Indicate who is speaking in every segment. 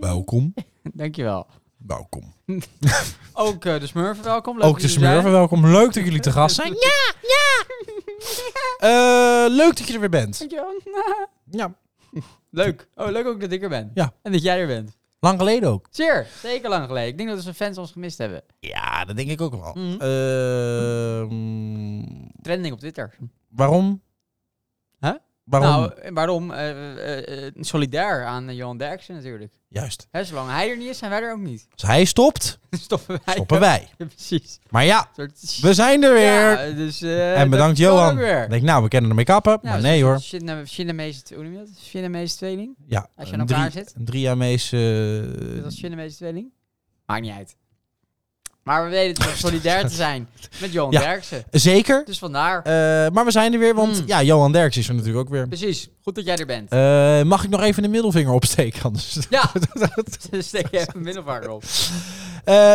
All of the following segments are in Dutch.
Speaker 1: Welkom.
Speaker 2: Dankjewel.
Speaker 1: Welkom.
Speaker 2: Ook eh, de Smurfen, welkom. Leuk
Speaker 1: Ook
Speaker 2: dat
Speaker 1: de
Speaker 2: jullie er
Speaker 1: Smurfen,
Speaker 2: zijn.
Speaker 1: welkom. Leuk dat jullie te gast zijn. Ja, ja. Eh, leuk dat je er weer bent.
Speaker 2: Dankjewel.
Speaker 1: Ja.
Speaker 2: Leuk. Oh, leuk ook dat ik er ben.
Speaker 1: Ja.
Speaker 2: En dat jij er bent.
Speaker 1: Lang geleden ook.
Speaker 2: Zeer. Zeker lang geleden. Ik denk dat onze fans ons gemist hebben.
Speaker 1: Ja, dat denk ik ook wel.
Speaker 2: Mhm.
Speaker 1: Ehm,
Speaker 2: Trending op Twitter.
Speaker 1: waarom?
Speaker 2: Huh?
Speaker 1: Waarom?
Speaker 2: Nou, eh, waarom? Eh, eh, eh, solidair aan eh, Johan Derksen natuurlijk.
Speaker 1: Juist.
Speaker 2: Hè, zolang hij er niet is, zijn wij er ook niet.
Speaker 1: Als hij stopt,
Speaker 2: Stoppen wij.
Speaker 1: stoppen
Speaker 2: ook.
Speaker 1: wij.
Speaker 2: Ja, precies.
Speaker 1: Maar ja,
Speaker 2: Een soort-
Speaker 1: we zijn er weer.
Speaker 2: Ja, dus, eh,
Speaker 1: en bedankt
Speaker 2: dat kan
Speaker 1: Johan.
Speaker 2: ook weer.
Speaker 1: Ik denk, nou, we kennen ermee kappen.
Speaker 2: Ja,
Speaker 1: maar
Speaker 2: dus
Speaker 1: nee
Speaker 2: een
Speaker 1: hoor.
Speaker 2: soort China- Chinamese hoe noem je dat? Chinamese tweeling?
Speaker 1: Ja,
Speaker 2: Als je
Speaker 1: een
Speaker 2: aan elkaar
Speaker 1: drie,
Speaker 2: zit.
Speaker 1: Een driejaarmees... eh,
Speaker 2: Dat is Chinamese tweeling? Maakt niet uit. Maar we weten het solidair te zijn met Johan
Speaker 1: Ja.
Speaker 2: Derksen.
Speaker 1: zeker.
Speaker 2: Dus vandaar.
Speaker 1: Eh, maar we zijn er weer, want
Speaker 2: Mm.
Speaker 1: ja, Johan Derks is er natuurlijk ook weer.
Speaker 2: Precies. Goed dat jij er bent.
Speaker 1: Eh, mag ik nog even de middelvinger opsteken anders?
Speaker 2: Ja. Dus steek je even middelvanger op.
Speaker 1: Eh,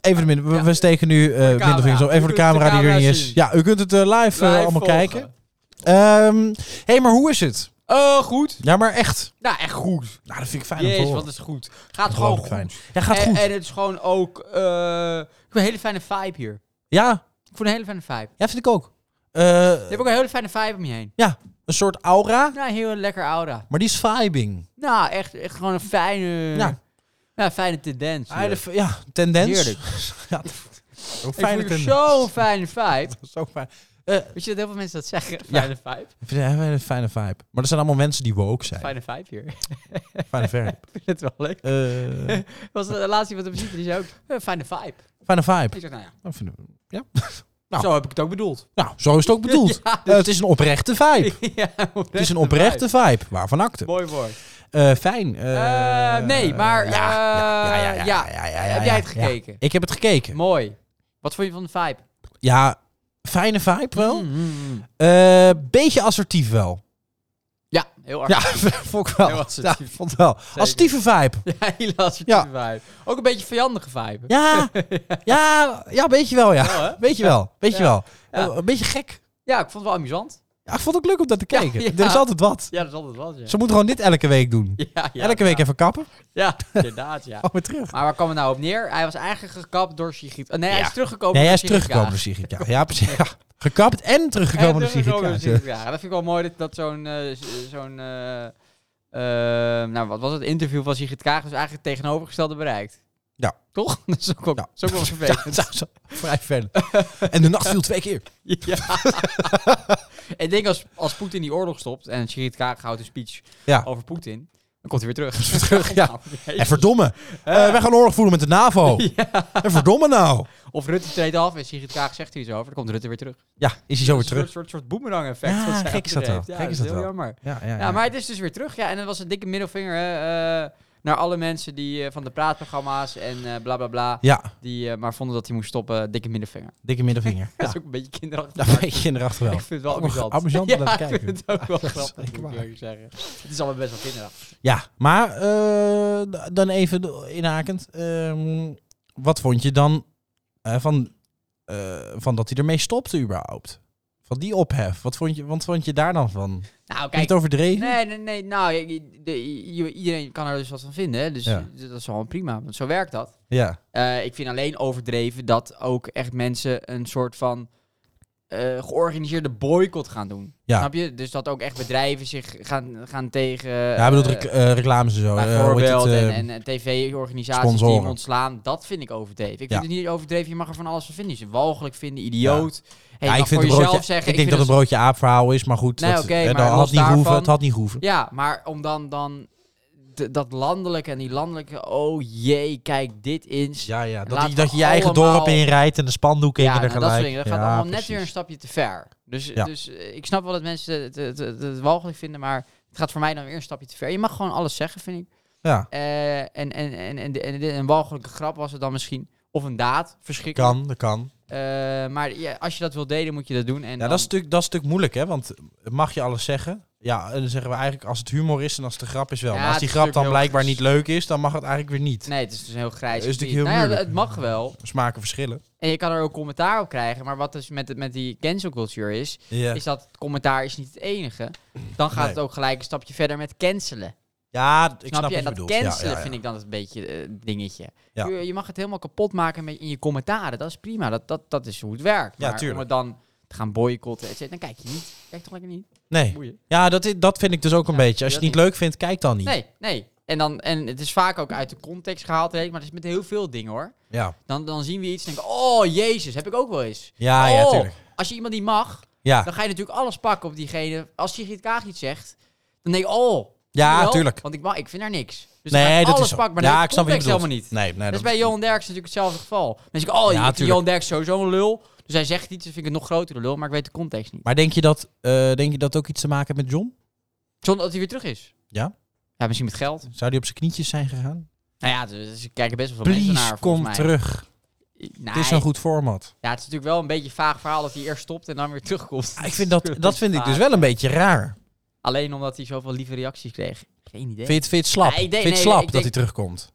Speaker 1: even de midden, we,
Speaker 2: Ja.
Speaker 1: we steken nu eh
Speaker 2: camera.
Speaker 1: middelvingers op. Even
Speaker 2: U
Speaker 1: voor de
Speaker 2: kunt de
Speaker 1: camera die er
Speaker 2: camera
Speaker 1: niet is.
Speaker 2: zien.
Speaker 1: Ja, u kunt het eh, live, eh,
Speaker 2: Live
Speaker 1: allemaal
Speaker 2: volgen.
Speaker 1: kijken. Ehm, Hé, hey, maar hoe is het?
Speaker 2: Eh, goed.
Speaker 1: Ja, maar echt.
Speaker 2: Nou, echt goed.
Speaker 1: Nou, dat vind ik fijn om te
Speaker 2: Jezus,
Speaker 1: horen.
Speaker 2: wat is goed. Gaat gewoon
Speaker 1: Ongelooflijk
Speaker 2: goed.
Speaker 1: fijn. Ja, gaat
Speaker 2: En-
Speaker 1: goed.
Speaker 2: En, het is gewoon ook... eh, ik heb een hele fijne vibe hier.
Speaker 1: ja,
Speaker 2: Ik voel een hele fijne vibe.
Speaker 1: ja, vind ik ook. Eh,
Speaker 2: Je hebt ook een hele fijne vibe om je heen.
Speaker 1: een soort aura,
Speaker 2: Nou, heel lekker aura.
Speaker 1: maar die is vibing.
Speaker 2: Nou, echt, echt gewoon een fijne...
Speaker 1: Ja.
Speaker 2: Ja. fijne tendens.
Speaker 1: Ja,
Speaker 2: hier.
Speaker 1: ja tendens.
Speaker 2: Heerlijk.
Speaker 1: ja, zo'n
Speaker 2: Ik
Speaker 1: fijne
Speaker 2: voel hier
Speaker 1: tendens.
Speaker 2: zo'n fijne vibe.
Speaker 1: Zo fijn.
Speaker 2: Weet je dat heel veel mensen dat zeggen? Fijne vibe.
Speaker 1: Ik vind het echt een fijne vibe. Maar er zijn allemaal mensen die woke zijn. Fijne,
Speaker 2: Fijne vibe hier. Ik
Speaker 1: vibe.
Speaker 2: vind het wel leuk.
Speaker 1: Eh,
Speaker 2: was de laatste iemand op ziet, die zei ook, eh, fijne vibe.
Speaker 1: fijne vibe.
Speaker 2: Ik zeg, nou ja,
Speaker 1: Dat vinden we- Nou.
Speaker 2: zo heb ik het ook bedoeld.
Speaker 1: Nou, zo is het ook bedoeld.
Speaker 2: Ja,
Speaker 1: Eh, het is een oprechte vibe.
Speaker 2: ja,
Speaker 1: Het is een oprechte vibe. Waarvan akte.
Speaker 2: vibe. Mooi woord.
Speaker 1: Eh, fijn. eh,
Speaker 2: Eh, nee, maar,
Speaker 1: Ja,
Speaker 2: eh,
Speaker 1: ja, ja, ja, ja,
Speaker 2: ja.
Speaker 1: ja, Ah, ja,
Speaker 2: Heb
Speaker 1: ja,
Speaker 2: jij het
Speaker 1: ja.
Speaker 2: gekeken?
Speaker 1: Ik heb het gekeken.
Speaker 2: Mooi. Wat vond je van de vibe?
Speaker 1: Ja, fijne vibe wel.
Speaker 2: Mm, mm, mm.
Speaker 1: Eh, beetje assertief wel.
Speaker 2: Ja, heel erg.
Speaker 1: Ja, vond ik wel.
Speaker 2: Heel
Speaker 1: Ja,
Speaker 2: assertief.
Speaker 1: vond wel. Assertieve vibe.
Speaker 2: Ja, hele assertieve vibe. Ook een beetje vijandige vibe.
Speaker 1: Ja, ja, ja, beetje wel, ja.
Speaker 2: Wel, hè?
Speaker 1: Weet je wel, weet je
Speaker 2: Ja.
Speaker 1: wel.
Speaker 2: Ja.
Speaker 1: Eh, een beetje gek.
Speaker 2: Ja, ik vond het wel amusant.
Speaker 1: Ja, ik vond het ook leuk om dat te
Speaker 2: Ja,
Speaker 1: kijken.
Speaker 2: ja.
Speaker 1: Er is altijd wat.
Speaker 2: Ja, dat is altijd wel. Ja,
Speaker 1: Ze moeten gewoon dit elke week doen.
Speaker 2: ja, ja,
Speaker 1: elke week
Speaker 2: ja.
Speaker 1: even kappen.
Speaker 2: Ja, inderdaad, ja.
Speaker 1: Gewoon weer terug.
Speaker 2: Maar waar kwam het nou op neer? Hij was eigenlijk gekapt door Sigrid. Oh, nee, hij
Speaker 1: Ja.
Speaker 2: is teruggekomen
Speaker 1: Nee, hij
Speaker 2: door
Speaker 1: is teruggekomen door
Speaker 2: Sigrid
Speaker 1: Sigrid. Ja, ja, precies. Ja. Gekapt en teruggekomen door
Speaker 2: Kaag. Hij is
Speaker 1: Sigrid.
Speaker 2: teruggekomen door
Speaker 1: Kaag.
Speaker 2: Sigrid Kaag. Dat vind ik wel mooi dat, dat zo'n... eh, z- zo'n eh, eh, nou, wat was het? Interview van Sigrid Kaag dus eigenlijk het tegenovergestelde bereikt.
Speaker 1: Ja.
Speaker 2: Toch? Dat is ook wel,
Speaker 1: Ja.
Speaker 2: dat is ook wel
Speaker 1: Ja,
Speaker 2: vervelend.
Speaker 1: zo- zo- vrij verder. En de nacht viel twee keer.
Speaker 2: Ja. ik denk als, als Poetin die oorlog stopt en Sigrid Kaag houdt een speech
Speaker 1: Ja.
Speaker 2: over Poetin, dan komt hij weer terug.
Speaker 1: terug, ja.
Speaker 2: Nou,
Speaker 1: En verdomme. eh, wij gaan oorlog voeren met de NAVO. En verdomme nou.
Speaker 2: Of Rutte treedt af en Sigrid Kaag zegt er iets over, dan komt Rutte weer terug.
Speaker 1: Ja, is hij zo weer
Speaker 2: Dat is
Speaker 1: terug.
Speaker 2: Een soort, soort, soort boemerang-effect.
Speaker 1: Ja,
Speaker 2: wat zij
Speaker 1: gek is dat
Speaker 2: achterheeft.
Speaker 1: wel.
Speaker 2: Ja,
Speaker 1: Gek is
Speaker 2: is
Speaker 1: dat
Speaker 2: heel
Speaker 1: wel.
Speaker 2: jammer.
Speaker 1: Ja, ja,
Speaker 2: Ja, maar het is dus weer terug. Ja, en het was een dikke middelvinger hè, eh, naar alle mensen die eh, van de praatprogramma's en eh, bla bla bla.
Speaker 1: Ja,
Speaker 2: Die eh, maar vonden dat hij moest stoppen. eh, Dikke middelvinger.
Speaker 1: dikke middenvinger.
Speaker 2: Dat
Speaker 1: Ja,
Speaker 2: is ook een beetje kinderachtig.
Speaker 1: daar
Speaker 2: maar
Speaker 1: ben je kinderachtig wel.
Speaker 2: Ik vind het wel
Speaker 1: Ook nog
Speaker 2: amusant.
Speaker 1: amusant om
Speaker 2: ja,
Speaker 1: naar te
Speaker 2: ik vind
Speaker 1: kijken.
Speaker 2: het ook wel
Speaker 1: Ja,
Speaker 2: grappig,
Speaker 1: zeker
Speaker 2: moet ik
Speaker 1: waar.
Speaker 2: eerlijk zeggen. Het is allemaal best wel kinderachtig.
Speaker 1: Ja, maar eh, d- dan even de- inhakend. ehm, wat vond je dan eh, van, eh, van dat hij ermee stopte überhaupt? Van die ophef. Wat vond je, wat vond je daar dan van? Is
Speaker 2: Nou, kijk.
Speaker 1: het overdreven?
Speaker 2: Nee, nee, nee. Nou, je- je- de- je- iedereen kan er dus wat van vinden. Hè? Dus
Speaker 1: Ja.
Speaker 2: dat is gewoon prima. Want zo werkt dat.
Speaker 1: Ja.
Speaker 2: Eh, ik vind alleen overdreven dat ook echt mensen een soort van eh, georganiseerde boycott gaan doen.
Speaker 1: Ja.
Speaker 2: Snap je? Dus dat ook echt bedrijven zich gaan, gaan tegen. eh,
Speaker 1: Ja, hij bedoelt rec- eh, reclames en zo. eh, hoe heet het,
Speaker 2: bijvoorbeeld
Speaker 1: eh,
Speaker 2: en, en, en tv-organisaties die
Speaker 1: sponsoren.
Speaker 2: hem ontslaan. Dat vind ik overdreven. Ik
Speaker 1: Ja.
Speaker 2: vind het niet overdreven. Je mag er van alles van vinden. Dus je walgelijk vinden, idioot. Hey,
Speaker 1: ja,
Speaker 2: je
Speaker 1: ik
Speaker 2: mag
Speaker 1: vind
Speaker 2: voor
Speaker 1: het een
Speaker 2: jezelf
Speaker 1: broodje,
Speaker 2: zeggen.
Speaker 1: ik denk dat
Speaker 2: vind dus-
Speaker 1: het broodje aap verhaal is, maar goed.
Speaker 2: Nee,
Speaker 1: dat,
Speaker 2: oké,
Speaker 1: eh,
Speaker 2: maar
Speaker 1: dat
Speaker 2: los
Speaker 1: had niet
Speaker 2: daarvan-
Speaker 1: hoeven. Het had niet hoeven.
Speaker 2: Ja, maar om dan, dan d- dat landelijke en die landelijke... Oh jee, kijk dit eens.
Speaker 1: Ja, ja. Dat,
Speaker 2: Laten
Speaker 1: je- dat je
Speaker 2: we
Speaker 1: je eigen
Speaker 2: allemaal-
Speaker 1: dorp inrijdt en de spandoeken
Speaker 2: Ja,
Speaker 1: hingen er
Speaker 2: nou, dat
Speaker 1: gelijk.
Speaker 2: soort dingen. Dat gaat
Speaker 1: Ja,
Speaker 2: allemaal net
Speaker 1: precies.
Speaker 2: weer een stapje te ver. Dus,
Speaker 1: Ja.
Speaker 2: dus eh, ik snap wel dat mensen het, het, het, het walgelijk vinden, maar het gaat voor mij dan weer een stapje te ver. Je mag gewoon alles zeggen, vind ik.
Speaker 1: Ja,
Speaker 2: Eh, en, en, en, en, en, en een walgelijke grap was het dan misschien. Of een daad, verschrikkelijk.
Speaker 1: kan, dat kan.
Speaker 2: Eh, maar ja, als je dat wil delen, moet je dat doen. En
Speaker 1: Ja,
Speaker 2: dan-
Speaker 1: dat, is natuurlijk, dat is natuurlijk moeilijk, hè? Want mag je alles zeggen? Ja, en dan zeggen we eigenlijk als het humor is en als het een grap is wel.
Speaker 2: Ja,
Speaker 1: maar als die
Speaker 2: het is
Speaker 1: grap dan
Speaker 2: natuurlijk heel-
Speaker 1: blijkbaar niet leuk is, dan mag het eigenlijk weer niet.
Speaker 2: Nee, het is dus een heel grijs
Speaker 1: Is natuurlijk
Speaker 2: gebied.
Speaker 1: heel
Speaker 2: nou ja,
Speaker 1: moeilijk.
Speaker 2: het mag wel.
Speaker 1: Smaken verschillen.
Speaker 2: En je kan er ook commentaar op krijgen. Maar wat dus met, het- met die cancel culture is,
Speaker 1: Ja.
Speaker 2: is dat het commentaar is niet het enige. Dan gaat
Speaker 1: Nee.
Speaker 2: het ook gelijk een stapje verder met cancelen.
Speaker 1: Ja, ik snap,
Speaker 2: snap, je?
Speaker 1: wat
Speaker 2: En
Speaker 1: je
Speaker 2: dat
Speaker 1: bedoelt. Ja,
Speaker 2: cancelen
Speaker 1: ja, ja.
Speaker 2: vind ik dan het beetje eh, dingetje.
Speaker 1: Ja.
Speaker 2: Je, je mag het helemaal kapot maken met, in je commentaren. Dat is prima. Dat, dat, dat is hoe het werkt.
Speaker 1: Ja,
Speaker 2: maar
Speaker 1: tuurlijk.
Speaker 2: om het dan te gaan boycotten, et cetera, dan kijk je niet. Kijk toch lekker niet.
Speaker 1: Nee,
Speaker 2: Boeien.
Speaker 1: ja, dat, i- dat vind ik dus ook een
Speaker 2: Ja,
Speaker 1: beetje. Als je
Speaker 2: dat
Speaker 1: het niet leuk vindt, kijk dan niet.
Speaker 2: Nee, nee. En, dan, en het is vaak ook uit de context gehaald, weet ik, maar het is met heel veel dingen hoor.
Speaker 1: Ja,
Speaker 2: Dan, dan zien we iets en denken, oh jezus, heb ik ook wel eens.
Speaker 1: ja, Ah, ja,
Speaker 2: Oh,
Speaker 1: tuurlijk.
Speaker 2: Als je iemand niet mag,
Speaker 1: Ja,
Speaker 2: dan ga je natuurlijk alles pakken op diegene. Als Sigrid Kaag iets zegt, dan denk ik, oh. zie je
Speaker 1: ja
Speaker 2: wel?
Speaker 1: tuurlijk.
Speaker 2: Want ik, mag, ik vind haar niks. Dus dan ga
Speaker 1: Nee,
Speaker 2: ik
Speaker 1: dat
Speaker 2: alles
Speaker 1: is zo.
Speaker 2: pakken, maar
Speaker 1: ja,
Speaker 2: de
Speaker 1: ik snap wat je
Speaker 2: context
Speaker 1: bedoelt.
Speaker 2: helemaal niet.
Speaker 1: Nee, nee,
Speaker 2: dat is Dus bij Johan Derks natuurlijk hetzelfde geval. Dan denk ik, oh,
Speaker 1: Ja,
Speaker 2: ik vind
Speaker 1: tuurlijk.
Speaker 2: Johan Derks sowieso een lul. Dus hij zegt iets, dan vind ik het nog grotere lul, maar ik weet de context niet.
Speaker 1: Maar denk je, dat, eh, denk je dat ook iets te maken heeft met John?
Speaker 2: Zonder dat hij weer terug is.
Speaker 1: Ja.
Speaker 2: Ja, misschien met geld.
Speaker 1: Zou die op zijn knietjes zijn gegaan?
Speaker 2: Nou ja, dus ze kijken best wel veel mensen
Speaker 1: Please,
Speaker 2: naar, volgens
Speaker 1: kom
Speaker 2: mij.
Speaker 1: terug.
Speaker 2: Nee.
Speaker 1: Het is een goed format.
Speaker 2: Ja, het is natuurlijk wel een beetje een vaag verhaal dat hij eerst stopt en dan weer terugkomt.
Speaker 1: Ik vind dat,
Speaker 2: is
Speaker 1: dat vind ik
Speaker 2: vaag.
Speaker 1: dus wel een beetje raar.
Speaker 2: Alleen omdat hij zoveel lieve reacties kreeg. Geen idee.
Speaker 1: Vind je het, vind je het slap?
Speaker 2: Ja, ik denk-
Speaker 1: vind je het
Speaker 2: nee,
Speaker 1: slap
Speaker 2: ik
Speaker 1: dat
Speaker 2: denk-
Speaker 1: hij terugkomt?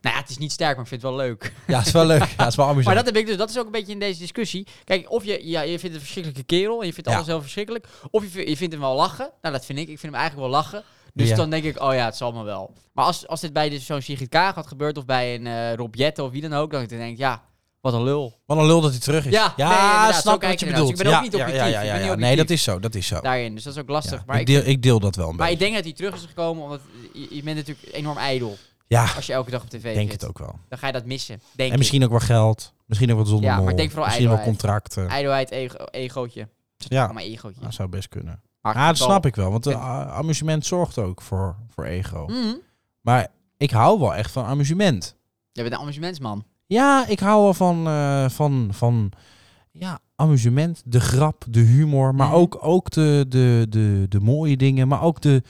Speaker 2: Nou ja, het is niet sterk, maar ik vind het wel leuk.
Speaker 1: Ja, is wel leuk. Ja, is wel amusant.
Speaker 2: Maar dat heb ik dus. Dat is ook een beetje in deze discussie. Kijk, of je, ja, je vindt het een verschrikkelijke kerel en je vindt
Speaker 1: Ja.
Speaker 2: alles heel verschrikkelijk. Of je, vi- je vindt hem wel lachen. Nou, dat vind ik. Ik vind hem eigenlijk wel lachen. Dus
Speaker 1: Ja.
Speaker 2: dan denk ik, oh ja, het zal me wel. Maar als, als dit bij dus zo'n Sigrid Kaag had gebeurd of bij een eh Rob Jetten of wie dan ook, dan denk ik, ja, wat een lul.
Speaker 1: Wat een lul dat hij terug is.
Speaker 2: Ja, nee,
Speaker 1: ja
Speaker 2: inderdaad, zo
Speaker 1: snap
Speaker 2: kijk
Speaker 1: wat
Speaker 2: ik
Speaker 1: je
Speaker 2: ernaar. Dus
Speaker 1: bedoelt.
Speaker 2: ik ben ook
Speaker 1: ja,
Speaker 2: niet objectief.
Speaker 1: Ja, ja,
Speaker 2: Ik
Speaker 1: ja,
Speaker 2: ben niet
Speaker 1: ja. Nee,
Speaker 2: objectief.
Speaker 1: dat is zo. Dat is zo.
Speaker 2: Daarin. Dus dat is ook lastig.
Speaker 1: Ja,
Speaker 2: maar
Speaker 1: ik,
Speaker 2: ik,
Speaker 1: deel, ik deel dat wel een
Speaker 2: Maar ik
Speaker 1: beetje.
Speaker 2: denk dat hij terug is gekomen, omdat je, je bent natuurlijk enorm ijdel
Speaker 1: Ja,
Speaker 2: als je elke dag op tv
Speaker 1: ik
Speaker 2: zit.
Speaker 1: denk het ook wel.
Speaker 2: Dan ga je dat missen, denk
Speaker 1: En misschien ook wel geld. Misschien ook wat zonder
Speaker 2: Ja, maar
Speaker 1: mol,
Speaker 2: ik denk vooral
Speaker 1: Misschien wel
Speaker 2: ijdelheid.
Speaker 1: contracten.
Speaker 2: ik. Ijdelheid, ego, egootje.
Speaker 1: Ja,
Speaker 2: Maar egootje.
Speaker 1: dat zou best kunnen.
Speaker 2: Hard
Speaker 1: Ja, dat
Speaker 2: getal.
Speaker 1: snap ik wel. Want eh,
Speaker 2: Ja.
Speaker 1: a- amusement zorgt ook voor, voor ego.
Speaker 2: Mhm.
Speaker 1: Maar ik hou wel echt van amusement.
Speaker 2: Jij bent een amusementsman.
Speaker 1: Ja, ik hou wel van, eh, van, van ja, amusement, de grap, de humor. Maar
Speaker 2: Mhm.
Speaker 1: ook, ook de, de, de, de mooie dingen. Maar ook de,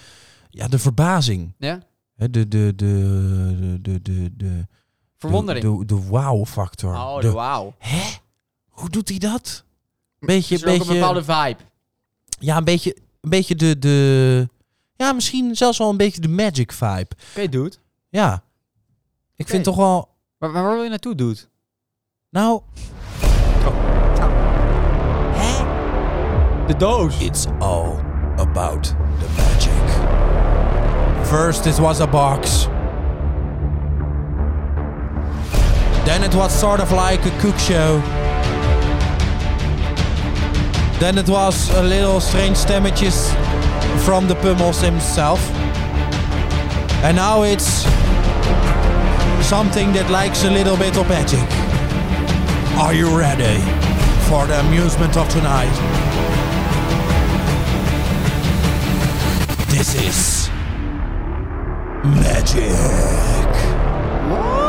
Speaker 1: ja, de verbazing.
Speaker 2: Ja?
Speaker 1: Hè, De, de, de, de, de, de, de,
Speaker 2: Verwondering.
Speaker 1: De, de, de wow-factor.
Speaker 2: oh,
Speaker 1: De-
Speaker 2: de wauw.
Speaker 1: Hè? Hoe doet hij dat? Beetje,
Speaker 2: Is er ook
Speaker 1: beetje,
Speaker 2: een bepaalde vibe.
Speaker 1: ja, een beetje, een beetje de, de... Ja, misschien zelfs wel een beetje de magic vibe.
Speaker 2: Oké, doet. dude.
Speaker 1: Ja. Ik vind toch wel...
Speaker 2: Waar, waar wil je naartoe, dude?
Speaker 1: Nou... Hè?
Speaker 2: Oh. De doos.
Speaker 1: It's all about the magic. First it was a box. Then it was sort of like a cook show. Then it was a little strange stemmetjes from the Pummels himself. And now it's something that likes a little bit of magic. Are you ready for the amusement of tonight? This is magic.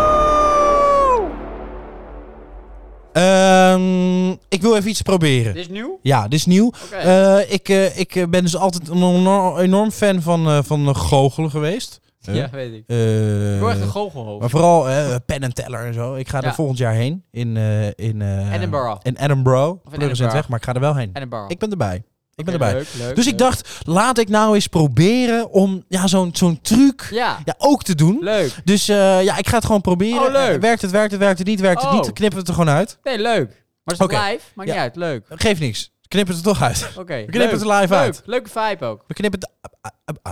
Speaker 1: Ehm, ik wil even iets proberen.
Speaker 2: Dit is nieuw?
Speaker 1: Ja, dit is nieuw.
Speaker 2: Oké.
Speaker 1: Eh, ik, eh, ik eh, ben dus altijd een enorm, enorm fan van, eh van eh, goochelen geweest. Eh,
Speaker 2: ja, weet ik.
Speaker 1: eh,
Speaker 2: Ik hoor echt een goochelhoofd.
Speaker 1: maar vooral eh, pen en teller en zo. Ik ga er
Speaker 2: Ja.
Speaker 1: volgend jaar heen. In, eh, in eh,
Speaker 2: Edinburgh.
Speaker 1: In Edinburgh.
Speaker 2: in
Speaker 1: Pleuris en
Speaker 2: Edinburgh.
Speaker 1: Zeg, maar ik ga er wel heen.
Speaker 2: en een bar.
Speaker 1: Ik ben erbij. Ik ben
Speaker 2: Oké,
Speaker 1: erbij.
Speaker 2: Leuk, leuk,
Speaker 1: Dus ik
Speaker 2: leuk.
Speaker 1: dacht, laat ik nou eens proberen om ja, zo'n zo'n truc
Speaker 2: Ja,
Speaker 1: ja, ook te doen.
Speaker 2: leuk.
Speaker 1: Dus eh, ja, ik ga het gewoon proberen.
Speaker 2: Oh, leuk.
Speaker 1: Eh, werkt het, werkt het, werkt het niet, werkt het
Speaker 2: Oh.
Speaker 1: niet. Dan knippen we het er gewoon uit.
Speaker 2: Nee, leuk. Maar het is
Speaker 1: Oké.
Speaker 2: toch live? Maakt
Speaker 1: Ja.
Speaker 2: niet uit. Leuk.
Speaker 1: Geeft niks. Knippen het er toch uit.
Speaker 2: Oké.
Speaker 1: We knippen
Speaker 2: leuk.
Speaker 1: het er live uit.
Speaker 2: Leuk. Leuke vibe ook.
Speaker 1: We knippen het... ah, ah, ah,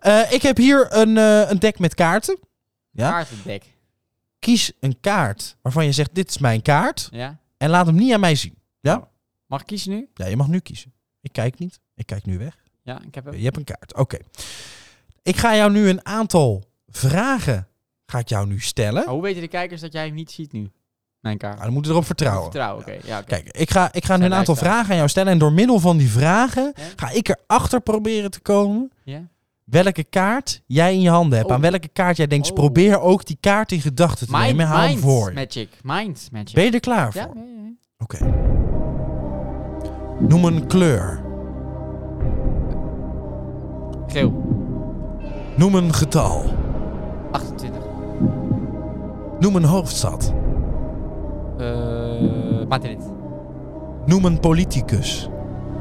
Speaker 1: ah. Eh, ik heb hier een, eh, een deck met kaarten. Ja?
Speaker 2: Kaartendek.
Speaker 1: Kies een kaart waarvan je zegt, dit is mijn kaart.
Speaker 2: Ja?
Speaker 1: En laat hem niet aan mij zien.
Speaker 2: Mag ik kiezen nu?
Speaker 1: Ja, je mag nu kiezen. Ik kijk niet. Ik kijk nu weg.
Speaker 2: Ja, ik heb hem.
Speaker 1: Je hebt een kaart. Oké. Ik ga jou nu een aantal vragen ga ik jou nu stellen.
Speaker 2: Maar hoe weten de kijkers dat jij hem niet ziet nu? Mijn kaart.
Speaker 1: Nou, dan moeten we erop vertrouwen.
Speaker 2: Vertrouwen, oké. Ja, oké.
Speaker 1: Kijk, ik ga, ik ga nu een
Speaker 2: Zijn
Speaker 1: aantal
Speaker 2: uitspraak.
Speaker 1: vragen aan jou stellen. En door middel van die vragen
Speaker 2: Ja?
Speaker 1: ga ik erachter proberen te komen
Speaker 2: Ja?
Speaker 1: welke kaart jij in je handen hebt.
Speaker 2: Oh.
Speaker 1: Aan welke kaart jij denkt. Dus
Speaker 2: Oh.
Speaker 1: probeer ook die kaart in gedachten te
Speaker 2: Mind,
Speaker 1: nemen. Haal hem
Speaker 2: mind
Speaker 1: voor. je.
Speaker 2: magic. Mind magic.
Speaker 1: Ben je er klaar
Speaker 2: ja?
Speaker 1: voor?
Speaker 2: ja, ja, ja.
Speaker 1: Oké. Noem een kleur.
Speaker 2: Geel.
Speaker 1: Noem een getal.
Speaker 2: 28.
Speaker 1: Noem een hoofdstad.
Speaker 2: Eh Madrid.
Speaker 1: Noem een politicus.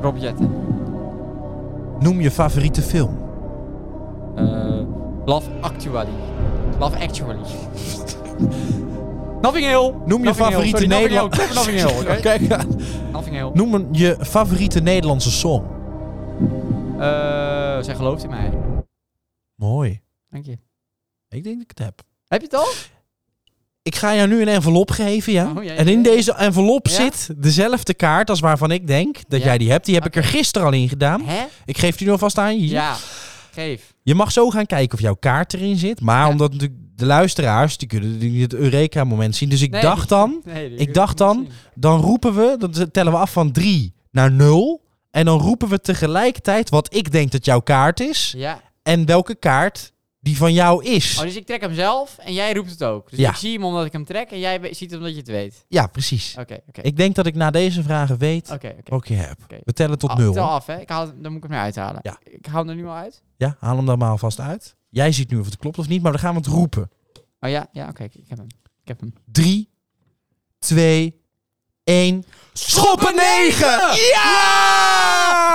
Speaker 2: Rob Jetten.
Speaker 1: Noem je favoriete film.
Speaker 2: Eh, Love Actually. Love Actually. Nothing Hill.
Speaker 1: Noem je
Speaker 2: Nothing Hill.
Speaker 1: favoriete
Speaker 2: Sorry, Nothing Hill.
Speaker 1: Nederland-
Speaker 2: Ik heb Nothing Hill, oké?
Speaker 1: Kijk, ja.
Speaker 2: Nothing Hill.
Speaker 1: Noem een, je favoriete Nederlandse song.
Speaker 2: Eh, zij gelooft in mij.
Speaker 1: Mooi.
Speaker 2: Dank je.
Speaker 1: Ik denk dat ik het heb.
Speaker 2: Heb je het al?
Speaker 1: Ik ga jou nu een envelop geven, ja?
Speaker 2: Oh, ja, ja,
Speaker 1: en in
Speaker 2: ja.
Speaker 1: deze envelop
Speaker 2: Ja.
Speaker 1: zit dezelfde kaart als waarvan ik denk dat
Speaker 2: Ja.
Speaker 1: jij die hebt. Die heb ik er gisteren al in gedaan.
Speaker 2: Hè?
Speaker 1: Ik geef die nu alvast aan je.
Speaker 2: Ja. Geef.
Speaker 1: Je mag zo gaan kijken of jouw kaart erin zit. Maar
Speaker 2: Ja.
Speaker 1: omdat natuurlijk de luisteraars, die kunnen natuurlijk niet het Eureka-moment zien. Dus ik
Speaker 2: Nee,
Speaker 1: dacht dan,
Speaker 2: Nee, die-
Speaker 1: Ik dacht dan- dan roepen we, dan tellen we af van 3 naar 0. En dan roepen we tegelijkertijd wat ik denk dat jouw kaart is.
Speaker 2: Ja.
Speaker 1: En welke kaart die van jou is.
Speaker 2: Oh, dus ik trek hem zelf en jij roept het ook. Dus
Speaker 1: Ja.
Speaker 2: ik zie hem omdat ik hem trek en jij we- ziet hem omdat je het weet.
Speaker 1: Ja, precies.
Speaker 2: Oké, oké.
Speaker 1: Ik denk dat ik na deze vragen weet
Speaker 2: Oké, oké.
Speaker 1: wat ik je heb.
Speaker 2: Oké.
Speaker 1: We tellen tot
Speaker 2: Ah,
Speaker 1: 0.
Speaker 2: Tel af, hè. Ik haal, dan moet ik hem nu uithalen.
Speaker 1: Ja.
Speaker 2: Ik haal hem er nu al uit.
Speaker 1: Ja, haal hem dan maar alvast uit. Jij ziet nu of het klopt of niet, maar dan gaan we het roepen.
Speaker 2: Oh ja, ja oké. ik- ik heb hem. Ik heb hem.
Speaker 1: 3, 2, 1. Schoppen 9! Ja!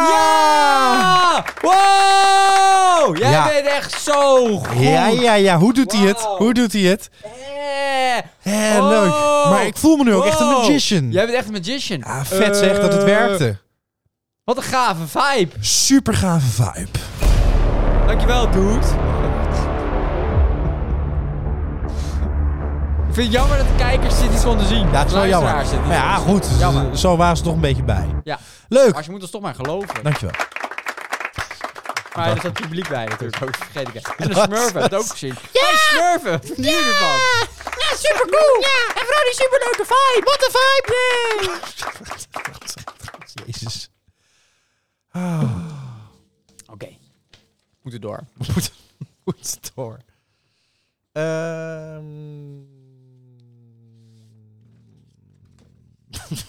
Speaker 2: Ah!
Speaker 1: Ja!
Speaker 2: Wow! Jij
Speaker 1: Ja.
Speaker 2: bent echt zo goed.
Speaker 1: Ja, ja, ja. Hoe doet hij het?
Speaker 2: Wauw.
Speaker 1: Hoe doet hij het?
Speaker 2: Eh.
Speaker 1: Hé,
Speaker 2: Oh.
Speaker 1: leuk. Maar ik voel me nu ook echt een
Speaker 2: Wow.
Speaker 1: magician.
Speaker 2: Jij bent echt een magician.
Speaker 1: Ah, vet zeg dat het
Speaker 2: Eh,
Speaker 1: werkte.
Speaker 2: Wat een gave vibe.
Speaker 1: Super gave vibe.
Speaker 2: Dankjewel, dude. Ik vind het jammer dat de kijkers dit niet konden zien.
Speaker 1: Ja, het is wel jammer.
Speaker 2: Luisteraars dit niet
Speaker 1: Maar ja,
Speaker 2: konden zien.
Speaker 1: goed.
Speaker 2: Jammer.
Speaker 1: Zo waren ze toch een beetje bij.
Speaker 2: Ja.
Speaker 1: Leuk.
Speaker 2: Maar je moet ons toch maar geloven.
Speaker 1: Dankjewel.
Speaker 2: maar er zat publiek bij natuurlijk ook, vergeet ik het. En de Smurfen, dat ook gezien. Ja! Hey, Smurfen, wat vind je ervan? Ja, supercool. Ja, en vooral die superleuke vibe. Wat een vibe, nee.
Speaker 1: Jezus.
Speaker 2: Oké, we moeten door.
Speaker 1: Moet, moet door. Ehm.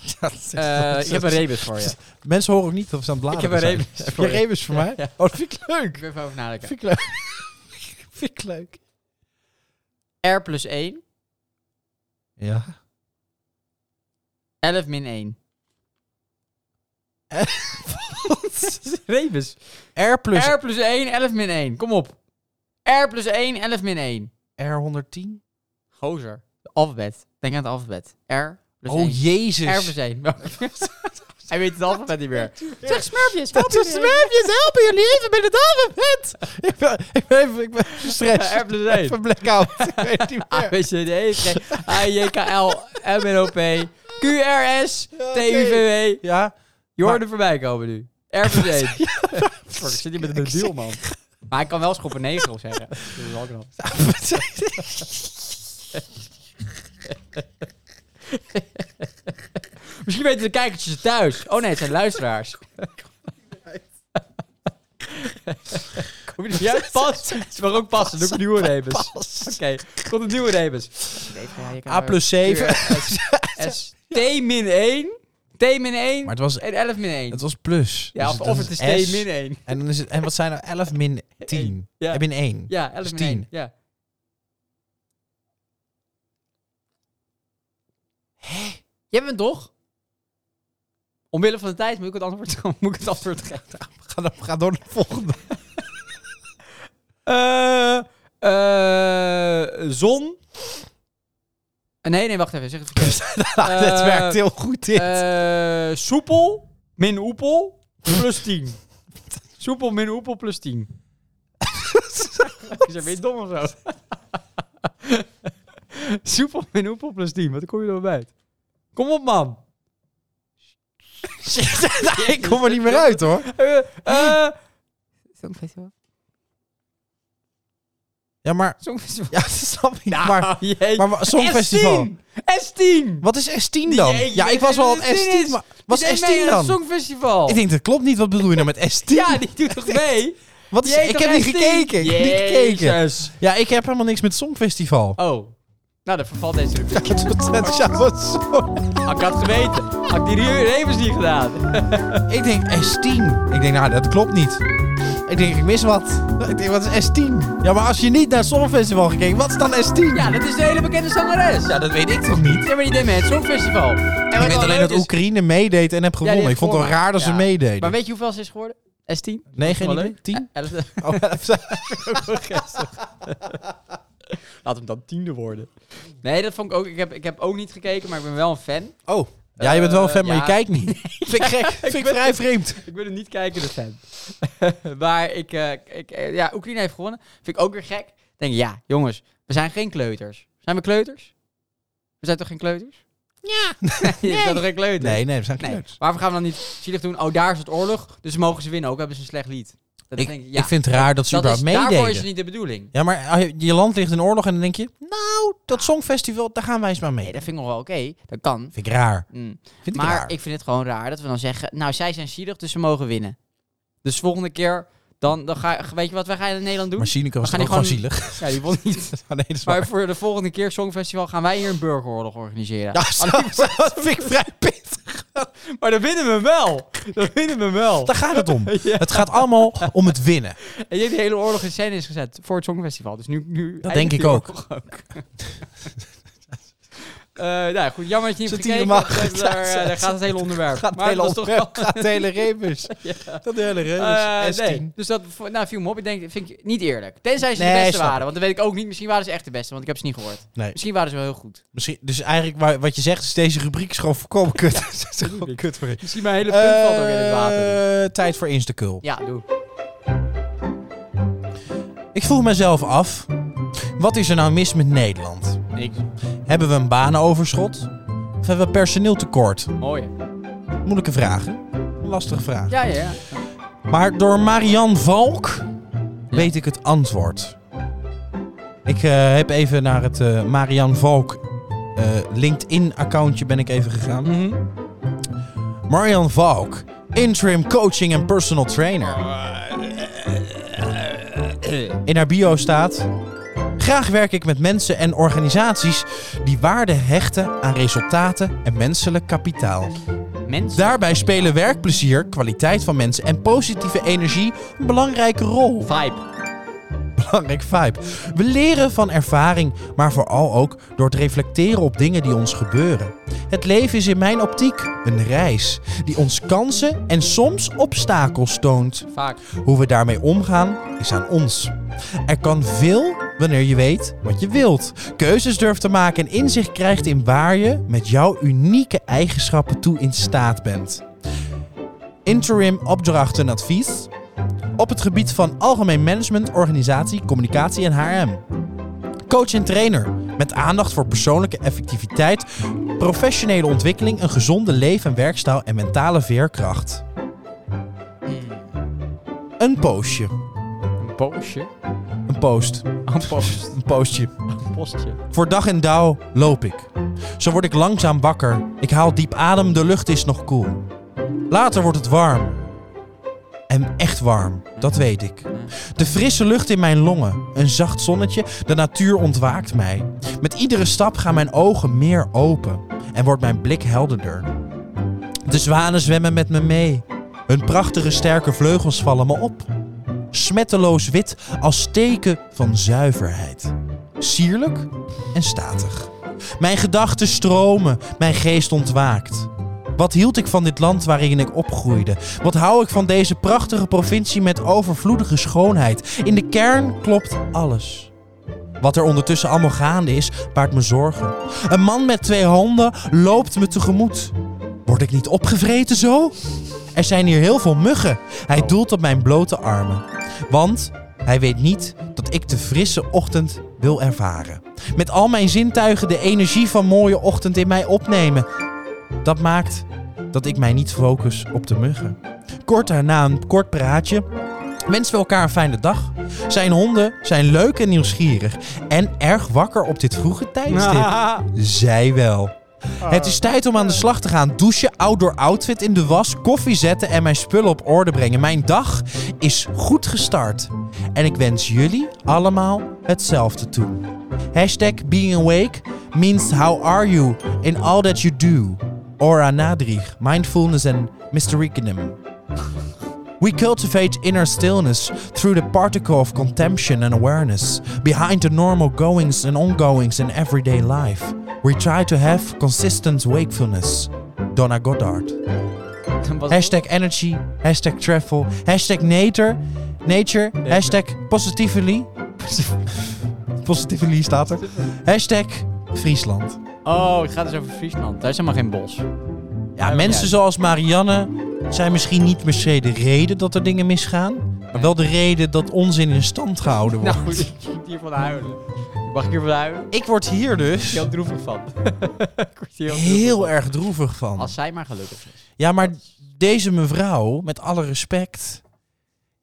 Speaker 1: Ja, dat is echt-
Speaker 2: Eh, ik heb een rebus voor je.
Speaker 1: Mensen horen ook niet dat we aan het bladeren
Speaker 2: Ik heb een rebus
Speaker 1: zijn. Heb je
Speaker 2: voor
Speaker 1: een
Speaker 2: je.
Speaker 1: rebus voor mij?
Speaker 2: ja.
Speaker 1: Oh, dat vind ik
Speaker 2: Ik
Speaker 1: leuk.
Speaker 2: wil even over nadenken.
Speaker 1: Vind ik leuk. vind ik leuk.
Speaker 2: R plus 1,
Speaker 1: Ja.
Speaker 2: 11 min 1.
Speaker 1: rebus. R plus
Speaker 2: R plus 1, 11 min 1. Kom op. R plus 1, 11 min 1.
Speaker 1: R110.
Speaker 2: Gozer. De alfabet. Denk aan het alfabet. R plus
Speaker 1: Oh,
Speaker 2: 1. R
Speaker 1: jezus.
Speaker 2: plus 1. Hij weet het alfabet niet meer. Zeg smurfjes.
Speaker 1: Dat is zwerfjes, helpen jullie even met het alfabet. ik ben, ik ben, even- ik ben gestrest.
Speaker 2: R plus 1.
Speaker 1: Even blackout. ik weet het niet
Speaker 2: A,
Speaker 1: meer.
Speaker 2: B, C, D, E, F, G, H, J, K, L, M, N, O, P, Q, R, S, T, U, V, W.
Speaker 1: Ja.
Speaker 2: Je
Speaker 1: Maar-
Speaker 2: hoort er voorbij komen nu. R plus 1. Fuck, ik zit hier met een debiel, man. Maar ik kan wel schoppen 9 of zeggen. Dat is wel knap. Misschien weten de kijkertjes het thuis. Oh nee, het zijn luisteraars. Kom je er niet uit? Pas. Het mag ook passen. Doe ik een nieuwe rebus. Oké, komt een nieuwe rebus.
Speaker 1: A plus 7.
Speaker 2: S. T min 1. T min 1.
Speaker 1: Maar het was,
Speaker 2: En 11 min 1.
Speaker 1: het was plus.
Speaker 2: Ja,
Speaker 1: Dus
Speaker 2: of,
Speaker 1: dan
Speaker 2: of het is T
Speaker 1: S.
Speaker 2: min 1.
Speaker 1: En, dan is het, en wat zijn er? 11 min 10.
Speaker 2: Ja.
Speaker 1: Heb je een 1?
Speaker 2: Ja, 11
Speaker 1: Dus
Speaker 2: min 1.
Speaker 1: tien.
Speaker 2: Ja. Hé? Jij bent toch? Omwille van de tijd moet ik het antwoord, moet ik het antwoord geven.
Speaker 1: Ga, dan- ga door naar de volgende.
Speaker 2: Eh, eh, zon. Eh, Nee, nee, wacht even. Zeg het verkeerd.
Speaker 1: Dus, Dit
Speaker 2: Eh,
Speaker 1: werkt heel goed, dit.
Speaker 2: Eh, soepel min oepel plus 10. soepel min oepel plus 10. Is dat weer dom of zo? soepel min oepel plus 10. Wat kom je erbij uit? Kom op, man.
Speaker 1: ik kom er niet meer uit, hoor.
Speaker 2: Eh, eh, Songfestival.
Speaker 1: Ja, maar...
Speaker 2: Songfestival.
Speaker 1: Ja, dat snap ik.
Speaker 2: Nou,
Speaker 1: maar,
Speaker 2: jee.
Speaker 1: maar wa- Songfestival.
Speaker 2: S10. S10.
Speaker 1: Wat is S10 dan?
Speaker 2: Jeetje,
Speaker 1: ja, ik was wel op
Speaker 2: dat is-
Speaker 1: S10, maar... Wat
Speaker 2: Die
Speaker 1: is
Speaker 2: deed mee
Speaker 1: S10
Speaker 2: aan het
Speaker 1: dan?
Speaker 2: Songfestival.
Speaker 1: Ik denk, dat klopt niet. Wat bedoel je nou met S10?
Speaker 2: Ja, die doet toch mee?
Speaker 1: Wat is,
Speaker 2: Die heet
Speaker 1: ik
Speaker 2: toch
Speaker 1: heb niet
Speaker 2: S10?
Speaker 1: gekeken. Ik heb niet gekeken.
Speaker 2: Jezus.
Speaker 1: Ja, ik heb helemaal niks met Songfestival.
Speaker 2: Oh. Nou, dan vervalt deze rubriek.
Speaker 1: Dat is ja, wat zo.
Speaker 2: Had ik had geweten. Had ik die Revens niet gedaan.
Speaker 1: Ik denk S10. Ik denk, nou, dat klopt niet. Ik denk, ik mis wat. Ik denk, wat is S10? Ja, maar als je niet naar het Songfestival gekeken, wat is dan S10?
Speaker 2: Ja, dat is de hele bekende zangeres. Ja,
Speaker 1: dat weet ik toch niet?
Speaker 2: maar die deed mee aan het Songfestival. En
Speaker 1: Ik weet alleen dat Oekraïne meedeed en heb gewonnen.
Speaker 2: heeft
Speaker 1: ik vond het wel
Speaker 2: gewonnen.
Speaker 1: raar dat ze
Speaker 2: Ja.
Speaker 1: meededen.
Speaker 2: Maar weet je hoeveel ze is geworden? S10?
Speaker 1: nee, geen
Speaker 2: wel
Speaker 1: idee.
Speaker 2: leuk.
Speaker 1: 10?
Speaker 2: Eh, 11e.
Speaker 1: Oh,
Speaker 2: Laat hem dan tiende worden. Nee, dat vond ik ook. Ik heb, ik heb ook niet gekeken, maar ik ben wel een fan.
Speaker 1: oh. Ja, je bent wel een fan,
Speaker 2: Eh,
Speaker 1: maar je
Speaker 2: ja.
Speaker 1: kijkt niet. Vind ik gek. Vind ik
Speaker 2: ben-
Speaker 1: vrij vreemd.
Speaker 2: Ik ben een niet-kijkende fan. maar ik, eh, ik, eh, ja, Oekraïne heeft gewonnen. Vind ik ook weer gek. Ik Denk ja, jongens, we zijn geen kleuters. Zijn we kleuters? We zijn toch geen kleuters? Ja. nee, we zijn toch geen kleuters?
Speaker 1: Nee, nee, we zijn
Speaker 2: Nee.
Speaker 1: geen nee.
Speaker 2: Waarvoor gaan we dan niet zielig doen? Oh, daar is het oorlog, dus mogen ze winnen. Ook hebben ze een slecht lied. Dat
Speaker 1: ik,
Speaker 2: denk ik, ja,
Speaker 1: ik vind het raar dat ze
Speaker 2: dat is,
Speaker 1: überhaupt
Speaker 2: daarvoor
Speaker 1: meededen.
Speaker 2: is het niet de bedoeling.
Speaker 1: Ja, maar ah, je- je land ligt in oorlog en dan denk je... Nou, dat Songfestival, daar gaan wij eens maar mee.
Speaker 2: Ah. Nee, dat vind ik nog wel oké. Dat kan.
Speaker 1: Vind ik raar.
Speaker 2: Mm.
Speaker 1: Vind ik
Speaker 2: maar
Speaker 1: raar.
Speaker 2: ik vind het gewoon raar dat we dan zeggen... Nou, zij zijn zielig, dus ze mogen winnen. Dus volgende keer, dan, dan ga, weet je wat wij gaan in Nederland doen?
Speaker 1: maar Sineke was
Speaker 2: we
Speaker 1: toch ook
Speaker 2: gaan
Speaker 1: gewoon
Speaker 2: die
Speaker 1: zielig. Oh,
Speaker 2: Ja, die won niet.
Speaker 1: nee, dat is waar.
Speaker 2: Maar voor de volgende keer Songfestival gaan wij hier een burgeroorlog organiseren.
Speaker 1: Ja, zo- zo- dat vind ik vrij pittig.
Speaker 2: Maar dan winnen we wel. Dan winnen we wel.
Speaker 1: Daar gaat het om.
Speaker 2: Ja.
Speaker 1: Het gaat allemaal om het winnen.
Speaker 2: En je hebt de hele oorlog in scène is gezet voor het Songfestival. Dus nu, nu eindigt
Speaker 1: denk
Speaker 2: die
Speaker 1: ik ook.
Speaker 2: oorlog ook. Eh, nou ja, goed, jammer dat je niet hebt
Speaker 1: Satire
Speaker 2: gekeken.
Speaker 1: mag
Speaker 2: want, eh,
Speaker 1: het
Speaker 2: daar,
Speaker 1: zijn.
Speaker 2: eh, daar gaat het hele onderwerp.
Speaker 1: Gaat het
Speaker 2: maar
Speaker 1: hele
Speaker 2: dat is toch wel...
Speaker 1: onderwerp, gaat het hele rebus. Dat hele
Speaker 2: Eh,
Speaker 1: rebus.
Speaker 2: nee. Dus dat vo- nou, viel me op. Ik denk, vind ik niet eerlijk. Tenzij ze de
Speaker 1: Nee,
Speaker 2: beste
Speaker 1: snap
Speaker 2: waren.
Speaker 1: ik.
Speaker 2: Want dat weet ik ook niet. Misschien waren ze echt de beste, want ik heb ze niet gehoord.
Speaker 1: Nee.
Speaker 2: Misschien waren ze wel heel goed.
Speaker 1: Misschien, dus eigenlijk wa- wat je zegt is deze rubriek is gewoon voorkomen kut. Het is gewoon
Speaker 2: Tuurlijk.
Speaker 1: kut voor je.
Speaker 2: Misschien mijn hele punt valt ook in het water.
Speaker 1: Eh, tijd voor Instacul.
Speaker 2: Ja, doe.
Speaker 1: Ik vroeg mezelf af, wat is er nou mis met Nederland?
Speaker 2: Niks.
Speaker 1: Hebben we een banenoverschot? Of hebben we personeeltekort?
Speaker 2: Mooi.
Speaker 1: Moeilijke vragen. Lastige vraag.
Speaker 2: Ja, ja, ja.
Speaker 1: Maar door Marianne Valk weet ik het antwoord. Ik eh, heb even naar het eh, Marianne Valk eh, LinkedIn-accountje ben ik even gegaan. Marianne Valk, interim coaching en personal trainer. In haar bio staat... Graag werk ik met mensen en organisaties die waarde hechten aan resultaten en menselijk kapitaal.
Speaker 2: Mensen.
Speaker 1: Daarbij spelen werkplezier, kwaliteit van mensen en positieve energie een belangrijke rol.
Speaker 2: Vibe.
Speaker 1: Belangrijk vibe. We leren van ervaring, maar vooral ook door het reflecteren op dingen die ons gebeuren. Het leven is in mijn optiek een reis die ons kansen en soms obstakels toont.
Speaker 2: Vaak.
Speaker 1: Hoe we daarmee omgaan is aan ons. Er kan veel wanneer je weet wat je wilt. Keuzes durft te maken en inzicht krijgt in waar je met jouw unieke eigenschappen toe in staat bent. Interim opdracht en advies op het gebied van algemeen management, organisatie, communicatie en HRM. Coach en trainer met aandacht voor persoonlijke effectiviteit, professionele ontwikkeling, een gezonde leven- en werkstijl en mentale veerkracht. Een postje.
Speaker 2: Een postje.
Speaker 1: Een post.
Speaker 2: Een post.
Speaker 1: Een postje.
Speaker 2: Een postje.
Speaker 1: Voor dag en dauw loop ik. Zo word ik langzaam wakker. Ik haal diep adem, de lucht is nog koel. Later wordt het warm. En echt warm, dat weet ik. De frisse lucht in mijn longen, een zacht zonnetje, de natuur ontwaakt mij. Met iedere stap gaan mijn ogen meer open en wordt mijn blik helderder. De zwanen zwemmen met me mee. Hun prachtige sterke vleugels vallen me op. Smetteloos wit als teken van zuiverheid. Sierlijk en statig. Mijn gedachten stromen, mijn geest ontwaakt. Wat hield ik van dit land waarin ik opgroeide? Wat hou ik van deze prachtige provincie met overvloedige schoonheid? In de kern klopt alles. Wat er ondertussen allemaal gaande is, baart me zorgen. Een man met twee handen loopt me tegemoet. Word ik niet opgevreten zo? Er zijn hier heel veel muggen. Hij doelt op mijn blote armen. Want hij weet niet dat ik de frisse ochtend wil ervaren. Met al mijn zintuigen de energie van mooie ochtend in mij opnemen. Dat maakt dat ik mij niet focus op de muggen. Kort daarna een kort praatje. Wensen we elkaar een fijne dag. Zijn honden zijn leuk en nieuwsgierig. En erg wakker op dit vroege tijdstip. Zij wel. Het is tijd om aan de slag te gaan. Douchen, outdoor outfit in de was, koffie zetten en mijn spullen op orde brengen. Mijn dag is goed gestart. En ik wens jullie allemaal hetzelfde toe. Hashtag being awake means how are you in all that you do. Ora Nadrig, mindfulness and mysticanum. We cultivate inner stillness through the particle of contemplation and awareness, behind the normal goings and ongoings in everyday life. We try to have consistent wakefulness. Donna Goddard.
Speaker 2: Was-
Speaker 1: Hashtag energy, hashtag travel, hashtag nature, nature, hashtag positively. positively staat er. Hashtag Friesland.
Speaker 2: Oh, het gaat dus over Friesland. Daar is helemaal geen bos.
Speaker 1: Ja, mensen zoals Marianne zijn misschien niet per se de reden dat er dingen misgaan. Maar wel de reden dat onzin in stand gehouden wordt.
Speaker 2: Nou, moet ik moet hiervan huilen. Mag ik hiervan huilen? Ik
Speaker 1: ik word hier
Speaker 2: word
Speaker 1: dus
Speaker 2: heel droevig van. ik word hier heel droevig
Speaker 1: heel
Speaker 2: van.
Speaker 1: erg droevig van.
Speaker 2: Als zij maar gelukkig is.
Speaker 1: Ja, maar deze mevrouw, met alle respect...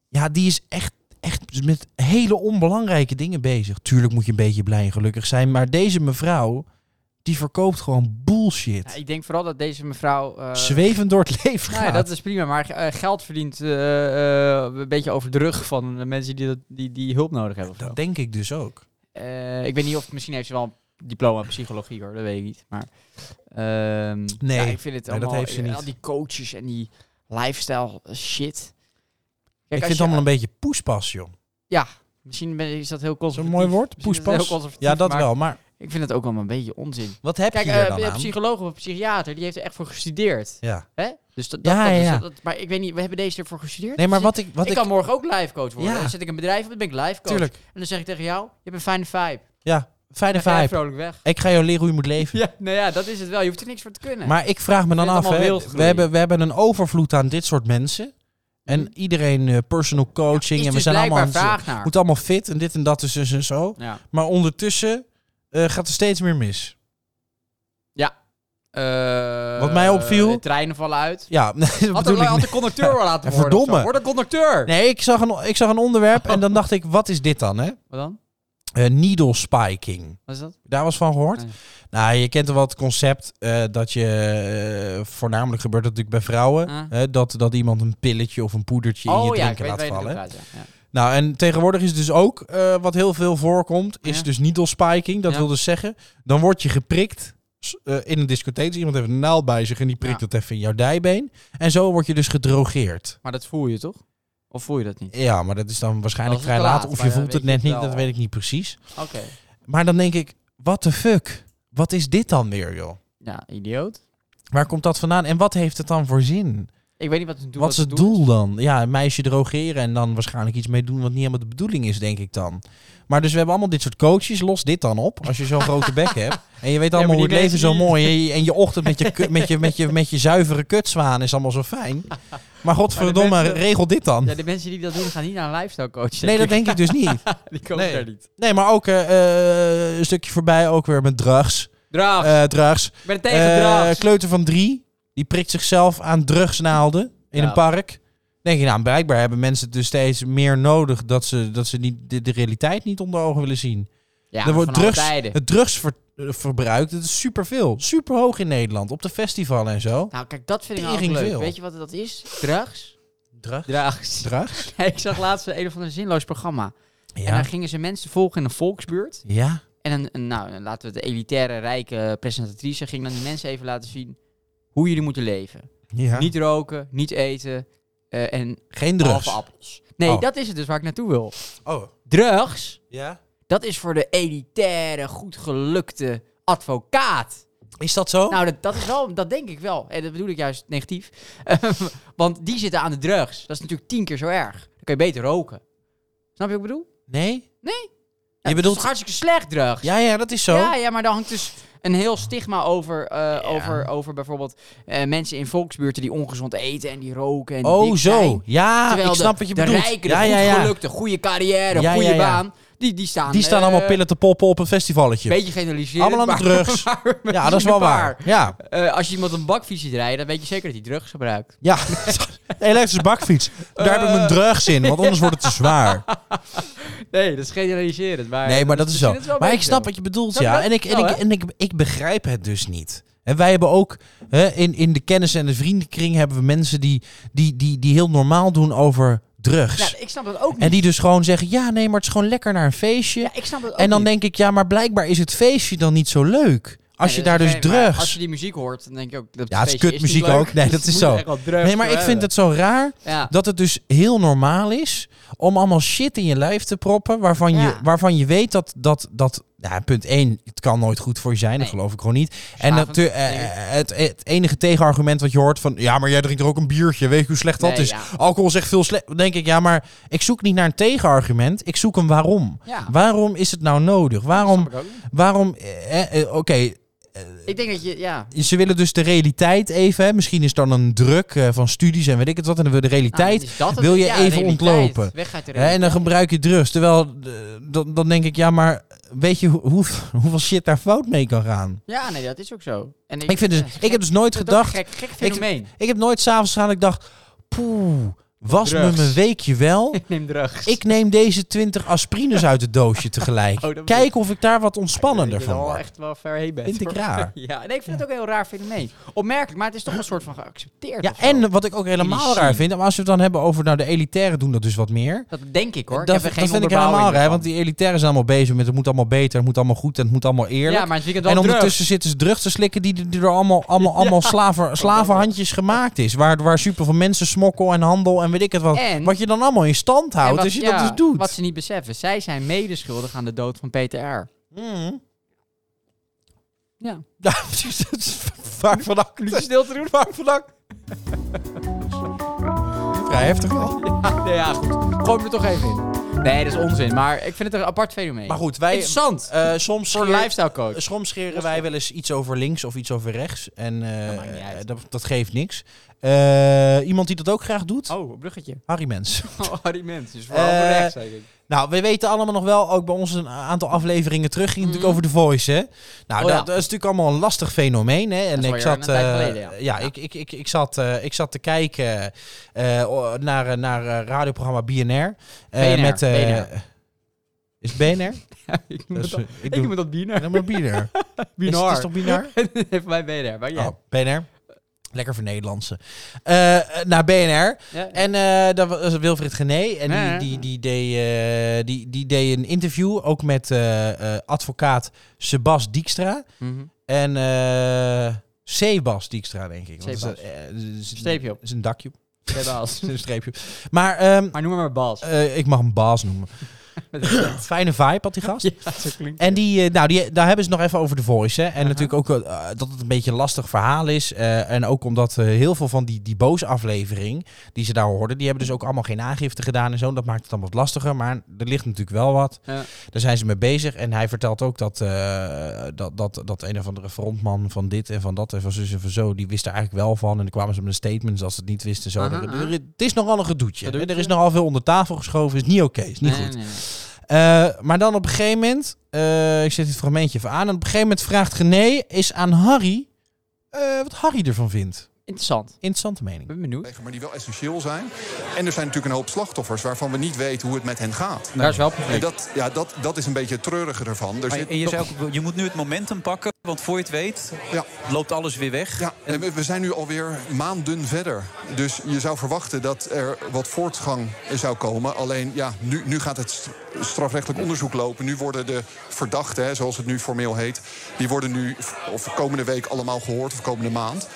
Speaker 1: Ja, die is echt, echt met hele onbelangrijke dingen bezig. Tuurlijk moet je een beetje blij en gelukkig zijn. Maar deze mevrouw, die verkoopt gewoon
Speaker 2: Ja,
Speaker 1: bullshit.
Speaker 2: ik denk vooral dat deze mevrouw... eh,
Speaker 1: Zwevend door het leven
Speaker 2: nou ja,
Speaker 1: gaat.
Speaker 2: dat is prima, maar eh, geld verdient eh, eh, een beetje over de rug van de mensen die, dat, die, die hulp nodig hebben. of zo.
Speaker 1: dat denk ik dus ook.
Speaker 2: Eh, ik weet niet of misschien heeft ze wel een diploma in psychologie hoor, dat weet ik niet. Maar ehm,
Speaker 1: Nee,
Speaker 2: ja, ik vind het
Speaker 1: nee, dat
Speaker 2: allemaal, eh,
Speaker 1: heeft ze niet.
Speaker 2: Al die coaches en die lifestyle eh, shit.
Speaker 1: ik
Speaker 2: Kijk,
Speaker 1: vind
Speaker 2: als
Speaker 1: het
Speaker 2: je-
Speaker 1: allemaal een beetje poespas, joh.
Speaker 2: Misschien ben- is dat heel
Speaker 1: Is dat
Speaker 2: conservatief.
Speaker 1: een mooi woord?
Speaker 2: Misschien is dat heel
Speaker 1: Poespas?
Speaker 2: conservatief,
Speaker 1: Ja, dat
Speaker 2: maar
Speaker 1: wel. Maar
Speaker 2: Ik vind het ook allemaal een beetje onzin.
Speaker 1: Wat heb
Speaker 2: Kijk,
Speaker 1: je er
Speaker 2: eh,
Speaker 1: dan
Speaker 2: een
Speaker 1: aan?
Speaker 2: psycholoog of een psychiater, die heeft er echt voor gestudeerd.
Speaker 1: Ja.
Speaker 2: Hè? Dus dat, dat,
Speaker 1: Ja,
Speaker 2: dat is-
Speaker 1: ja.
Speaker 2: dat- maar ik weet niet, we hebben deze ervoor gestudeerd.
Speaker 1: Nee, maar
Speaker 2: Dus
Speaker 1: wat ik... Wat
Speaker 2: ik, kan morgen ook live coach worden.
Speaker 1: Ja.
Speaker 2: Dan zet ik een bedrijf op, dan ben ik live coach.
Speaker 1: Tuurlijk.
Speaker 2: En dan zeg ik tegen jou, je hebt een fijne vibe.
Speaker 1: Ja, fijne
Speaker 2: Dan ga jij
Speaker 1: vibe.
Speaker 2: vrolijk weg.
Speaker 1: Ik ga jou leren hoe je moet leven.
Speaker 2: Ja, nou ja, dat is het wel. Je hoeft er niks voor te kunnen.
Speaker 1: Maar ik vraag me dan
Speaker 2: Ik vind het
Speaker 1: af,
Speaker 2: allemaal
Speaker 1: hè.
Speaker 2: wereldgroei.
Speaker 1: We hebben, we hebben een overvloed aan dit soort mensen. En
Speaker 2: Mhm.
Speaker 1: iedereen eh, personal coaching.
Speaker 2: Is
Speaker 1: en we
Speaker 2: dus
Speaker 1: zijn allemaal...
Speaker 2: blijkbaar
Speaker 1: aan het-
Speaker 2: vraag naar.
Speaker 1: Moet allemaal fit en dit en dat dus, dus en zo.
Speaker 2: Ja.
Speaker 1: Maar ondertussen eh, gaat er steeds meer mis.
Speaker 2: Eh,
Speaker 1: Wat mij opviel-
Speaker 2: de treinen vallen uit.
Speaker 1: Ja, nee, dat
Speaker 2: Had,
Speaker 1: bedoel
Speaker 2: de,
Speaker 1: ik
Speaker 2: had
Speaker 1: niet.
Speaker 2: de conducteur wel laten
Speaker 1: Ja,
Speaker 2: worden. of zo.
Speaker 1: verdomme.
Speaker 2: Word een conducteur.
Speaker 1: Nee, ik zag, een, ik zag een onderwerp en dan dacht ik, wat is dit dan, hè?
Speaker 2: Wat dan?
Speaker 1: Eh, needle spiking.
Speaker 2: Wat is dat?
Speaker 1: Daar was van gehoord?
Speaker 2: Nee.
Speaker 1: Nou, je kent wel het concept eh, dat je... eh, voornamelijk gebeurt dat natuurlijk bij vrouwen.
Speaker 2: Ah.
Speaker 1: hè, dat, dat iemand een pilletje of een poedertje in Eh, je
Speaker 2: oh ja, ik
Speaker 1: drinken
Speaker 2: weet waar
Speaker 1: laat
Speaker 2: je naartoe
Speaker 1: vallen.
Speaker 2: gaat. Ja. Ja.
Speaker 1: Nou, en tegenwoordig is dus ook... eh, wat heel veel voorkomt, is
Speaker 2: Ja.
Speaker 1: dus needle spiking. Dat
Speaker 2: Ja.
Speaker 1: wil dus zeggen, dan word je geprikt s- eh, in een discotheek. Dus iemand heeft een naald bij zich en die prikt
Speaker 2: Ja.
Speaker 1: dat even in jouw dijbeen. En zo word je dus gedrogeerd.
Speaker 2: Maar dat voel je toch? Of voel je dat niet?
Speaker 1: Ja, maar dat is dan waarschijnlijk
Speaker 2: Dat is
Speaker 1: vrij
Speaker 2: te laat,
Speaker 1: laat. Of
Speaker 2: maar
Speaker 1: je
Speaker 2: dan
Speaker 1: voelt het
Speaker 2: weet je
Speaker 1: net
Speaker 2: het
Speaker 1: niet,
Speaker 2: wel.
Speaker 1: dat weet ik niet precies.
Speaker 2: Oké.
Speaker 1: Maar dan denk ik, what the fuck? Wat is dit dan weer, joh?
Speaker 2: Ja, idioot.
Speaker 1: Waar komt dat vandaan en wat heeft het dan voor zin?
Speaker 2: Ik weet niet wat het doet.
Speaker 1: wat is het doel dan? Ja, een meisje drogeren en dan waarschijnlijk iets mee doen wat niet helemaal de bedoeling is, denk ik dan. Maar dus we hebben allemaal dit soort coaches. Los dit dan op, als je zo'n grote bek hebt. En je weet
Speaker 2: Ja,
Speaker 1: allemaal
Speaker 2: maar
Speaker 1: hoe
Speaker 2: die
Speaker 1: het leven
Speaker 2: mensen
Speaker 1: zo
Speaker 2: die-
Speaker 1: mooi en je- en je ochtend met je, ku- met je, met je, met je zuivere kutzwaan is allemaal zo fijn. Maar godverdomme,
Speaker 2: Maar de mensen-
Speaker 1: regel dit dan.
Speaker 2: Ja, de mensen die dat doen gaan niet naar een lifestyle coach.
Speaker 1: Nee, dat denk ik dus niet.
Speaker 2: Die komen
Speaker 1: Nee.
Speaker 2: daar niet.
Speaker 1: Nee, maar ook eh, eh, een stukje voorbij, ook weer met drugs.
Speaker 2: Draag.
Speaker 1: Eh drugs.
Speaker 2: ik ben tegen
Speaker 1: Eh,
Speaker 2: draag.
Speaker 1: kleuter van drie, die prikt zichzelf aan drugsnaalden in
Speaker 2: Ja.
Speaker 1: een park. Denk je, nou, blijkbaar hebben mensen het dus steeds meer nodig dat ze, dat ze niet, de, de realiteit niet onder ogen willen zien.
Speaker 2: Ja,
Speaker 1: er wordt
Speaker 2: van alle
Speaker 1: drugs,
Speaker 2: tijden.
Speaker 1: het drugsverbruik, dat is superveel. Superhoog in Nederland, op de festival en zo.
Speaker 2: Nou, kijk, dat vind ik altijd
Speaker 1: Tering
Speaker 2: leuk.
Speaker 1: veel.
Speaker 2: Weet je wat dat is? Drugs?
Speaker 1: Drugs?
Speaker 2: Drugs.
Speaker 1: Drugs?
Speaker 2: Ja, ik zag laatst een of ander zinloos programma. En
Speaker 1: Ja.
Speaker 2: daar gingen ze mensen volgen in een volksbuurt.
Speaker 1: Ja.
Speaker 2: En een, een- nou, laten we het elitaire, rijke presentatrice ging dan die mensen even laten zien hoe jullie moeten leven.
Speaker 1: ja.
Speaker 2: Niet roken, niet eten eh, en
Speaker 1: Geen
Speaker 2: halve
Speaker 1: drugs.
Speaker 2: appels. Nee,
Speaker 1: Oh.
Speaker 2: dat is het dus waar ik naartoe wil.
Speaker 1: Oh,
Speaker 2: Drugs,
Speaker 1: ja.
Speaker 2: dat is voor de elitaire, goed gelukte advocaat.
Speaker 1: Is dat zo?
Speaker 2: Nou, dat, dat is wel, dat denk ik wel. En dat bedoel ik juist negatief. Want die zitten aan de drugs. Dat is natuurlijk tien keer zo erg. Dan kun je beter roken. Snap je wat ik bedoel?
Speaker 1: nee?
Speaker 2: Nee. het
Speaker 1: Je
Speaker 2: is
Speaker 1: bedoelt...
Speaker 2: toch hartstikke slecht drugs.
Speaker 1: Ja, ja, dat is zo.
Speaker 2: Ja, ja, maar daar hangt dus een heel stigma over. eh, over, over bijvoorbeeld eh, mensen in volksbuurten die ongezond eten en die roken. En die
Speaker 1: oh,
Speaker 2: dik
Speaker 1: zo.
Speaker 2: zijn.
Speaker 1: Ja,
Speaker 2: Terwijl
Speaker 1: ik
Speaker 2: de-
Speaker 1: snap wat je
Speaker 2: de
Speaker 1: bedoelt.
Speaker 2: rijken, de
Speaker 1: ja,
Speaker 2: goed
Speaker 1: ja, ja.
Speaker 2: gelukte, goede carrière,
Speaker 1: Ja,
Speaker 2: goede
Speaker 1: ja, ja.
Speaker 2: baan. Die, die staan,
Speaker 1: Die staan
Speaker 2: eh,
Speaker 1: allemaal pillen te poppen op een festivalletje.
Speaker 2: Beetje generaliserend.
Speaker 1: Allemaal aan de
Speaker 2: maar-
Speaker 1: drugs.
Speaker 2: maar we
Speaker 1: Ja, dat is
Speaker 2: zien
Speaker 1: wel
Speaker 2: een
Speaker 1: waar.
Speaker 2: paar.
Speaker 1: Ja,
Speaker 2: Eh, als je iemand een bakfiets ziet rijden, dan weet je zeker dat hij drugs gebruikt.
Speaker 1: ja. elektrische bakfiets. Daar heb ik
Speaker 2: Eh.
Speaker 1: mijn drugs in, want anders wordt het te zwaar.
Speaker 2: Nee, dat is generaliserend. Maar
Speaker 1: Nee, maar dat is
Speaker 2: misschien
Speaker 1: zo.
Speaker 2: het wel een
Speaker 1: Maar ik
Speaker 2: beetje
Speaker 1: snap
Speaker 2: zo.
Speaker 1: wat je bedoelt,
Speaker 2: Snap je
Speaker 1: ja.
Speaker 2: dat?
Speaker 1: En ik, en
Speaker 2: Wel,
Speaker 1: ik,
Speaker 2: hè?
Speaker 1: en ik, ik begrijp het dus niet. En wij hebben ook, hè, in, in de kennis- en de vriendenkring hebben we mensen die, die, die, die heel normaal doen over drugs.
Speaker 2: Ja, ik snap dat ook niet.
Speaker 1: En die dus gewoon zeggen, ja nee, maar het is gewoon lekker naar een feestje.
Speaker 2: Ja, ik snap dat ook
Speaker 1: en dan
Speaker 2: niet.
Speaker 1: denk ik, ja, maar blijkbaar is het feestje dan niet zo leuk. Als
Speaker 2: Nee,
Speaker 1: je
Speaker 2: dat
Speaker 1: daar
Speaker 2: is
Speaker 1: dus
Speaker 2: oké, maar
Speaker 1: drugs...
Speaker 2: Als je die muziek hoort, dan denk je ook... Dat
Speaker 1: Ja, het is
Speaker 2: feestje niet
Speaker 1: kutmuziek
Speaker 2: leuk.
Speaker 1: ook. Nee, dat
Speaker 2: Dus je
Speaker 1: is
Speaker 2: moet
Speaker 1: zo.
Speaker 2: echt wel drugs
Speaker 1: Nee, maar ik vind
Speaker 2: hebben.
Speaker 1: het zo raar
Speaker 2: Ja.
Speaker 1: dat het dus heel normaal is om allemaal shit in je lijf te proppen. Waarvan, je,
Speaker 2: Ja.
Speaker 1: waarvan je weet dat, dat, dat nou, punt 1, het kan nooit goed voor je zijn. Dat
Speaker 2: Nee.
Speaker 1: geloof ik gewoon niet. En
Speaker 2: S'avonds,
Speaker 1: natu- eh,
Speaker 2: denk ik.
Speaker 1: het, het enige tegenargument wat je hoort van... Ja, maar jij drinkt er ook een biertje. Weet je hoe slecht dat
Speaker 2: Nee,
Speaker 1: is?
Speaker 2: ja.
Speaker 1: Alcohol is echt veel slecht. Dan denk ik, ja, maar ik zoek niet naar een tegenargument. Ik zoek een waarom.
Speaker 2: Ja.
Speaker 1: Waarom is het nou nodig? Waarom
Speaker 2: Snap ik ook niet.
Speaker 1: waarom. eh, eh, Oké,
Speaker 2: Ik denk dat je, ja. Nou,
Speaker 1: Ze willen dus de realiteit even, hè, misschien is dan een druk eh, van studies en weet ik het wat, en dan wil je de
Speaker 2: Nou,
Speaker 1: realiteit.
Speaker 2: is dat het?
Speaker 1: wil je
Speaker 2: Ja,
Speaker 1: even
Speaker 2: realiteit.
Speaker 1: ontlopen.
Speaker 2: Weg uit de
Speaker 1: hè, en
Speaker 2: realiteit.
Speaker 1: dan gebruik je drugs. Terwijl, eh, dan, dan denk ik, ja, maar weet je hoe, hoe, hoeveel shit daar fout mee kan gaan?
Speaker 2: Ja, nee, dat is ook zo. En
Speaker 1: Ik, vind dus,
Speaker 2: ja,
Speaker 1: ik heb dus nooit
Speaker 2: dat is ook
Speaker 1: gedacht,
Speaker 2: Gek, gek fenomeen. Ik,
Speaker 1: ik heb nooit s'avonds gegaan dat ik dacht, poeh, was me
Speaker 2: Drugs.
Speaker 1: mijn weekje wel.
Speaker 2: neem drugs.
Speaker 1: Ik neem deze 20 aspirines uit het doosje tegelijk.
Speaker 2: Oh, dat
Speaker 1: Kijk of ik daar wat
Speaker 2: Ik
Speaker 1: ontspannender
Speaker 2: denk dat
Speaker 1: van
Speaker 2: je er al
Speaker 1: word.
Speaker 2: echt wel ver heen bent.
Speaker 1: Vind ik
Speaker 2: hoor.
Speaker 1: raar.
Speaker 2: Ja, nee, ik vind het ook een heel raar fenomeen. Opmerkelijk, maar het is toch een soort van geaccepteerd.
Speaker 1: Ja,
Speaker 2: of zo.
Speaker 1: en wat ik ook helemaal
Speaker 2: Energie.
Speaker 1: raar vind, maar als we het dan hebben over, nou, de elitairen doen dat dus wat meer.
Speaker 2: Dat denk ik hoor.
Speaker 1: dat
Speaker 2: ik heb er geen
Speaker 1: dat vind ik helemaal
Speaker 2: onderbouwing
Speaker 1: raar,
Speaker 2: van.
Speaker 1: want die elitairen zijn allemaal bezig met het moet allemaal beter, het moet allemaal goed en het moet allemaal eerlijk.
Speaker 2: Ja, maar het weekend wel
Speaker 1: en
Speaker 2: druk.
Speaker 1: ondertussen zitten ze drugs te slikken die, die er allemaal, allemaal, allemaal slaven, slavenhandjes gemaakt is. Waar, waar super veel mensen smokkel en handel en weet ik het wat.
Speaker 2: En-
Speaker 1: wat je dan allemaal in stand
Speaker 2: En
Speaker 1: houdt
Speaker 2: wat-
Speaker 1: als je
Speaker 2: ja,
Speaker 1: dat dus doet.
Speaker 2: Wat ze niet beseffen. Zij zijn medeschuldig aan de dood van Peter R.
Speaker 1: Mm.
Speaker 2: Ja.
Speaker 1: Ja, precies. Dat is vaak vanaf
Speaker 2: Luutje stil te doen. Maar vlak.
Speaker 1: vrij heftig wel.
Speaker 2: Ja, nee, ja, goed. Gooi me er toch even in. Nee, dat is onzin. Maar ik vind het een apart fenomeen.
Speaker 1: Maar goed, wij...
Speaker 2: Interessant.
Speaker 1: eh, soms
Speaker 2: voor een
Speaker 1: scheer-
Speaker 2: lifestyle coach.
Speaker 1: Soms scheren wij wel eens iets over links of iets over rechts. En eh,
Speaker 2: Dat maakt niet uit.
Speaker 1: dat, dat geeft niks. Eh, iemand die dat ook graag doet?
Speaker 2: Oh, een bruggetje.
Speaker 1: Harry Mens.
Speaker 2: Oh, die mens. Dus
Speaker 1: vooral Eh, relaxed,
Speaker 2: denk ik.
Speaker 1: Nou, we weten allemaal nog wel, ook bij ons een aantal afleveringen terug, ging het natuurlijk over The Voice, hè? Nou,
Speaker 2: Mhm. Oh, ja.
Speaker 1: dat, dat is natuurlijk allemaal een lastig fenomeen, hè? En
Speaker 2: is
Speaker 1: ik
Speaker 2: alweer
Speaker 1: zat,
Speaker 2: een tijd
Speaker 1: eh,
Speaker 2: geleden, ja. Ja.
Speaker 1: Ik, ik, ik, ik, zat, eh, ik zat te kijken eh, o- naar, eh, naar eh, radioprogramma BNR. eh,
Speaker 2: BNR,
Speaker 1: met, eh,
Speaker 2: BNR.
Speaker 1: Is BNR?
Speaker 2: ik
Speaker 1: Dat
Speaker 2: noem
Speaker 1: is,
Speaker 2: dat,
Speaker 1: eh, ik
Speaker 2: ik
Speaker 1: doe
Speaker 2: noem dat binair.
Speaker 1: alleen maar BNR. Is,
Speaker 2: Binair.
Speaker 1: is toch BNR?
Speaker 2: Even bij BNR. Maar ja.
Speaker 1: Oh, BNR. Lekker voor Nederlandse. Eh, naar BNR.
Speaker 2: Ja.
Speaker 1: En eh dat was Wilfried Gené. En
Speaker 2: Ja, ja.
Speaker 1: die, die, die, deed, eh, die, die deed een interview ook met eh, eh, advocaat Sebas Dijkstra.
Speaker 2: Mhm.
Speaker 1: En eh Sebas Dijkstra, denk ik. Want dat
Speaker 2: Sebas.
Speaker 1: is, een- eh, is een-
Speaker 2: Streepje op.
Speaker 1: is een dakje.
Speaker 2: Twee baas.
Speaker 1: is een streepje. Maar ehm,
Speaker 2: Maar noem maar maar Bas.
Speaker 1: eh, ik mag hem baas noemen.
Speaker 2: Met een Z.
Speaker 1: Fijne vibe had die gast.
Speaker 2: ja, zo klinkt
Speaker 1: En die, eh, nou, die, daar hebben ze nog even over de voice. Hè? En
Speaker 2: Aha.
Speaker 1: natuurlijk ook eh, dat het een beetje een lastig verhaal is. eh, en ook omdat eh, heel veel van die, die boze aflevering die ze daar hoorden, die hebben dus ook allemaal geen aangifte gedaan en zo. En Dat maakt het dan wat lastiger. Maar er ligt natuurlijk wel wat.
Speaker 2: Ja.
Speaker 1: Daar zijn ze mee bezig. En hij vertelt ook dat, eh, dat, dat, dat een of andere frontman van dit en van dat en van zus en van zo, die wist er eigenlijk wel van. En dan kwamen ze met een statement als ze het niet wisten. Zo.
Speaker 2: Aha,
Speaker 1: Er-
Speaker 2: aha.
Speaker 1: er- het is nogal een gedoetje.
Speaker 2: Gedoetje.
Speaker 1: Er is nogal veel onder tafel geschoven. Is niet oké. Is niet
Speaker 2: Nee,
Speaker 1: goed.
Speaker 2: nee, nee.
Speaker 1: Eh, maar dan op een gegeven moment, eh, ik zet dit fragmentje even aan. En op een gegeven moment vraagt Gené is aan Harry eh, wat Harry ervan vindt.
Speaker 2: Interessant.
Speaker 1: Interessante mening.
Speaker 2: Ben benieuwd.
Speaker 3: maar die wel essentieel zijn. En er zijn natuurlijk een hoop slachtoffers waarvan we niet weten hoe het met hen gaat.
Speaker 2: Daar is wel
Speaker 3: En
Speaker 2: publiek.
Speaker 3: dat, ja, dat, dat is een beetje het treurige ervan. Er
Speaker 4: Maar je,
Speaker 3: zit
Speaker 4: en je,
Speaker 3: nog-
Speaker 4: zei ook, je moet nu het momentum pakken, want voor je het weet
Speaker 3: Ja.
Speaker 4: loopt alles weer weg.
Speaker 3: ja, en we- we zijn nu alweer maanden verder. Dus je zou verwachten dat er wat voortgang zou komen. Alleen ja, nu, nu gaat het st- strafrechtelijk onderzoek lopen. Nu worden de verdachten, hè, zoals het nu formeel heet... die worden nu v- of komende week allemaal gehoord of komende maand.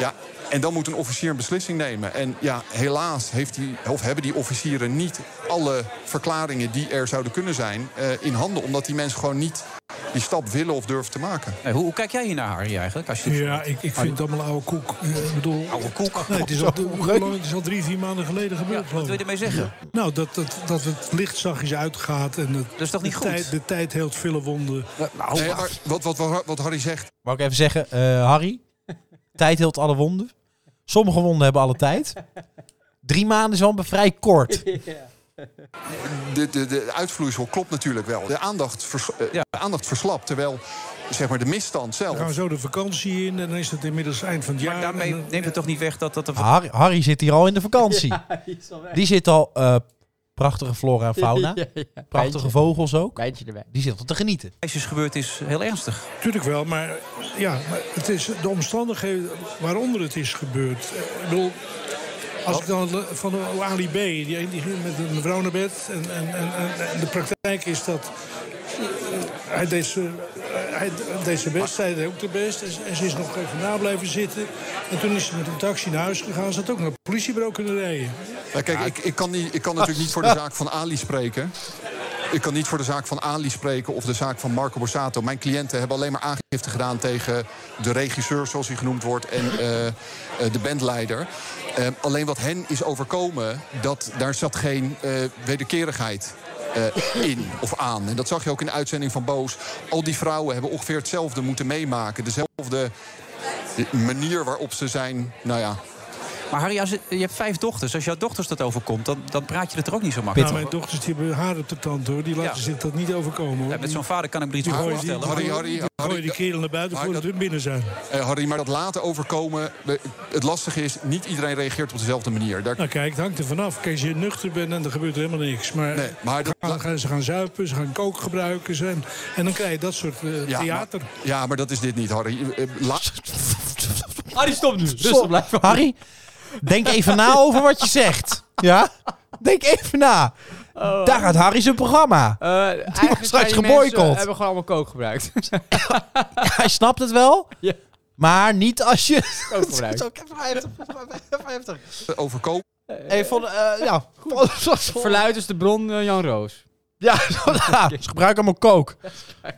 Speaker 3: Ja, en dan moet een officier een beslissing nemen. En ja, helaas heeft die, of hebben die officieren niet alle verklaringen die er zouden kunnen zijn eh, in handen. Omdat die mensen gewoon niet die stap willen of durven te maken.
Speaker 4: Nee, Eh, hoe, hoe kijk jij hier naar Harry eigenlijk? Als je
Speaker 5: Ja, ik, ik vind het allemaal oude koek. Eh, Ik bedoel,
Speaker 4: Ah, oude koek.
Speaker 5: nee, het, is al, hoe lang- het is al drie, vier maanden geleden gebeurd.
Speaker 4: Wat
Speaker 5: geloof
Speaker 4: wil je
Speaker 5: ik.
Speaker 4: ermee zeggen?
Speaker 5: Nou, dat, dat, dat het licht zachtjes uitgaat. En het, dat
Speaker 4: is toch niet
Speaker 5: de
Speaker 4: goed?
Speaker 5: Tijd, de tijd heelt vele wonden.
Speaker 4: Nou,
Speaker 3: Nee, maar wat, wat, wat, wat Harry zegt,
Speaker 1: Mag ik even zeggen, eh, Harry, tijd heelt alle wonden. Sommige wonden hebben alle tijd. Drie maanden is wel een vrij kort.
Speaker 3: de, de, de uitvloeisel klopt natuurlijk wel. De aandacht, vers, eh,
Speaker 4: Ja.
Speaker 3: de aandacht verslapt, terwijl zeg maar, de misstand zelf...
Speaker 5: We gaan zo de vakantie in en dan is het inmiddels eind van het jaar.
Speaker 4: daarmee
Speaker 5: en dan-
Speaker 4: neemt het toch niet weg dat dat... een-
Speaker 1: Harry, Harry zit hier al in de vakantie. Die zit al, eh, prachtige flora en fauna,
Speaker 2: Ja, ja.
Speaker 1: prachtige
Speaker 2: Bijtje.
Speaker 1: vogels ook.
Speaker 2: Bijtje erbij.
Speaker 1: Die zit al te genieten.
Speaker 4: meisjes gebeurd is heel ernstig.
Speaker 5: Tuurlijk wel, maar, ja, maar het is de omstandigheden waaronder het is gebeurd. Eh, Ik bedoel, als ik dan van Ali B, die, die ging met een mevrouw naar bed. En, en, en, en- en de praktijk is dat eh, hij deed zijn, hij deed zijn best, zij deed ook de best. En, ze- en ze is nog even na blijven zitten. En toen is ze met een taxi naar huis gegaan. Ze had ook naar het politiebureau kunnen rijden.
Speaker 3: Nou, kijk, ik, ik, kan niet, ik kan natuurlijk niet voor de zaak van Ali spreken. Ik kan niet voor de zaak van Ali spreken of de zaak van Marco Borsato. Mijn cliënten hebben alleen maar aangifte gedaan tegen de regisseur, zoals hij genoemd wordt, en eh, eh, de bandleider. Eh, alleen wat hen is overkomen, dat, daar zat geen eh, wederkerigheid eh, in of aan. En dat zag je ook in de uitzending van Boos. Al die vrouwen hebben ongeveer hetzelfde moeten meemaken. Dezelfde eh, manier waarop ze zijn, nou ja,
Speaker 4: Maar Harry, als je, je hebt vijf dochters. Als jouw dochters dat overkomt, dan, dan praat je het er ook niet zo
Speaker 5: Nou,
Speaker 4: makkelijk
Speaker 5: mijn dochters die hebben haar op de tand hoor. Die laten
Speaker 4: Ja.
Speaker 5: zich dat niet overkomen. Hoor.
Speaker 4: over. Ja, met zo'n vader kan ik me er iets
Speaker 5: die
Speaker 4: bij
Speaker 5: gooien die,
Speaker 4: voorstellen.
Speaker 3: Harry,
Speaker 5: die-
Speaker 3: Harry,
Speaker 5: die
Speaker 3: Harry,
Speaker 5: gooien die kerel naar buiten
Speaker 3: Harry,
Speaker 5: voordat
Speaker 3: dat-
Speaker 5: hun binnen zijn.
Speaker 3: Eh, Harry, maar dat laten overkomen. we- Het lastige is, niet iedereen reageert op dezelfde manier. Daar,
Speaker 5: Nou kijk, het hangt er vanaf. Kijk, als je nuchter bent en er gebeurt er helemaal niks. Maar,
Speaker 3: Nee, maar dat-
Speaker 5: gaan- gaan- ze gaan zuipen, ze gaan kook gebruiken. Ze, en, en dan krijg je dat soort eh,
Speaker 3: ja,
Speaker 5: theater.
Speaker 3: Maar, ja, maar dat is dit niet, Harry. Eh, la-
Speaker 2: Harry, stop Ah, nu. Rustig
Speaker 1: Stop.
Speaker 2: blijven.
Speaker 1: Harry, denk even na over wat je zegt. Ja? Denk even na. Daar gaat Harry zijn programma.
Speaker 2: Eh, eigenlijk
Speaker 1: straks
Speaker 2: zijn die
Speaker 1: geboycott.
Speaker 2: mensen, eh, hebben gewoon allemaal kook gebruikt.
Speaker 1: Hij snapt het wel,
Speaker 2: ja,
Speaker 1: maar niet als je...
Speaker 2: kook gebruikt.
Speaker 1: Zo, even heftig, even heftig.
Speaker 3: overkomen.
Speaker 1: Even, eh, ja.
Speaker 2: Verluid is de bron eh, Jan Roos.
Speaker 1: Ja, zo, ja, ze gebruiken allemaal kook.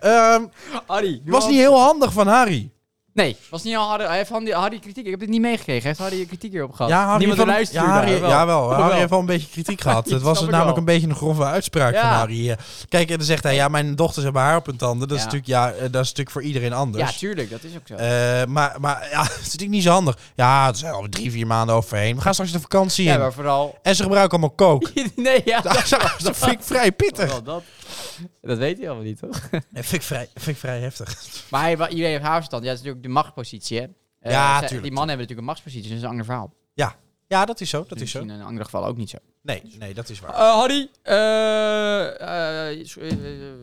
Speaker 1: Ehm,
Speaker 2: Harry. nu
Speaker 1: was
Speaker 2: al-
Speaker 1: niet heel handig van Harry.
Speaker 2: Nee, was niet al Harry, hij heeft Harry, Harry kritiek. Ik heb dit niet meegekregen. Hij heeft Harry kritiek hierop gehad.
Speaker 1: Ja, Harry
Speaker 2: Niemand
Speaker 1: van,
Speaker 2: luistert
Speaker 1: ja, Harry,
Speaker 2: daar, wel.
Speaker 1: Jawel,
Speaker 2: Jawel.
Speaker 1: Harry heeft wel een beetje kritiek gehad.
Speaker 2: Ja,
Speaker 1: het was
Speaker 2: snap ik
Speaker 1: namelijk
Speaker 2: wel.
Speaker 1: een beetje een grove uitspraak
Speaker 2: Ja.
Speaker 1: van Harry. eh. Kijk, en dan zegt hij, ja, mijn dochters hebben haar op hun tanden.
Speaker 2: Ja.
Speaker 1: Dat, is natuurlijk, ja, eh, dat is natuurlijk voor iedereen anders.
Speaker 2: Ja, tuurlijk, dat is ook zo.
Speaker 1: Eh, maar, maar ja, het is natuurlijk niet zo handig. Ja, het zijn al drie, vier maanden overheen. We gaan straks de vakantie
Speaker 2: ja,
Speaker 1: in.
Speaker 2: maar vooral.
Speaker 1: En ze gebruiken allemaal kook.
Speaker 2: nee, ja.
Speaker 1: Dat vind ik vrij pittig.
Speaker 2: Vooral dat. Dat weet hij allemaal niet, toch?
Speaker 1: Dat vind ik vrij, vind ik vrij heftig.
Speaker 2: Maar hij, wa- iedereen heeft haar verstand. Ja, dat is natuurlijk de machtspositie, hè? Eh,
Speaker 1: Ja,
Speaker 2: zij-
Speaker 1: tuurlijk.
Speaker 2: Die mannen hebben natuurlijk een machtspositie, dus dat is een ander verhaal.
Speaker 1: Ja, ja dat is zo. Dat is zo.
Speaker 2: Misschien in andere gevallen ook niet zo.
Speaker 1: Nee, nee, dat is waar.
Speaker 2: Eh, Harry, eh, eh, so- eh, eh,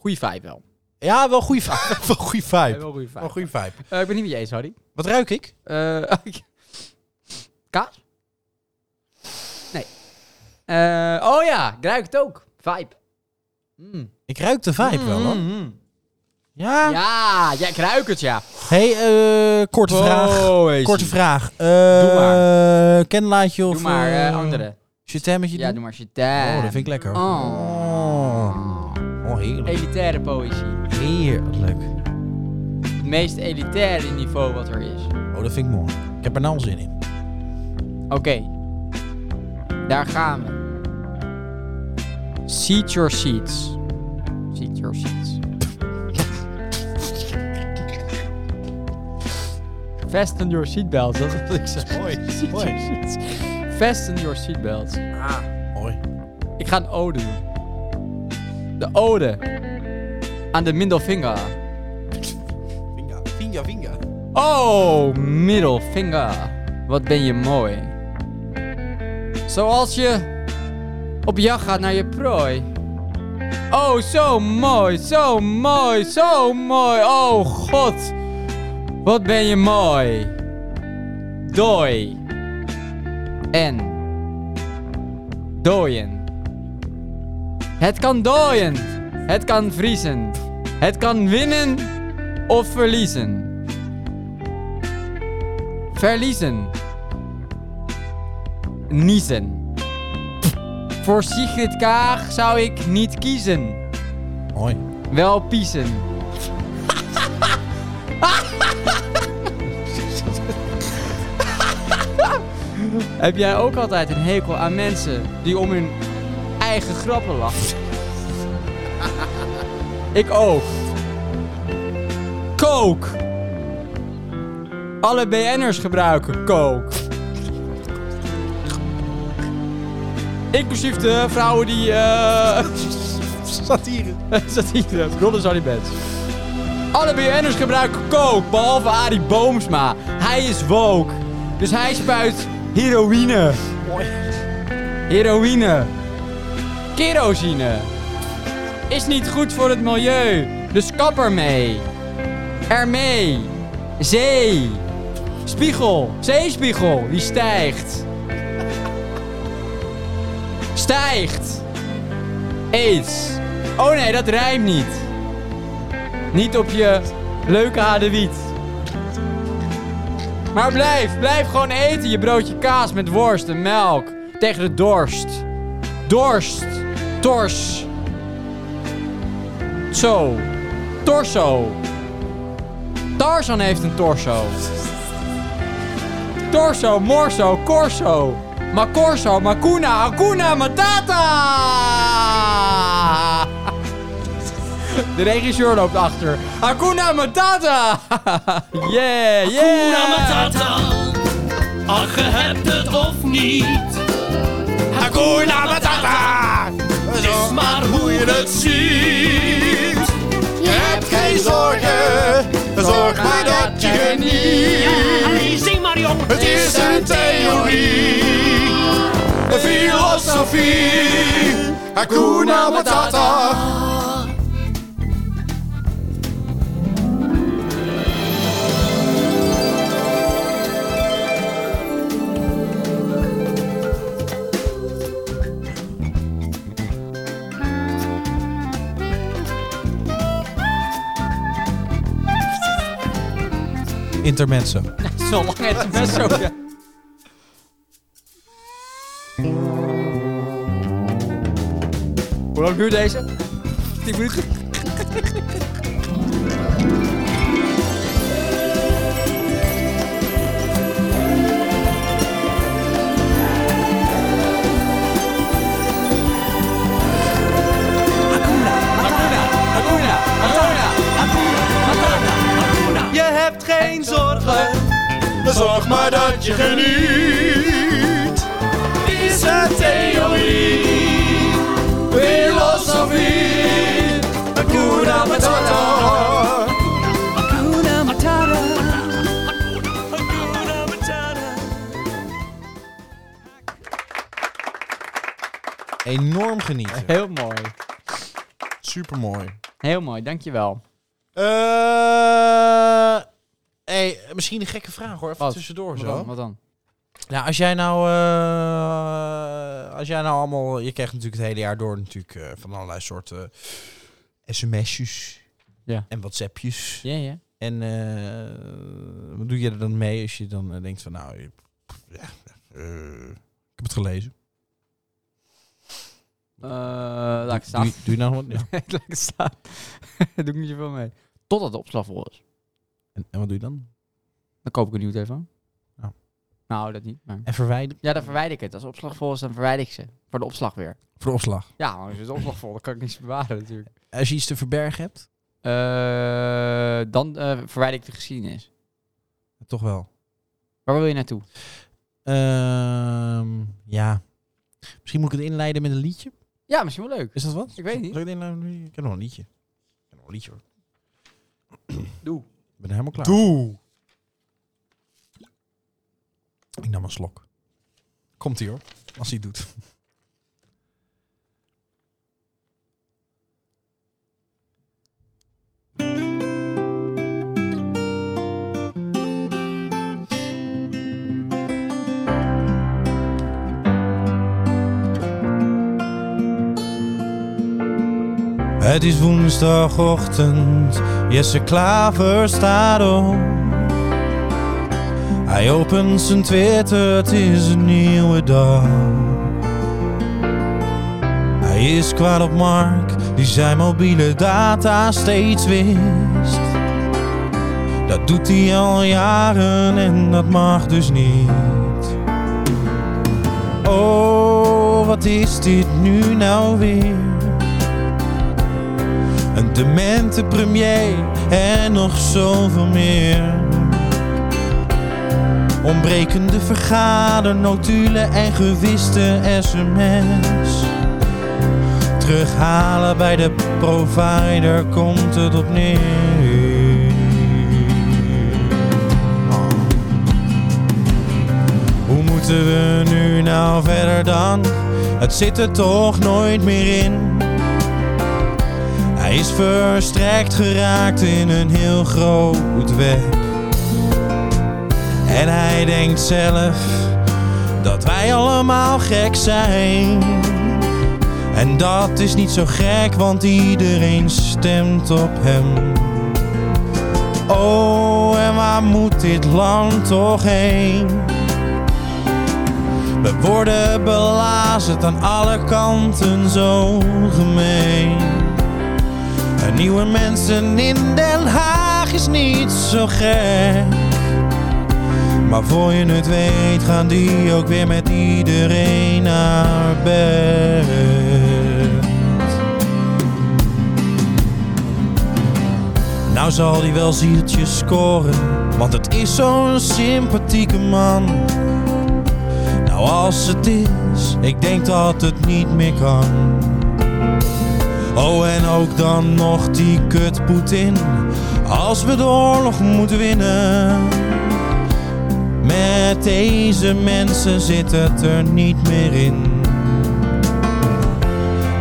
Speaker 2: goeie vibe wel.
Speaker 1: Ja, wel goede vibe. wel goede vibe.
Speaker 2: wel goede vibe.
Speaker 1: Wel goede vibe.
Speaker 2: Eh, ik ben niet met je eens, Harry.
Speaker 1: Wat ruik ik?
Speaker 2: Eh, kaas? Nee. Eh, oh ja, ik ruik het ook. Vibe. Mm.
Speaker 1: Ik ruik de vibe wel, hoor.
Speaker 2: Mm-hmm.
Speaker 1: Ja.
Speaker 2: Ja, ja, ik ruik het, ja.
Speaker 1: hey, eh, korte vraag.
Speaker 2: Oh, Hazy.
Speaker 1: Korte vraag. Eh
Speaker 2: Doe
Speaker 1: Kenlaatje of...
Speaker 2: Doe maar eh,
Speaker 1: eh,
Speaker 2: andere.
Speaker 1: Chitammetje
Speaker 2: Ja,
Speaker 1: doen?
Speaker 2: doe maar shit.
Speaker 1: Oh, dat vind ik lekker. Oh, oh heerlijk.
Speaker 2: Elitaire poëzie.
Speaker 1: Heerlijk.
Speaker 2: Het meest elitaire niveau wat er is.
Speaker 1: Oh, dat vind ik mooi. Ik heb er nou al zin in.
Speaker 2: Oké. Daar gaan we. Seat your seats. Seat your seats. Fasten your seatbelts, dat is wat ik zeg.
Speaker 1: Mooi.
Speaker 2: Seat your
Speaker 1: Mooi. Ah,
Speaker 2: seats. Fasten your seatbelts.
Speaker 1: Mooi.
Speaker 2: Ik ga een ode doen. De ode aan de middelvinger.
Speaker 1: Vinga, vinga, vinga.
Speaker 2: Oh, middelvinger. Wat ben je mooi. Zoals je op jacht gaat naar je prooi. Oh, zo mooi, zo mooi, zo mooi. Oh, god. Wat ben je mooi. Dooi. En. Dooien. Het kan dooien. Het kan vriezen. Het kan winnen of verliezen. Verliezen. Niezen. Voor Sigrid Kaag zou ik niet kiezen.
Speaker 1: Mooi.
Speaker 2: Wel piezen. Heb jij ook altijd een hekel aan mensen die om hun eigen grappen lachen? ik ook. Kook. Alle BN'ers gebruiken kook. Inclusief de vrouwen die... eh
Speaker 1: Satire.
Speaker 2: Satire, Bronnen Sorry Bands. Alle BN'ers gebruiken kook, behalve Arie Boomsma. Hij is woke. Dus hij spuit heroïne. Heroïne. Kerosine. Is niet goed voor het milieu. Dus kap ermee. Ermee. Zee. Spiegel. Zeespiegel. Die stijgt. Stijgt. AIDS. Oh nee, dat rijmt niet. Niet op je leuke hadewiet. Maar blijf, blijf gewoon eten je broodje kaas met worst en melk. Tegen de dorst. Dorst. Tors. Zo. Torso. Tarzan heeft een torso. Torso, morso, corso. Ma corso, ma cuna, hakuna, matata! De regisseur loopt achter. Hakuna Matata! yeah, yeah!
Speaker 6: Matata. Ach, je hebt het of niet. Hakuna Matata. Het is maar hoe je het ziet. Je hebt geen zorgen. Zorg maar dat je geniet. Zing maar jong. Het is een theorie. Een filosofie. Hakuna Matata.
Speaker 1: Intermezzo.
Speaker 2: Zo lang het best zo. ja. Hoe lang duurt deze? 10 minuten?
Speaker 6: Je hebt geen zorgen. Zorg maar dat je geniet. Is een theorie, filosofie, Hakuna Matata. Hakuna Matata.
Speaker 1: Enorm genieten.
Speaker 2: Heel mooi.
Speaker 1: Supermooi.
Speaker 2: Heel mooi, dankjewel.
Speaker 1: Eh hey, misschien een gekke vraag hoor. Even
Speaker 2: Wat?
Speaker 1: tussendoor
Speaker 2: Wat
Speaker 1: zo.
Speaker 2: dan? Wat dan?
Speaker 1: Nou, als jij nou, eh, als jij nou allemaal, je krijgt natuurlijk het hele jaar door natuurlijk eh, van allerlei soorten sms'jes
Speaker 2: Ja.
Speaker 1: en whatsappjes.
Speaker 2: Ja, ja.
Speaker 1: En eh, wat doe je er dan mee als je dan eh, denkt van, nou, ik- ja, eh, ik heb het gelezen.
Speaker 2: Eh, laat ik het
Speaker 1: Doe,
Speaker 2: staan.
Speaker 1: je- doe je nou wat? Ja.
Speaker 2: Laat ik het staan. Daar doe ik niet zoveel mee. Totdat de opslag vol is.
Speaker 1: En, en wat doe je dan?
Speaker 2: Dan koop ik een nieuwe telefoon.
Speaker 1: Ja.
Speaker 2: Nou, dat niet. Maar...
Speaker 1: En verwijderen
Speaker 2: Ja, dan verwijder ik het. Als de opslag vol is, dan verwijder ik ze. Voor de opslag weer.
Speaker 1: voor de opslag.
Speaker 2: Ja, maar als het opslag vol, dan kan ik niets bewaren natuurlijk.
Speaker 1: Als je iets te verbergen hebt,
Speaker 2: Eh, dan eh, verwijder ik de geschiedenis.
Speaker 1: toch wel.
Speaker 2: Waar wil je naartoe?
Speaker 1: Ehm, ja. Misschien moet ik het inleiden met een liedje.
Speaker 2: Ja, misschien wel leuk.
Speaker 1: Is dat wat?
Speaker 2: Ik weet niet.
Speaker 1: Zal ik het inleiden met een liedje? Ik ken nog een liedje. Ik ken nog een liedje hoor.
Speaker 2: Doe.
Speaker 1: Ik ben er helemaal klaar. Doe! Ik nam een slok. Komt ie hoor, als hij het doet. Het is woensdagochtend, Jesse Klaver staat op. Hij opent zijn Twitter, het is een nieuwe dag. Hij is kwaad op Mark, die zijn mobiele data steeds wist. Dat doet hij al jaren en dat mag dus niet. Oh, wat is dit nu nou weer? Een demente premier en nog zoveel meer. Ontbrekende vergadernotulen en gewiste sms. Terughalen bij de provider komt het op neer. Hoe moeten we nu nou verder dan? Het zit er toch nooit meer in. Hij is verstrekt geraakt in een heel groot web. En hij denkt zelf dat wij allemaal gek zijn. En dat is niet zo gek, want iedereen stemt op hem. Oh, en waar moet dit land toch heen? We worden belazerd aan alle kanten zo gemeen. En nieuwe mensen in Den Haag is niet zo gek. Maar voor je het weet gaan die ook weer met iedereen naar bed. Nou zal hij wel zieltjes scoren, want het is zo'n sympathieke man. Nou als het is, ik denk dat het niet meer kan. Oh en ook dan nog die kut Poetin, als we de oorlog moeten winnen. Met deze mensen zit het er niet meer in.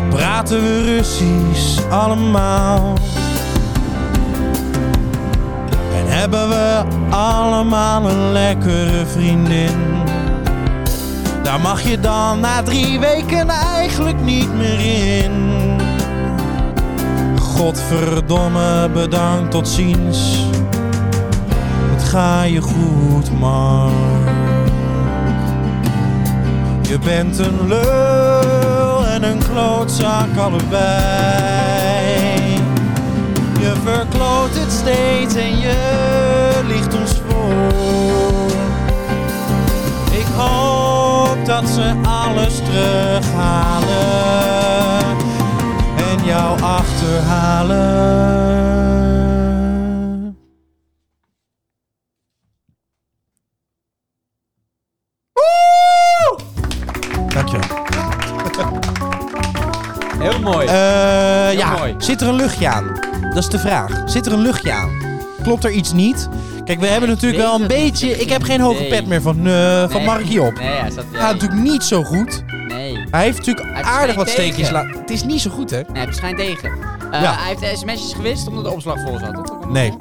Speaker 1: Praten we Russisch allemaal? En hebben we allemaal een lekkere vriendin? Daar mag je dan na drie weken eigenlijk niet meer in. Godverdomme, bedankt, tot ziens. Het ga je goed, man. Je bent een lul en een klootzak allebei. Je verkloot het steeds en je ligt ons voor. Ik hoop dat ze alles terughalen en jou achterhalen. Dankjewel.
Speaker 2: Heel mooi.
Speaker 1: Eh ja,
Speaker 2: mooi.
Speaker 1: zit er een luchtje aan? Dat is de vraag. Zit er een luchtje aan? Klopt er iets niet? Kijk, we hebben natuurlijk
Speaker 2: weet
Speaker 1: wel een
Speaker 2: het niet.
Speaker 1: beetje...
Speaker 2: Ik heb
Speaker 1: Ik heb geen
Speaker 2: geen
Speaker 1: hoge
Speaker 2: idee.
Speaker 1: pet meer van, eh van Mark Job.
Speaker 2: Nee, hij staat...
Speaker 1: Gaat natuurlijk niet zo goed.
Speaker 2: Nee. Nee,
Speaker 1: Hij heeft natuurlijk
Speaker 2: Hij
Speaker 1: aardig
Speaker 2: schijnt
Speaker 1: wat steekjes
Speaker 2: tegen.
Speaker 1: laten... Het is niet zo goed, hè?
Speaker 2: hij schijnt tegen. Eh,
Speaker 1: Ja.
Speaker 2: Hij heeft de sms'jes gewist omdat de opslag vol zat. toch?
Speaker 1: Nee.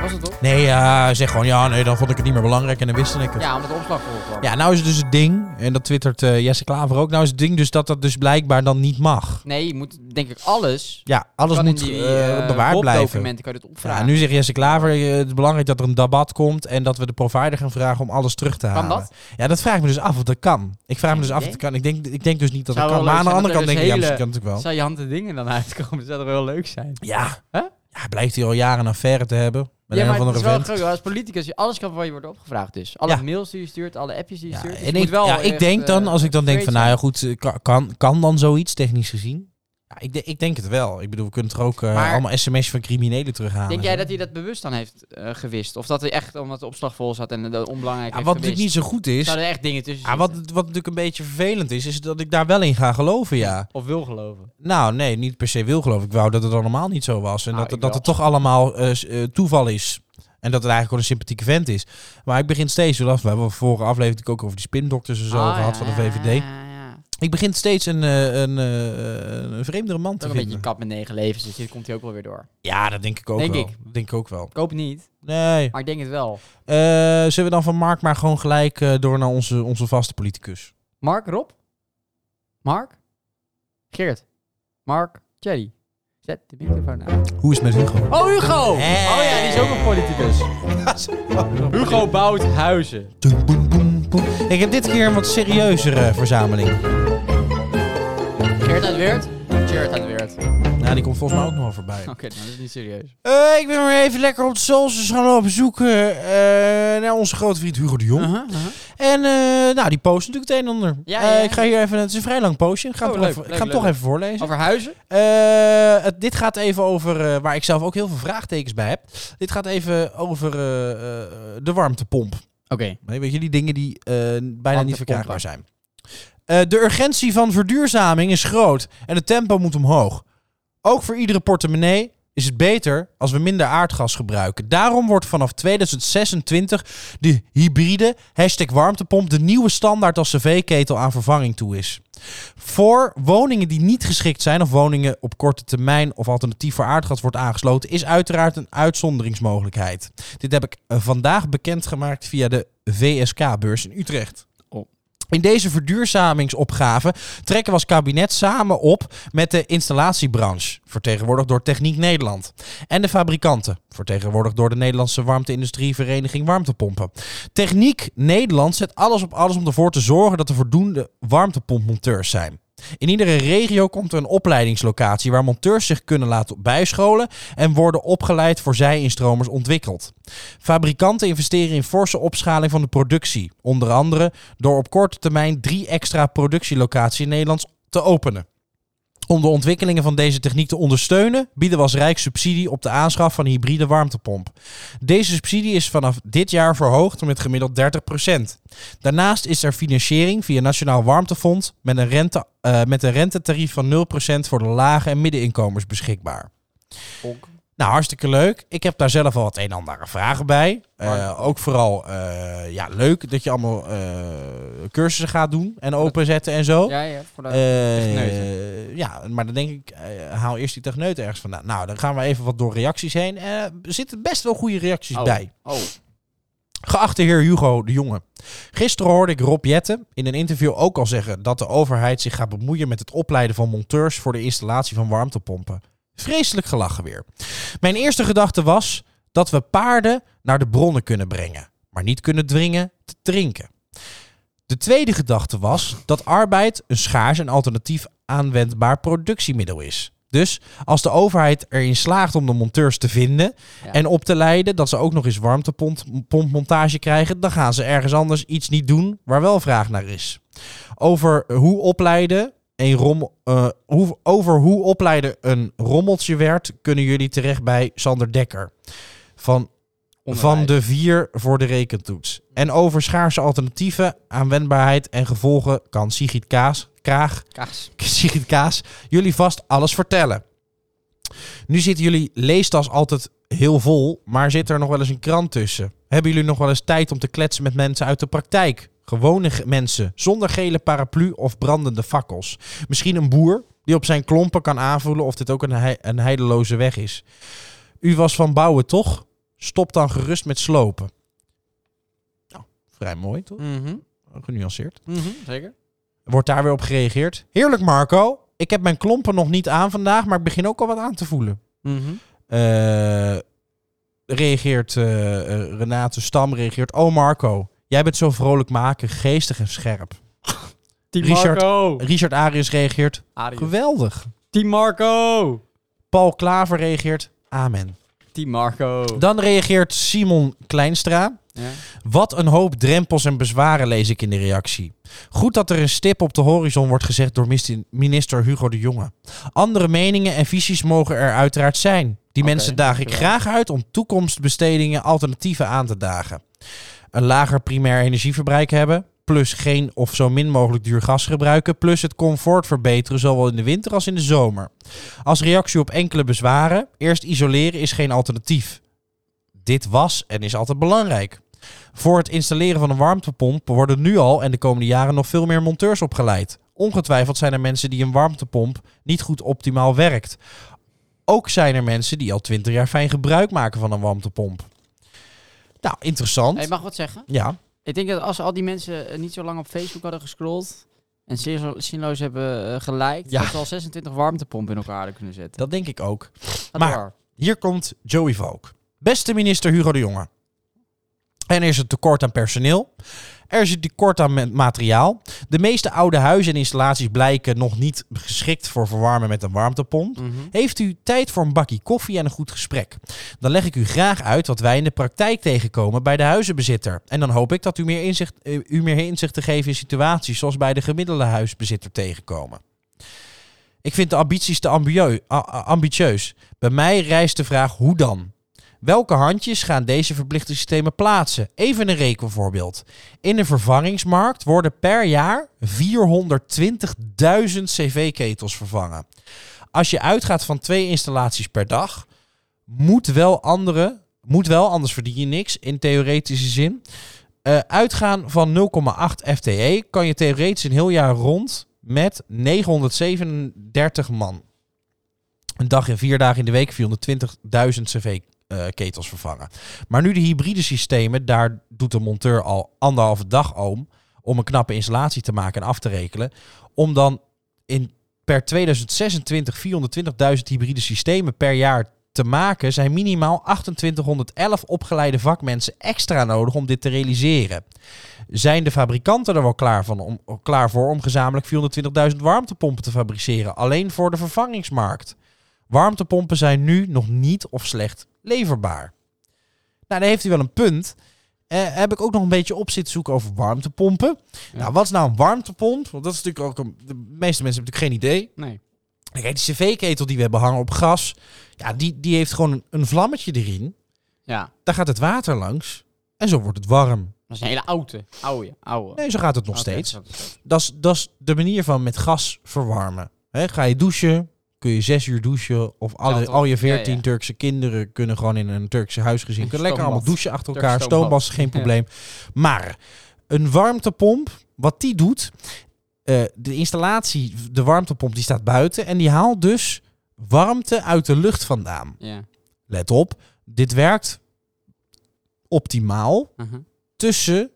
Speaker 2: Was het toch?
Speaker 1: Nee, ja, zeg gewoon, ja, nee, dan vond ik het niet meer belangrijk en dan wist ik het.
Speaker 2: Ja, omdat de opslag vol kwam.
Speaker 1: Ja, nou is het dus het ding, en dat twittert eh, Jesse Klaver ook, nou is het ding dus dat dat dus blijkbaar dan niet mag.
Speaker 2: Nee, je moet denk ik alles...
Speaker 1: Ja, alles
Speaker 2: kan
Speaker 1: moet
Speaker 2: in die,
Speaker 1: eh,
Speaker 2: eh,
Speaker 1: bewaard blijven.
Speaker 2: documenten kan je dit opvragen.
Speaker 1: Ja, nu zegt Jesse Klaver, eh, het is belangrijk dat er een debat komt en dat we de provider gaan vragen om alles terug te halen.
Speaker 2: dat?
Speaker 1: Ja, dat vraag ik me dus af of dat kan. Ik vraag me dus af of
Speaker 2: idee.
Speaker 1: dat kan. Ik denk, ik denk dus niet dat
Speaker 2: Zou
Speaker 1: dat
Speaker 2: wel
Speaker 1: kan. Maar aan
Speaker 2: leuk
Speaker 1: de
Speaker 2: zijn dat
Speaker 1: andere kant
Speaker 2: er
Speaker 1: denk ik,
Speaker 2: dus
Speaker 1: ja, misschien
Speaker 2: hele-
Speaker 1: kan het ook wel.
Speaker 2: Zou je hand en dingen dan uitkomen? Dat zou toch wel leuk zijn?
Speaker 1: Ja.
Speaker 2: Hè?
Speaker 1: ja, blijft hij al jaren een affaire te hebben met
Speaker 2: ja,
Speaker 1: een
Speaker 2: maar
Speaker 1: of
Speaker 2: het
Speaker 1: andere
Speaker 2: is wel
Speaker 1: vent.
Speaker 2: grappig. Als politicus, je alles kan van je worden opgevraagd dus. Alle
Speaker 1: Ja.
Speaker 2: mails die je stuurt, alle appjes die je
Speaker 1: Ja,
Speaker 2: stuurt. Dus
Speaker 1: en
Speaker 2: je
Speaker 1: ik,
Speaker 2: moet wel
Speaker 1: ja, ik
Speaker 2: echt,
Speaker 1: denk dan,
Speaker 2: eh,
Speaker 1: als ik dan denk van, nou ja,
Speaker 2: straight
Speaker 1: goed, eh, ka- kan, kan dan zoiets technisch gezien? Ja, ik, de- ik denk het wel. Ik bedoel, we kunnen er ook eh,
Speaker 2: Maar-
Speaker 1: allemaal sms'jes van criminelen terughalen.
Speaker 2: zijn. Denk jij dat hij dat bewust dan heeft eh, gewist? Of dat hij echt, omdat de opslag vol zat en de onbelangrijk
Speaker 1: ja,
Speaker 2: heeft
Speaker 1: wat natuurlijk niet
Speaker 2: gewist?
Speaker 1: zo goed is.
Speaker 2: Zouden er echt dingen tussen
Speaker 1: Ja, wat,
Speaker 2: zitten?
Speaker 1: wat natuurlijk een beetje vervelend is, is dat ik daar wel in ga geloven, ja.
Speaker 2: Of wil geloven?
Speaker 1: Nou, nee, niet per se wil geloven. Ik wou dat het allemaal niet zo was. En
Speaker 2: Nou,
Speaker 1: dat,
Speaker 2: ik
Speaker 1: dat
Speaker 2: wel.
Speaker 1: het toch allemaal eh, s- eh, toeval is. En dat het eigenlijk gewoon een sympathieke vent is. Maar ik begin steeds, we hebben de vorige aflevering natuurlijk ook over die spindokters en zo
Speaker 2: Ah,
Speaker 1: gehad
Speaker 2: ja,
Speaker 1: van de
Speaker 2: ja,
Speaker 1: VVD.
Speaker 2: ja, ja.
Speaker 1: Ik begin steeds een, eh, een, eh, een vreemdere man te
Speaker 2: Toch een beetje
Speaker 1: vinden.
Speaker 2: kap met negen levens, dus dit komt hij ook wel weer door.
Speaker 1: Ja, dat denk ik ook
Speaker 2: Denk
Speaker 1: wel.
Speaker 2: ik.
Speaker 1: Denk ik ook wel.
Speaker 2: Ik hoop het niet,
Speaker 1: Nee.
Speaker 2: maar ik denk het wel.
Speaker 1: Eh, zullen we dan van Mark maar gewoon gelijk eh, door naar onze, onze vaste politicus?
Speaker 2: Mark, Rob? Mark? Geert? Mark? Jerry? Zet de microfoon aan.
Speaker 1: Hoe is het met Hugo?
Speaker 2: Oh, Hugo!
Speaker 1: Hey.
Speaker 2: Oh ja, die is ook een politicus. Hugo bouwt huizen.
Speaker 1: Doem, boem, boem, boem. Ik heb dit keer een wat serieuzere verzameling.
Speaker 2: Geert uit Weert? Geert uit Weert. Oké,
Speaker 1: Nou, die komt volgens mij ook nog wel voorbij.
Speaker 2: nou, dat is niet serieus.
Speaker 1: Eh, ik ben weer even lekker op de socials gaan lopen zoeken eh, naar onze grote vriend Hugo de Jong. En eh, nou, die post natuurlijk het een en ander.
Speaker 2: Uh-huh. Ja, ja, ja.
Speaker 1: Eh, ik ga hier even, het is een vrij lang postje. Ik ga
Speaker 2: Oh,
Speaker 1: hem, toch
Speaker 2: leuk,
Speaker 1: even, ik
Speaker 2: leuk,
Speaker 1: ga hem toch
Speaker 2: leuk.
Speaker 1: even voorlezen.
Speaker 2: Over huizen?
Speaker 1: Eh, het, dit gaat even over eh, waar ik zelf ook heel veel vraagtekens bij heb. Dit gaat even over eh, eh, de warmtepomp.
Speaker 2: Oké.
Speaker 1: Nee, weet je, die dingen die eh, bijna niet
Speaker 2: Warmtepompen.
Speaker 1: verkrijgbaar zijn. Eh, de urgentie van verduurzaming is groot en het tempo moet omhoog. Ook voor iedere portemonnee is het beter als we minder aardgas gebruiken. Daarom wordt vanaf 2026 de hybride hashtag warmtepomp de nieuwe standaard als cv-ketel aan vervanging toe is. Voor woningen die niet geschikt zijn of woningen op korte termijn of alternatief voor aardgas wordt aangesloten, is uiteraard een uitzonderingsmogelijkheid. Dit heb ik eh, vandaag bekendgemaakt via de VSK-beurs in Utrecht.
Speaker 2: Oh.
Speaker 1: In deze verduurzamingsopgave trekken we als kabinet samen op met de installatiebranche, vertegenwoordigd door Techniek Nederland, en de fabrikanten, vertegenwoordigd door de Nederlandse warmte-industrievereniging Warmtepompen. Techniek Nederland zet alles op alles om ervoor te zorgen dat er voldoende warmtepompmonteurs zijn. In iedere regio komt er een opleidingslocatie waar monteurs zich kunnen laten bijscholen en worden opgeleid voor zij-instromers ontwikkeld. Fabrikanten investeren in forse opschaling van de productie, onder andere door op korte termijn drie extra productielocaties in Nederland te openen. Om de ontwikkelingen van deze techniek te ondersteunen, bieden we als Rijk subsidie op de aanschaf van een hybride warmtepomp. Deze subsidie is vanaf dit jaar verhoogd met gemiddeld 30%. Daarnaast is er financiering via Nationaal Warmtefonds met een, rente, eh, met een rentetarief van 0% voor de lage en middeninkomens beschikbaar. Nou, hartstikke leuk. Ik heb daar zelf al wat een en andere vragen bij. Eh, ook vooral eh, ja, leuk dat je allemaal eh, cursussen gaat doen en openzetten en zo.
Speaker 2: Ja, ja. Voor de...
Speaker 1: Eh,
Speaker 2: Techneuten.
Speaker 1: ja, maar dan denk ik, eh, haal eerst die techneut ergens vandaan. Nou, dan gaan we even wat door reacties heen. Eh, er zitten best wel goede reacties
Speaker 2: Oh.
Speaker 1: bij.
Speaker 2: Oh,
Speaker 1: Geachte heer Hugo de Jonge. Gisteren hoorde ik Rob Jetten in een interview ook al zeggen dat de overheid zich gaat bemoeien met het opleiden van monteurs voor de installatie van warmtepompen. Vreselijk gelachen weer. Mijn eerste gedachte was dat we paarden naar de bronnen kunnen brengen, maar niet kunnen dwingen te drinken. De tweede gedachte was dat arbeid een schaars en alternatief aanwendbaar productiemiddel is. Dus als de overheid erin slaagt om de monteurs te vinden
Speaker 2: Ja.
Speaker 1: en op te leiden dat ze ook nog eens warmtepompmontage krijgen, dan gaan ze ergens anders iets niet doen waar wel vraag naar is. Over hoe opleiden een rom, eh, hoe, over hoe opleiden een rommeltje werd, kunnen jullie terecht bij Sander Dekker. Van van
Speaker 2: onderwijs.
Speaker 1: de vier voor de rekentoets. En over schaarse alternatieven, aanwendbaarheid en gevolgen kan Sigrid Kaas, Kraag,
Speaker 2: Kaas.
Speaker 1: Sigrid Kaas jullie vast alles vertellen. Nu zitten jullie leestas altijd heel vol, maar zit er nog wel eens een krant tussen? Hebben jullie nog wel eens tijd om te kletsen met mensen uit de praktijk? Gewone ge- mensen, zonder gele paraplu of brandende fakkels. Misschien een boer die op zijn klompen kan aanvoelen of dit ook een, hei- een heideloze weg is. U was van bouwen, toch? Stop dan gerust met slopen. Nou, vrij mooi, toch?
Speaker 2: Mhm,
Speaker 1: Genuanceerd.
Speaker 2: mhm, Zeker.
Speaker 1: Wordt daar weer op gereageerd. Heerlijk, Marco. Ik heb mijn klompen nog niet aan vandaag, maar ik begin ook al wat aan te voelen.
Speaker 2: Mhm.
Speaker 1: Eh, reageert eh, eh, Renate Stam, reageert... Oh, Marco, jij bent zo vrolijk maken, geestig en scherp.
Speaker 2: Team
Speaker 1: Richard-
Speaker 2: Marco.
Speaker 1: Richard Arius reageert...
Speaker 2: Adios.
Speaker 1: Geweldig.
Speaker 2: Team Marco.
Speaker 1: Paul Klaver reageert... Amen.
Speaker 2: Team Marco.
Speaker 1: Dan reageert Simon Kleinstra.
Speaker 2: Ja.
Speaker 1: Wat een hoop drempels en bezwaren lees ik in de reactie. Goed dat er een stip op de horizon wordt gezegd door mis- minister Hugo de Jonge. Andere meningen en visies mogen er uiteraard zijn. Die
Speaker 2: Oké,
Speaker 1: mensen daag ik
Speaker 2: dankjewel.
Speaker 1: graag uit om toekomstbestedingen alternatieven aan te dagen. Een lager primair energieverbruik hebben, plus geen of zo min mogelijk duur gas gebruiken, plus het comfort verbeteren zowel in de winter als in de zomer. Als reactie op enkele bezwaren, eerst isoleren is geen alternatief. Dit was en is altijd belangrijk. Voor het installeren van een warmtepomp worden nu al en de komende jaren nog veel meer monteurs opgeleid. Ongetwijfeld zijn er mensen die een warmtepomp niet goed optimaal werkt. Ook zijn er mensen die al 20 jaar fijn gebruik maken van een warmtepomp. Nou, interessant.
Speaker 2: Hey, mag ik wat zeggen?
Speaker 1: Ja,
Speaker 2: Ik denk dat als al die mensen eh, niet zo lang op Facebook hadden gescrolld en zeer zo- zinloos hebben eh, geliked,
Speaker 1: Ja.
Speaker 2: dat ze al 26 warmtepompen in elkaar hadden kunnen zetten.
Speaker 1: dat denk ik ook.
Speaker 2: Gaat
Speaker 1: maar-
Speaker 2: door.
Speaker 1: Hier komt Joey Valk. Beste minister Hugo de Jonge. En er is een tekort aan personeel. Er is een tekort aan men- materiaal. De meeste oude huizen en installaties blijken nog niet geschikt voor verwarmen met een warmtepomp. Heeft u tijd voor een bakje koffie en een goed gesprek? Dan leg ik u graag uit wat wij in de praktijk tegenkomen bij de huizenbezitter. En dan hoop ik dat u meer inzicht, eh, u meer inzicht te geven in situaties zoals bij de gemiddelde huisbezitter tegenkomen. Ik vind de ambities te ambieu- a- a- ambitieus. Bij mij rijst de vraag hoe dan? Welke handjes gaan deze verplichte systemen plaatsen? Even een rekenvoorbeeld. In de vervangingsmarkt worden per jaar 420.000 cv-ketels vervangen. Als je uitgaat van twee installaties per dag, moet wel andere, moet wel, anders verdien je niks in theoretische zin. Eh, uitgaan van 0,8 FTE E kan je theoretisch een heel jaar rond met 937 man. Een dag en vier dagen in de week 420.000 cv-ketels eh, vervangen. Maar nu de hybride systemen, daar doet de monteur al anderhalve dag om... om een knappe installatie te maken en af te rekenen... om dan in per 2026 420.000 hybride systemen per jaar te maken... zijn minimaal 2811 opgeleide vakmensen extra nodig om dit te realiseren. Zijn de fabrikanten er wel klaar, van om, klaar voor om gezamenlijk 420.000 warmtepompen te fabriceren... alleen voor de vervangingsmarkt? Warmtepompen zijn nu nog niet of slecht leverbaar. Nou, daar heeft hij wel een punt. Eh, heb ik ook nog een beetje op zitten zoeken over warmtepompen.
Speaker 2: Ja.
Speaker 1: Nou, wat is nou een warmtepomp? Want dat is natuurlijk ook een. De meeste mensen hebben natuurlijk geen idee.
Speaker 2: Nee.
Speaker 1: Kijk, die cv-ketel die we hebben hangen op gas, ja, die, die heeft gewoon een, een vlammetje erin.
Speaker 2: Ja,
Speaker 1: Daar gaat het water langs en zo wordt het warm.
Speaker 2: dat is een hele oude. Oude, oude.
Speaker 1: Nee, zo gaat het nog
Speaker 2: Oké,
Speaker 1: steeds.
Speaker 2: dat is-
Speaker 1: Dat is- dat is de manier van met gas verwarmen. Hè, ga je douchen, kun je zes uur douchen. Of alle,
Speaker 2: Ja, toch?
Speaker 1: al je
Speaker 2: Ja, ja.
Speaker 1: veertien Turkse kinderen kunnen gewoon in een Turkse huisgezin. Kunnen lekker
Speaker 2: Stoombad.
Speaker 1: allemaal douchen achter
Speaker 2: Turkse
Speaker 1: elkaar.
Speaker 2: stoombad.
Speaker 1: Stoombassen, geen probleem. Maar een warmtepomp, wat die doet... eh, de installatie, de warmtepomp, die staat buiten. En die haalt dus warmte uit de lucht vandaan.
Speaker 2: Ja.
Speaker 1: Let op, dit werkt optimaal
Speaker 2: aha,
Speaker 1: tussen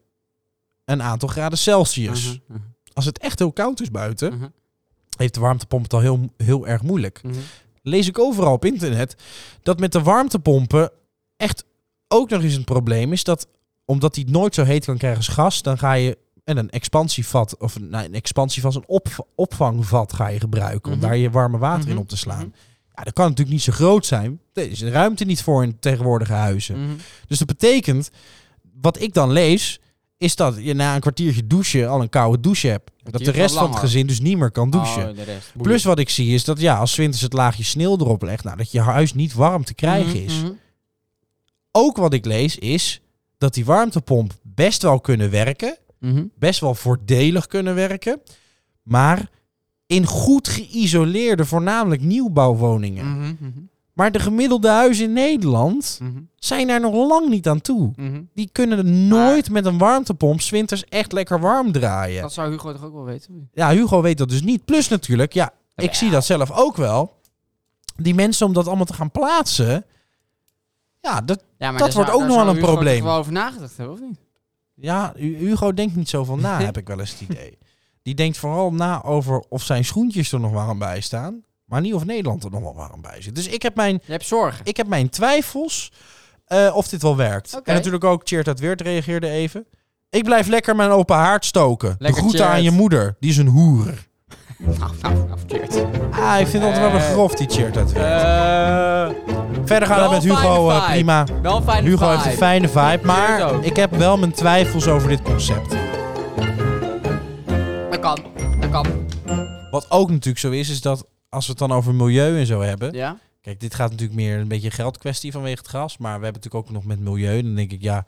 Speaker 1: een aantal graden Celsius.
Speaker 2: aha, aha,
Speaker 1: Als het echt heel koud is buiten,
Speaker 2: aha,
Speaker 1: heeft de warmtepomp het al heel, heel erg moeilijk.
Speaker 2: mhm.
Speaker 1: Lees ik overal op internet dat met de warmtepompen echt ook nog eens een probleem is dat omdat die het nooit zo heet kan krijgen als gas, dan ga je en een expansievat of een, nou, een expansievat, een opv- opvangvat ga je gebruiken
Speaker 2: Mhm.
Speaker 1: om daar je warme water
Speaker 2: Mhm.
Speaker 1: in op te slaan. Ja, dat kan natuurlijk niet zo groot zijn. Er is de ruimte niet voor in tegenwoordige huizen.
Speaker 2: Mhm.
Speaker 1: Dus dat betekent, wat ik dan lees, is dat je na een kwartiertje douchen al een koude douche hebt. Dat de
Speaker 2: Kwartier
Speaker 1: rest
Speaker 2: wel
Speaker 1: van het
Speaker 2: langer.
Speaker 1: gezin dus niet meer kan douchen.
Speaker 2: Oh, de rest.
Speaker 1: Plus wat ik zie is dat ja, als 's winters het laagje sneeuw erop legt, nou, dat je huis niet warm te krijgen
Speaker 2: Mhm,
Speaker 1: is.
Speaker 2: mhm.
Speaker 1: Ook wat ik lees is dat die warmtepomp best wel kunnen werken,
Speaker 2: Mhm.
Speaker 1: best wel voordelig kunnen werken, maar in goed geïsoleerde, voornamelijk nieuwbouwwoningen.
Speaker 2: Mhm, mhm,
Speaker 1: Maar de gemiddelde huizen in Nederland
Speaker 2: mhm,
Speaker 1: zijn daar nog lang niet aan toe.
Speaker 2: mhm.
Speaker 1: Die kunnen het nooit met een warmtepomp 's winters echt lekker warm draaien.
Speaker 2: Dat zou Hugo toch ook wel weten?
Speaker 1: Ja, Hugo weet dat dus niet. Plus natuurlijk, ja, ik zie dat zelf ook wel. Die mensen om dat allemaal te gaan plaatsen. Ja, dat,
Speaker 2: Ja, maar
Speaker 1: Dat
Speaker 2: daar
Speaker 1: wordt
Speaker 2: zou-
Speaker 1: ook
Speaker 2: daar
Speaker 1: nog wel
Speaker 2: zou
Speaker 1: een
Speaker 2: Hugo toch
Speaker 1: probleem.
Speaker 2: wel over nagedacht hebben, of niet?
Speaker 1: ja, Hu- Hugo denkt niet zo van na, heb ik wel eens het idee. Die denkt vooral na over of zijn schoentjes er nog warm bij staan. Maar niet of Nederland er nog wel warm bij zit. Dus ik heb mijn,
Speaker 2: Je hebt zorgen.
Speaker 1: ik heb mijn twijfels eh, of dit wel werkt.
Speaker 2: Oké.
Speaker 1: En natuurlijk ook Cheert uit Weert reageerde even. Ik blijf lekker mijn open haard stoken. De
Speaker 2: Lekker,
Speaker 1: groeten
Speaker 2: Tjeerd.
Speaker 1: aan je moeder. Die is een hoer.
Speaker 2: Nou, nou, nou, verkeerd.
Speaker 1: Ah, ik vind dat altijd wel weer
Speaker 2: Eh.
Speaker 1: grof, die Cheert uit Weert.
Speaker 2: Eh,
Speaker 1: Verder gaan
Speaker 2: Wel
Speaker 1: we met Hugo,
Speaker 2: fijne
Speaker 1: eh,
Speaker 2: vibe.
Speaker 1: prima.
Speaker 2: wel een fijne
Speaker 1: Hugo
Speaker 2: vibe.
Speaker 1: heeft een fijne vibe,
Speaker 2: Cheers
Speaker 1: maar
Speaker 2: ook.
Speaker 1: ik heb wel mijn twijfels over dit concept.
Speaker 2: Dat kan. Dat kan.
Speaker 1: Wat ook natuurlijk zo is, is dat als we het dan over milieu en zo hebben.
Speaker 2: Ja?
Speaker 1: Kijk, dit gaat natuurlijk meer een beetje een geldkwestie vanwege het gas. Maar we hebben natuurlijk ook nog met milieu. Dan denk ik, ja,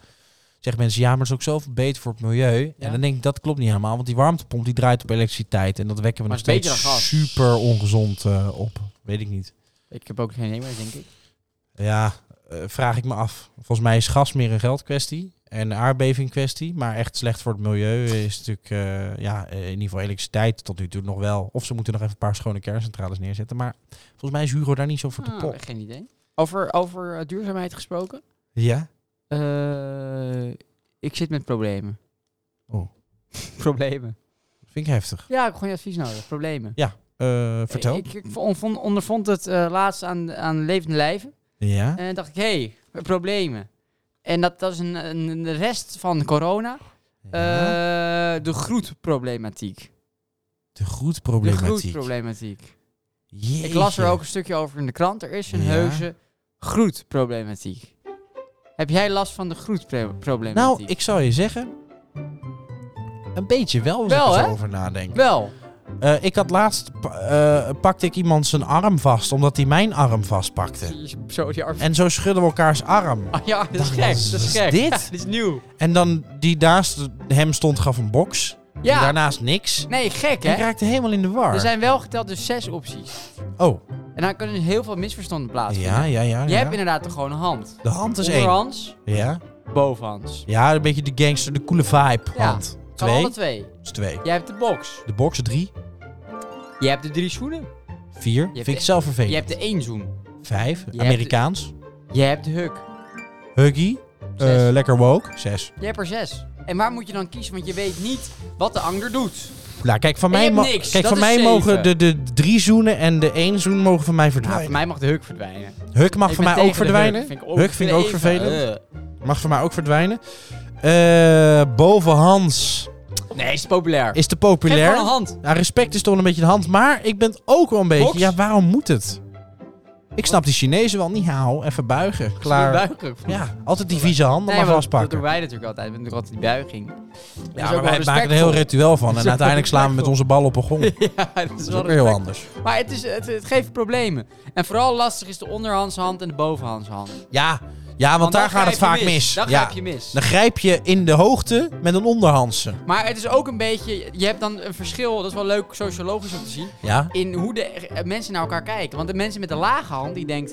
Speaker 1: zeggen mensen, ja, maar het is ook zoveel beter voor het milieu. En dan denk ik, dat klopt niet helemaal. Want die warmtepomp die draait op elektriciteit. En dat wekken we
Speaker 2: Maar
Speaker 1: nog
Speaker 2: het is beter dan
Speaker 1: steeds
Speaker 2: gas.
Speaker 1: super ongezond eh, op. Weet ik niet.
Speaker 2: Ik heb ook geen idee meer, denk ik.
Speaker 1: Ja, eh, vraag ik me af. Volgens mij is gas meer een geldkwestie en een aardbeving kwestie. Maar echt slecht voor het milieu is natuurlijk, eh, ja, eh, in ieder geval elektriciteit tot nu toe nog wel. Of ze moeten nog even een paar schone kerncentrales neerzetten. Maar volgens mij is Hugo daar niet zo voor te
Speaker 2: Ah,
Speaker 1: pop.
Speaker 2: geen idee. Over, over eh, duurzaamheid gesproken.
Speaker 1: Ja?
Speaker 2: Eh, ik zit met problemen.
Speaker 1: Oh.
Speaker 2: problemen.
Speaker 1: Vind ik heftig.
Speaker 2: Ja, ik heb gewoon je advies nodig. Problemen.
Speaker 1: Eh, vertel.
Speaker 2: Ik, ik vond- ondervond het eh, laatst aan, aan levende lijven.
Speaker 1: ja?
Speaker 2: En dacht ik, hé, hey, problemen. En dat, dat is een, een een rest van corona.
Speaker 1: Ja.
Speaker 2: Eh, de groetproblematiek.
Speaker 1: de
Speaker 2: De
Speaker 1: groetproblematiek.
Speaker 2: groetproblematiek.
Speaker 1: Jeetje.
Speaker 2: Ik las er ook een stukje over in de krant. Er is een
Speaker 1: Ja.
Speaker 2: heuse groetproblematiek. Heb jij last van de groetproblematiek?
Speaker 1: Nou, ik zou je zeggen... Een beetje wel, als
Speaker 2: Wel,
Speaker 1: ik er zo
Speaker 2: hè?
Speaker 1: over nadenk.
Speaker 2: Wel.
Speaker 1: Eh, ik had laatst... pa- eh, pakte ik iemand zijn arm vast, omdat hij mijn arm vastpakte.
Speaker 2: Zo, die arm.
Speaker 1: En zo schudden we elkaars arm.
Speaker 2: Ah, ja, dat is
Speaker 1: Dacht,
Speaker 2: gek.
Speaker 1: wat
Speaker 2: Dat
Speaker 1: is-
Speaker 2: is
Speaker 1: Eh. wat
Speaker 2: gek.
Speaker 1: is dit?
Speaker 2: dit is nieuw.
Speaker 1: En dan die naast hem stond gaf een box. Die
Speaker 2: Ja.
Speaker 1: daarnaast niks.
Speaker 2: Nee, gek
Speaker 1: En ik
Speaker 2: hè?
Speaker 1: raakte helemaal in de war.
Speaker 2: Er zijn wel geteld dus zes opties.
Speaker 1: Oh,
Speaker 2: En daar kunnen heel veel misverstanden plaatsvinden.
Speaker 1: ja, ja, ja.
Speaker 2: Je
Speaker 1: ja.
Speaker 2: hebt inderdaad toch gewoon een hand.
Speaker 1: De hand is één.
Speaker 2: Onderhands,
Speaker 1: Ja.
Speaker 2: bovenhands.
Speaker 1: ja, een beetje de gangster, de coole vibe.
Speaker 2: Ja.
Speaker 1: Hand.
Speaker 2: Kan
Speaker 1: Twee.
Speaker 2: alle twee.
Speaker 1: is twee.
Speaker 2: Jij hebt de box.
Speaker 1: De box drie.
Speaker 2: Je hebt de drie schoenen.
Speaker 1: Vier.
Speaker 2: hebt
Speaker 1: Vind ik
Speaker 2: de-
Speaker 1: zelf
Speaker 2: Je
Speaker 1: vervelend.
Speaker 2: hebt de één zoen.
Speaker 1: Vijf.
Speaker 2: hebt de-
Speaker 1: Amerikaans.
Speaker 2: Je hebt de huk.
Speaker 1: Huggy.
Speaker 2: Zes.
Speaker 1: Eh, lekker woke. Zes.
Speaker 2: Je hebt er zes. En waar moet je dan kiezen? Want je weet niet wat de ander doet.
Speaker 1: Nou, kijk, van
Speaker 2: Je
Speaker 1: mij,
Speaker 2: hebt
Speaker 1: mo-
Speaker 2: niks.
Speaker 1: kijk,
Speaker 2: Dat
Speaker 1: van
Speaker 2: is
Speaker 1: mij
Speaker 2: zeven.
Speaker 1: mogen de, de drie zoenen en de één zoen mogen van mij
Speaker 2: Nou, voor
Speaker 1: verdwijnen.
Speaker 2: mij mag de huk verdwijnen.
Speaker 1: Huk mag
Speaker 2: Ik
Speaker 1: van
Speaker 2: ben
Speaker 1: mij ook
Speaker 2: tegen de
Speaker 1: verdwijnen.
Speaker 2: Huk vind ik ook,
Speaker 1: Huk vind ik ook
Speaker 2: even-
Speaker 1: vervelend.
Speaker 2: Eh.
Speaker 1: Mag voor mij ook verdwijnen. Eh, boven Hans
Speaker 2: Eh. Nee, is populair.
Speaker 1: is te
Speaker 2: Geef gewoon
Speaker 1: populair. Nou,
Speaker 2: een hand.
Speaker 1: Ja, respect is toch wel een beetje de hand. Maar ik ben het ook wel een beetje...
Speaker 2: Box?
Speaker 1: Ja, waarom moet het? Ik snap die Chinezen wel. Niet hou, even buigen. Klaar.
Speaker 2: Buigen.
Speaker 1: Ja, altijd die vieze handen
Speaker 2: Nee,
Speaker 1: maar
Speaker 2: maar dat- dat doen
Speaker 1: vastpakken.
Speaker 2: wij natuurlijk altijd. We doen natuurlijk altijd die buiging.
Speaker 1: Ja, maar wij maken er heel ritueel van.
Speaker 2: Dat
Speaker 1: En
Speaker 2: is ook wel
Speaker 1: uiteindelijk slaan we met onze bal op een gong. Dat
Speaker 2: Ja, dat is
Speaker 1: is
Speaker 2: wel
Speaker 1: ook weer heel
Speaker 2: respect.
Speaker 1: anders.
Speaker 2: Maar het, is, het, het geeft problemen. En vooral lastig is de onderhandshand en de bovenhandshand. Want,
Speaker 1: Ja, ja want,
Speaker 2: dan
Speaker 1: daar gaat
Speaker 2: grijp
Speaker 1: het
Speaker 2: je
Speaker 1: vaak mis.
Speaker 2: Dan
Speaker 1: ja.
Speaker 2: grijp je mis.
Speaker 1: Dan grijp je in de hoogte met een onderhandse.
Speaker 2: Maar het is ook een beetje... Je hebt dan een verschil, dat is wel leuk sociologisch om te zien...
Speaker 1: Ja?
Speaker 2: in hoe de eh, mensen naar elkaar kijken. Want de mensen met de lage hand, die denkt...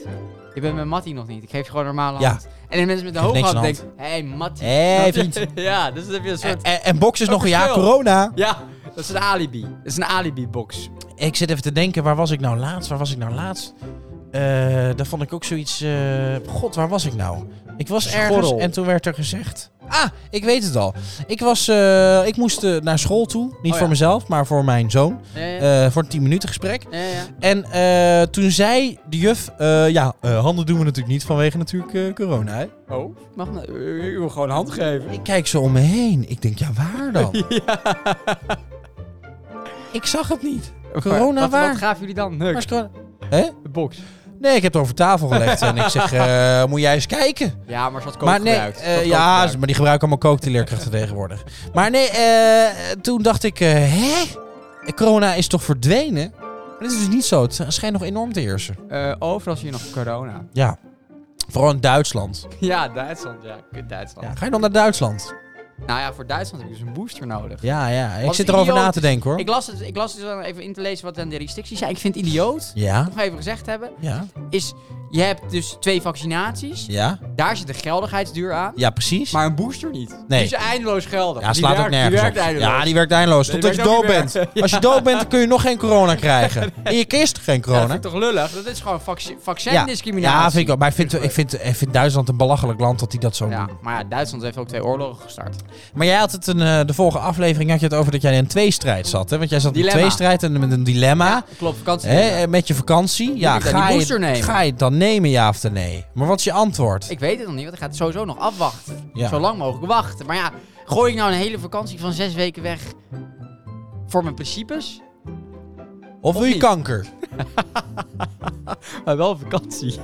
Speaker 2: Je bent mijn Mattie nog niet, ik geef je gewoon een normale
Speaker 1: Ja.
Speaker 2: hand. En de mensen met de
Speaker 1: Geef
Speaker 2: hoge
Speaker 1: niks
Speaker 2: hand
Speaker 1: aan de
Speaker 2: denken... Hé, hey, Mattie.
Speaker 1: Hé, vriend. Eh.
Speaker 2: ja, dus dan heb je een soort...
Speaker 1: En, en, en box is
Speaker 2: Een
Speaker 1: nog een jaar
Speaker 2: verschil.
Speaker 1: corona.
Speaker 2: Ja, dat is een alibi. Dat is een alibi-box.
Speaker 1: Ik zit even te denken, waar was ik nou laatst? Waar was ik nou laatst? Eh daar vond ik ook zoiets... eh, God, waar was ik nou? Ik was ergens
Speaker 2: Schorrel.
Speaker 1: en toen werd er gezegd... Ah, ik weet het al. Ik, was, eh, ik moest eh, naar school toe. Niet
Speaker 2: Oh ja.
Speaker 1: voor mezelf, maar voor mijn zoon.
Speaker 2: Ja, ja.
Speaker 1: Eh, voor een 10 minuten gesprek.
Speaker 2: ja, ja.
Speaker 1: En eh, toen zei de juf... eh, ja, eh, handen doen we natuurlijk niet vanwege natuurlijk eh, corona. Hè?
Speaker 2: Oh, mag nou, ik wil gewoon hand geven.
Speaker 1: Ik kijk zo om me heen. Ik denk, ja, waar dan? Ik zag het niet. Corona
Speaker 2: wat,
Speaker 1: waar?
Speaker 2: Wat gaven jullie dan?
Speaker 1: Maar
Speaker 2: Neuk.
Speaker 1: is corona- Hè?
Speaker 2: De box.
Speaker 1: Nee, ik heb het over tafel gelegd. en ik zeg, eh, moet jij eens kijken?
Speaker 2: Ja, maar ze had kook
Speaker 1: maar nee,
Speaker 2: gebruikt. Ze
Speaker 1: eh,
Speaker 2: had kook
Speaker 1: ja,
Speaker 2: gebruikt.
Speaker 1: maar die gebruiken allemaal kook, die leerkrachten tegenwoordig. Maar nee, eh, toen dacht ik, eh, hè? Corona is toch verdwenen? Maar dat is dus niet zo. Het schijnt nog enorm te heersen.
Speaker 2: Eh, overal zie je nog corona.
Speaker 1: Ja. Vooral in Duitsland.
Speaker 2: Ja, Duitsland. Ja, kut Duitsland.
Speaker 1: Ja, ga je dan naar Duitsland?
Speaker 2: Nou ja, voor Duitsland heb ik dus een booster nodig.
Speaker 1: Ja, ja. Ik
Speaker 2: Wat
Speaker 1: zit erover
Speaker 2: idioot
Speaker 1: na te denken, hoor.
Speaker 2: Ik las het, ik las het dan even in te lezen wat dan de restricties zijn. Ik vind het idioot.
Speaker 1: Ja,
Speaker 2: Nog even gezegd hebben.
Speaker 1: ja,
Speaker 2: Is, je hebt dus twee vaccinaties.
Speaker 1: ja.
Speaker 2: Daar zit de geldigheidsduur aan.
Speaker 1: Ja, precies.
Speaker 2: Maar een booster niet.
Speaker 1: Nee.
Speaker 2: Die is eindeloos geldig.
Speaker 1: Ja,
Speaker 2: Die
Speaker 1: slaat ook
Speaker 2: werkt-
Speaker 1: nergens
Speaker 2: die werkt
Speaker 1: op.
Speaker 2: eindeloos.
Speaker 1: Ja, die werkt eindeloos.
Speaker 2: Nee, die
Speaker 1: Totdat je
Speaker 2: werkt ook
Speaker 1: dood bent.
Speaker 2: niet meer.
Speaker 1: Als je dood bent, dan kun je nog geen corona krijgen. En je kist geen
Speaker 2: Ja, dat
Speaker 1: corona.
Speaker 2: vind ik toch lullig? Dat is gewoon vaccin vaccindiscriminatie.
Speaker 1: ja vind ik ook. Maar ik vind, ik, vind, ik vind Duitsland een belachelijk land dat die dat zo
Speaker 2: Ja,
Speaker 1: doen.
Speaker 2: maar ja, Duitsland heeft ook twee oorlogen gestart.
Speaker 1: Maar jij had het een, eh, de vorige aflevering had je het over dat jij in een tweestrijd zat. Hè? Want jij zat in een
Speaker 2: Dilemma.
Speaker 1: tweestrijd en met een dilemma.
Speaker 2: Klopt, vakantie.
Speaker 1: Hè, eh, met je vakantie. Ja,
Speaker 2: ik dan
Speaker 1: ga,
Speaker 2: die
Speaker 1: je,
Speaker 2: booster nemen?
Speaker 1: ga je het dan nemen, ja of nee? Maar wat is je antwoord?
Speaker 2: Ik weet het nog niet, want ik ga het sowieso nog afwachten.
Speaker 1: Ja.
Speaker 2: Zo lang mogelijk wachten. Maar ja, gooi ik nou een hele vakantie van zes weken weg voor mijn principes?
Speaker 1: of wil je
Speaker 2: niet?
Speaker 1: kanker?
Speaker 2: Maar wel vakantie.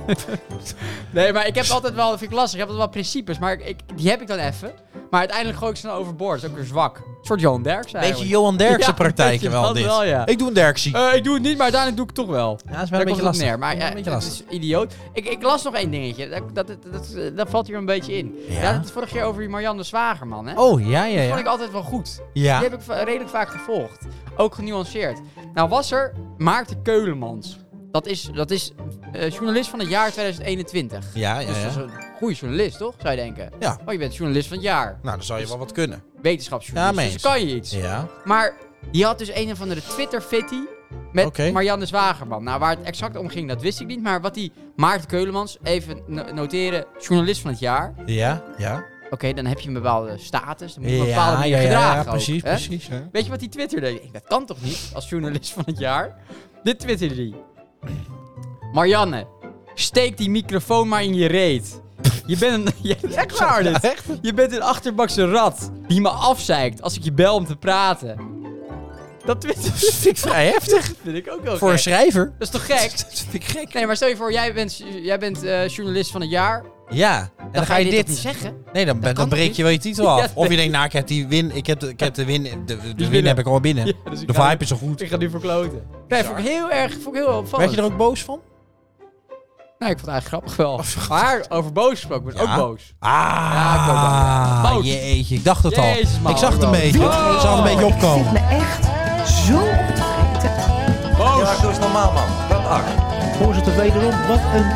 Speaker 2: nee, maar ik heb altijd wel, dat vind ik lastig, ik heb altijd wel principes. Maar ik, die heb ik dan even. Maar uiteindelijk gooi ik ze dan overboord. Dat is ook weer zwak. Een soort Johan Derksen
Speaker 1: Beetje
Speaker 2: eigenlijk.
Speaker 1: Johan Derksen
Speaker 2: Ja,
Speaker 1: praktijken
Speaker 2: weet je
Speaker 1: wel
Speaker 2: wat
Speaker 1: dit.
Speaker 2: wel, ja.
Speaker 1: Ik doe een Derksie.
Speaker 2: Eh, ik doe het niet, maar uiteindelijk doe ik het toch wel.
Speaker 1: ja, dat is wel
Speaker 2: Daar komt
Speaker 1: een beetje
Speaker 2: het op
Speaker 1: lastig.
Speaker 2: neer. Maar ja,
Speaker 1: een beetje
Speaker 2: dat
Speaker 1: lastig.
Speaker 2: is idioot. Ik, ik las nog één dingetje. Dat, dat, dat, dat, dat valt hier een beetje in.
Speaker 1: Ja?
Speaker 2: Ja? dat het vorige keer over die Marianne Zwagerman, hè?
Speaker 1: Oh, ja, ja,
Speaker 2: Dat vond
Speaker 1: ja.
Speaker 2: ik altijd wel goed.
Speaker 1: Ja.
Speaker 2: Die heb ik va- redelijk vaak gevolgd. Ook genuanceerd. Nou was er Maarten Keulemans. Dat is, dat is eh, journalist van het jaar 2021.
Speaker 1: Ja, ja,
Speaker 2: Dus dat is
Speaker 1: ja.
Speaker 2: een goede journalist, toch? Zou je denken.
Speaker 1: Ja.
Speaker 2: Oh, je bent journalist van het jaar.
Speaker 1: Nou, dan zou je wel wat kunnen. Ja,
Speaker 2: Wetenschapsjournalist.
Speaker 1: mee
Speaker 2: dus
Speaker 1: eens.
Speaker 2: dan kan je iets.
Speaker 1: Ja.
Speaker 2: Maar die had dus een of andere Twitter-fitty met
Speaker 1: Oké.
Speaker 2: Marianne Zwagerman. Nou, waar het exact om ging, dat wist ik niet. Maar wat die Maarten Keulemans, even no- noteren, journalist van het jaar.
Speaker 1: Ja, ja.
Speaker 2: Oké, dan heb je een bepaalde status. Dan moet je
Speaker 1: Ja,
Speaker 2: op een bepaalde manier
Speaker 1: ja, ja,
Speaker 2: gedragen
Speaker 1: ja,
Speaker 2: ook,
Speaker 1: precies,
Speaker 2: hè?
Speaker 1: precies. hè.
Speaker 2: Weet je wat die Twitter deed? Ik denk, Dat kan toch niet, als journalist van het jaar? Dit twitterde die. Marianne, steek die microfoon maar in je reet. Je bent een... Ja, echt waar dit. Je bent een achterbakse rat die me afzeikt als ik je bel om te praten. Dat twitterde
Speaker 1: Dat vind ik vrij heftig.
Speaker 2: vind ik ook wel
Speaker 1: Voor een
Speaker 2: gek.
Speaker 1: schrijver.
Speaker 2: Dat is toch gek?
Speaker 1: Dat vind ik gek.
Speaker 2: Nee, maar stel je voor, jij bent, jij bent eh, journalist van het jaar. Dan,
Speaker 1: Ja, en dan, ga je
Speaker 2: toch
Speaker 1: dit.
Speaker 2: niet zeggen.
Speaker 1: nee, dan,
Speaker 2: kan
Speaker 1: ben- dan breek
Speaker 2: niet.
Speaker 1: je wel je titel af.
Speaker 2: Ja,
Speaker 1: of je denkt, nou, ik heb, die win, ik heb, de, ik heb de win. De, de win
Speaker 2: binnen.
Speaker 1: heb ik al binnen.
Speaker 2: Ja, dus ik
Speaker 1: de
Speaker 2: ga
Speaker 1: vibe
Speaker 2: nu-
Speaker 1: is zo goed.
Speaker 2: Ik ga nu verkloten. Nee, vond ik heel erg, vond ik heel opvallend.
Speaker 1: Werd je er ook boos van?
Speaker 2: Nee, ik vond het eigenlijk grappig
Speaker 1: Oh,
Speaker 2: wel. Maar over boos gesproken, ik ben
Speaker 1: Ja?
Speaker 2: ook boos.
Speaker 1: Ah,
Speaker 2: ik ook wel.
Speaker 1: ah,
Speaker 2: Boos.
Speaker 1: jeetje, ik dacht het al.
Speaker 2: Jezus, man,
Speaker 1: ik zag het een
Speaker 2: bro.
Speaker 1: beetje. Ik zag het een beetje opkomen.
Speaker 7: me echt zo op te vreten.
Speaker 2: Boos!
Speaker 4: doe eens normaal, man. Wat ah. acht.
Speaker 8: Voorzitter, wederom, wat een